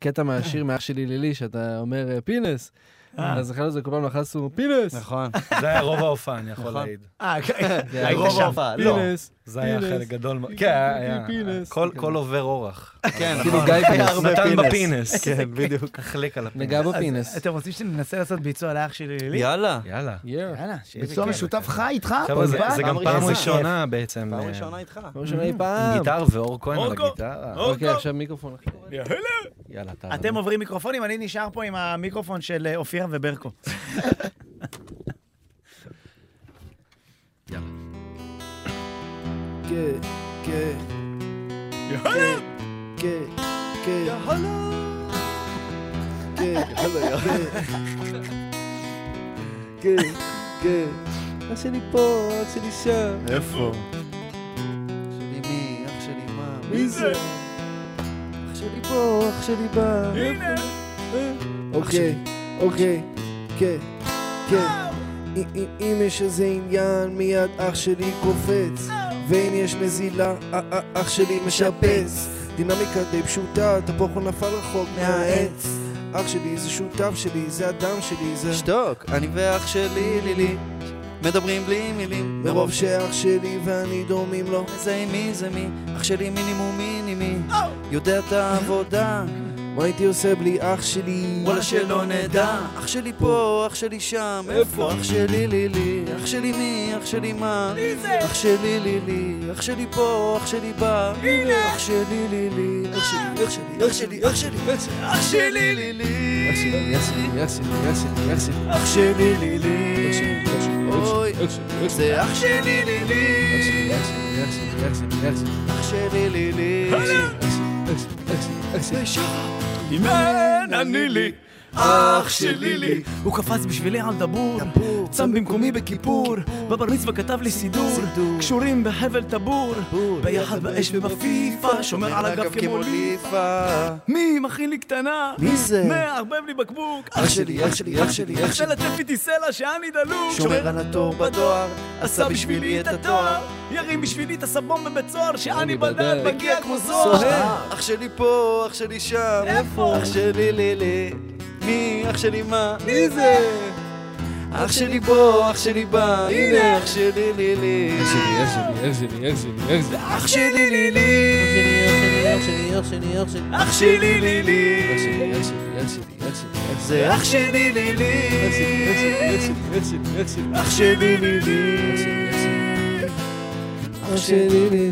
[SPEAKER 8] קטע מהשיר מאח שלי לילי, שאתה אומר, אה, פינס.
[SPEAKER 1] אה.
[SPEAKER 8] אז אחרי זה כל פעם לחצנו, פינס.
[SPEAKER 9] נכון.
[SPEAKER 2] זה היה רוב ההופעה, אני יכול
[SPEAKER 9] נכון.
[SPEAKER 2] להעיד.
[SPEAKER 1] אה, כן.
[SPEAKER 8] זה
[SPEAKER 1] היית
[SPEAKER 2] רוב
[SPEAKER 1] שם.
[SPEAKER 2] ההופעה, לא.
[SPEAKER 8] פינס.
[SPEAKER 2] זה היה
[SPEAKER 8] פינס.
[SPEAKER 2] חלק גדול. מאוד. כן, היה- היה.
[SPEAKER 8] פינס.
[SPEAKER 2] כל- כל עובר אורח. אה,
[SPEAKER 9] כן,
[SPEAKER 8] כאילו
[SPEAKER 9] נכון.
[SPEAKER 8] גיא
[SPEAKER 9] היה
[SPEAKER 8] פינס.
[SPEAKER 9] הרבה
[SPEAKER 2] נתן
[SPEAKER 9] פינס.
[SPEAKER 2] בפינס.
[SPEAKER 9] כן, בדיוק.
[SPEAKER 2] החליק על הפינס.
[SPEAKER 8] נגע
[SPEAKER 1] אז
[SPEAKER 8] בפינס.
[SPEAKER 1] אתם רוצים שננסה לעשות ביצוע לאח שלי לילי?
[SPEAKER 9] יאללה.
[SPEAKER 2] יאללה.
[SPEAKER 8] יאללה.
[SPEAKER 1] יאללה, שיהיה לי
[SPEAKER 11] ביצוע
[SPEAKER 1] כיף.
[SPEAKER 11] משותף חי איתך?
[SPEAKER 2] חבר'ה, זה-
[SPEAKER 11] באולפן?
[SPEAKER 2] זה גם
[SPEAKER 9] פעם
[SPEAKER 2] פעם
[SPEAKER 9] ראשונה.
[SPEAKER 2] ראשונה בעצם.
[SPEAKER 9] פעם
[SPEAKER 2] אה,
[SPEAKER 9] ראשונה איתך.
[SPEAKER 8] לא משנה אי
[SPEAKER 2] עם
[SPEAKER 8] פעם.
[SPEAKER 2] גיטר ואור כהן על
[SPEAKER 1] אורקו.
[SPEAKER 2] הגיטרה.
[SPEAKER 8] אוקיי, עכשיו מיקרופון.
[SPEAKER 2] יאללה, אתה...
[SPEAKER 1] אתם עוברים מיקרופונים, אני נשאר פה עם המיקרופון של אה, אופירה וברקו.
[SPEAKER 8] כן, כן. כן, כן. כן, כן. כן, כן. אח שלי פה, אח שלי שם.
[SPEAKER 2] איפה?
[SPEAKER 9] אח שלי מי, אח שלי מה.
[SPEAKER 8] מי זה? אח שלי פה, אח שלי בא. הנה. אוקיי, אוקיי, כן, כן. אם- אם- אם יש איזה עניין, מיד אח שלי קופץ. ואם יש נזילה, א- א- אח שלי משפץ. דינמיקה די פשוטה, תפוח נפל רחוק מהעץ. אח שלי זה שותף שלי, זה הדם שלי, זה...
[SPEAKER 9] שתוק, אני ואח שלי לילי מדברים בלי מילים
[SPEAKER 8] מרוב שאח שלי ואני דומים לו.
[SPEAKER 9] מזהים מי זה מי, אח שלי מינימום מינימי
[SPEAKER 8] Oh!
[SPEAKER 9] יודע את העבודה,
[SPEAKER 8] מה הייתי עושה בלי אח שלי?
[SPEAKER 9] וואלה שלא נדע אח שלי פה, אח שלי שם, איפה אח שלי לילי אח שלי מי, אח שלי מה אח שלי לילי, אח שלי פה, אח שלי בא אח שלי לילי, אח שלי, אח שלי, אח שלי, אח שלי, אח שלי, אח שלי לילי
[SPEAKER 8] אח שלי, אח שלי, אח שלי, אח שלי, אח שלי.
[SPEAKER 9] אח שלי לילי אוי, זה אח שלי לילי אח שלי לילי
[SPEAKER 1] אימן אני לי, אח שלי לי. הוא קפץ בשבילי על דבור, צם במקומי בכיפור, בבר מצווה כתב לי סידור, קשורים בחבל טבור, ביחד באש ובפיפה, שומר על הגב כמו לי.
[SPEAKER 9] ליפה
[SPEAKER 1] מי מכין לי קטנה?
[SPEAKER 9] מי זה?
[SPEAKER 1] מערבב לי בקבוק.
[SPEAKER 9] אח שלי, אח שלי, אח שלי, אח
[SPEAKER 1] עכשיו
[SPEAKER 9] שלי
[SPEAKER 1] לצף איתי סלע שאני דלוק.
[SPEAKER 9] שומר על התור בדואר עשה בשבילי את התואר
[SPEAKER 1] ירים בשבילי את הסבון בבית סוהר, שאני
[SPEAKER 8] אני
[SPEAKER 1] בדד
[SPEAKER 8] בדד.
[SPEAKER 1] מגיע כמו זוהר.
[SPEAKER 9] סוהר אח שלי פה, אח שלי שם איפה? אח שלי לילי מי? אח שלי מה? מי זה? אח שלי פה, אח שלי בא הנה אח שלי לילי אח שלי לילי אח שלי לילי זה אח שלי לילי אח שלי לילי אח שלי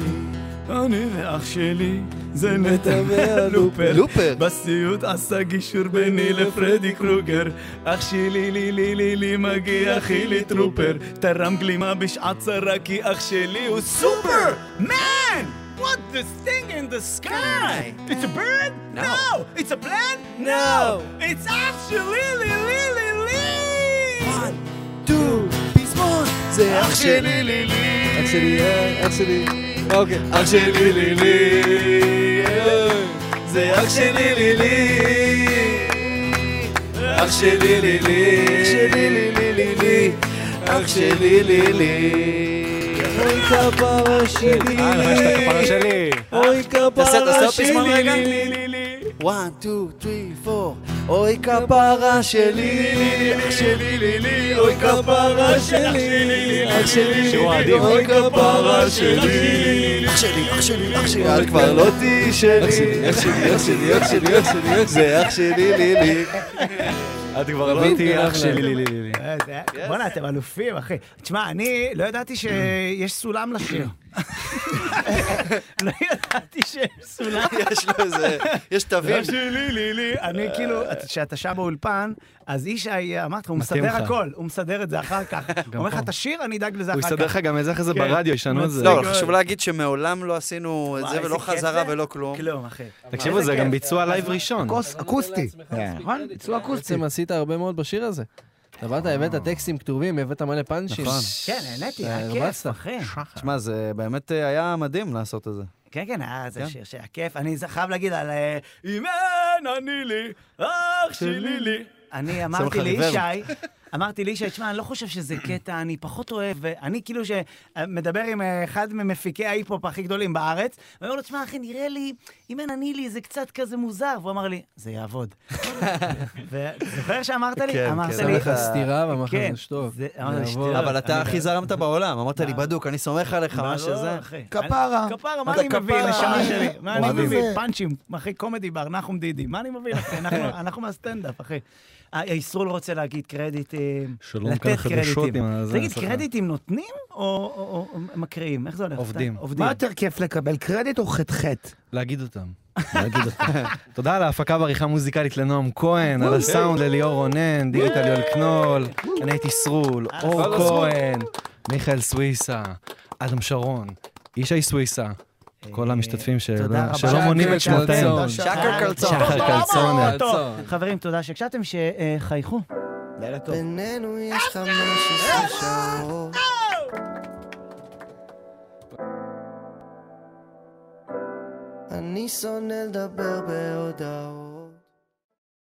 [SPEAKER 1] אני ואח שלי, זה נטע והלופר.
[SPEAKER 9] לופר.
[SPEAKER 1] בסיוט עשה גישור ביני לפרדי קרוגר. אח שלי, לי, לי, לי, לי, מגיע חילי טרופר. תרם גלימה בשעת צרה, כי אח שלי הוא סופר! מן! What this thing in the sky? It's a bird? No. It's a plant? No. It's actually li li li li.
[SPEAKER 9] דו, פזמון, זה אח שלי לילי. אח שלי, אה, אח שלי. אוקיי. אח שלי לילי. אה, זה אח שלי לילי. אח שלי לילי. אח שלי לילי לילי. אח שלי אה, לילי. אוי כפרה שלי.
[SPEAKER 2] שלי.
[SPEAKER 9] אוי כפרה שלי.
[SPEAKER 1] Li li li.
[SPEAKER 9] 1, 2, 3, 4 אוי כפרה שלי, אח שלי לילי, אוי כפרה שלי, אח שלי לילי, אוי כפרה שלי, אח שלי, אח שלי, אח שלי, את כבר לא תהיי שלי, אח שלי, אח שלי, אח שלי, אח שלי, זה אח שלי לילי.
[SPEAKER 2] את כבר לא תהיי אח שלי, לי, לי, לי, לי.
[SPEAKER 1] אה, זה- בואנה, אתם אלופים, אחי. תשמע, אני לא ידעתי שיש סולם לשיר. לא ידעתי שיש סולם.
[SPEAKER 9] יש לו איזה, יש תווים.
[SPEAKER 1] לא,
[SPEAKER 9] אה.
[SPEAKER 1] שלי, לי, לי. אני כאילו, כשאתה שם באולפן, אז ישי אמר לך, הוא
[SPEAKER 2] מתאים
[SPEAKER 1] מסדר
[SPEAKER 2] לך.
[SPEAKER 1] הכל, הוא מסדר את זה אחר כך. הוא אומר לך, תשיר, אני אדאג לזה
[SPEAKER 2] הוא
[SPEAKER 1] אחר כך.
[SPEAKER 2] יסדר לך גם את זה אחרי זה
[SPEAKER 1] כן.
[SPEAKER 2] ברדיו, ישנו את זה.
[SPEAKER 9] לא, אבל חשוב להגיד שמעולם לא עשינו את
[SPEAKER 1] וואי,
[SPEAKER 9] זה
[SPEAKER 1] איזה
[SPEAKER 9] ולא
[SPEAKER 1] כיף
[SPEAKER 9] חזרה
[SPEAKER 1] זה.
[SPEAKER 9] ולא כלום.
[SPEAKER 1] כלום, אחי.
[SPEAKER 2] תקשיבו, זה גם ביצוע לייב ראשון. כן.
[SPEAKER 11] כוס אקוסטי. נכון? ביצוע אקוסטי.
[SPEAKER 8] בעצם עשית הרבה מאוד בשיר הזה. אתה באת, הבאת טקסטים כתובים, הבאת מלא פאנצ'ים.
[SPEAKER 9] נכון.
[SPEAKER 1] כן, נהניתי, היה
[SPEAKER 8] אה,
[SPEAKER 1] כיף,
[SPEAKER 8] הרבצת.
[SPEAKER 1] אחי.
[SPEAKER 9] תשמע, זה באמת אה, היה מדהים לעשות את זה.
[SPEAKER 1] כן, כן, היה זה
[SPEAKER 9] כן.
[SPEAKER 1] שיר שהיה כיף. אני זה- חייב להגיד על... אה, אימן אני לי, אח שלי לי. אני
[SPEAKER 9] לך
[SPEAKER 1] אמרתי
[SPEAKER 9] ריברב.
[SPEAKER 1] לישי, אמרתי לישי, תשמע, אני לא חושב שזה קטע, אני פחות אוהב, ואני כאילו שמדבר עם אה, אחד ממפיקי ההיפ-הופ הכי גדולים בארץ, ואני אומר לו, תשמע, אחי, נראה לי, אם אין אני לי, זה קצת כזה מוזר, והוא אמר לי, זה יעבוד. וזוכר שאמרת
[SPEAKER 7] כן.
[SPEAKER 1] לי? אמרת לי...
[SPEAKER 2] לך סטירה ואמרת
[SPEAKER 1] כן,
[SPEAKER 2] לך זה טוב.
[SPEAKER 1] זה- אמרת לי, "שטויות".
[SPEAKER 7] אבל אתה
[SPEAKER 1] אני-
[SPEAKER 7] הכי זרמת בעולם, אמרת לי בדוק, אני סומך עליך,
[SPEAKER 1] מה
[SPEAKER 7] מה
[SPEAKER 1] לא,
[SPEAKER 7] שזה.
[SPEAKER 1] אחי. כפרה. כפרה, מה
[SPEAKER 7] אתה
[SPEAKER 1] אני מביא?
[SPEAKER 7] כפרה?
[SPEAKER 1] נשמה שלי. מה אני
[SPEAKER 7] אוהבים.
[SPEAKER 1] מביא? פאנצ'ים. אחי, קומדי בר, נחום דידי. מה אני מביא? אחי? אנחנו- אנחנו מהסטנדאפ, אחי. אה, ישרול רוצה להגיד קרדיטים.
[SPEAKER 2] שלום,
[SPEAKER 1] לתת
[SPEAKER 2] כאן חדשות
[SPEAKER 1] קרדיטים.
[SPEAKER 2] עם הזה,
[SPEAKER 1] תגיד,
[SPEAKER 2] סליחה.
[SPEAKER 1] קרדיטים נותנים או- או או מקריאים? איך זה הולך?
[SPEAKER 2] עובדים.
[SPEAKER 1] אתה- עובדים.
[SPEAKER 2] מה יותר
[SPEAKER 9] כיף לקבל קרדיט או חטחט?
[SPEAKER 2] להגיד אותם. להגיד אותם. תודה על ההפקה ועריכה מוזיקלית לנועם כהן, על הסאונד לליאור רונן, דיגיטל יואל קנול, אני הייתי אה, סרול, אור
[SPEAKER 12] אבל סרול.
[SPEAKER 2] כהן, מיכאל סוויסה, אדם שרון, ישי סוויסה. כל המשתתפים שלא
[SPEAKER 1] תודה רבה.
[SPEAKER 2] שלא מונים את שמותיהם. שקר קלצון.
[SPEAKER 1] חברים, תודה שהקשבתם, שחייכו. לילה טוב.
[SPEAKER 13] בינינו יש חמש עשרה שעות. אני שונא לדבר בהודעות.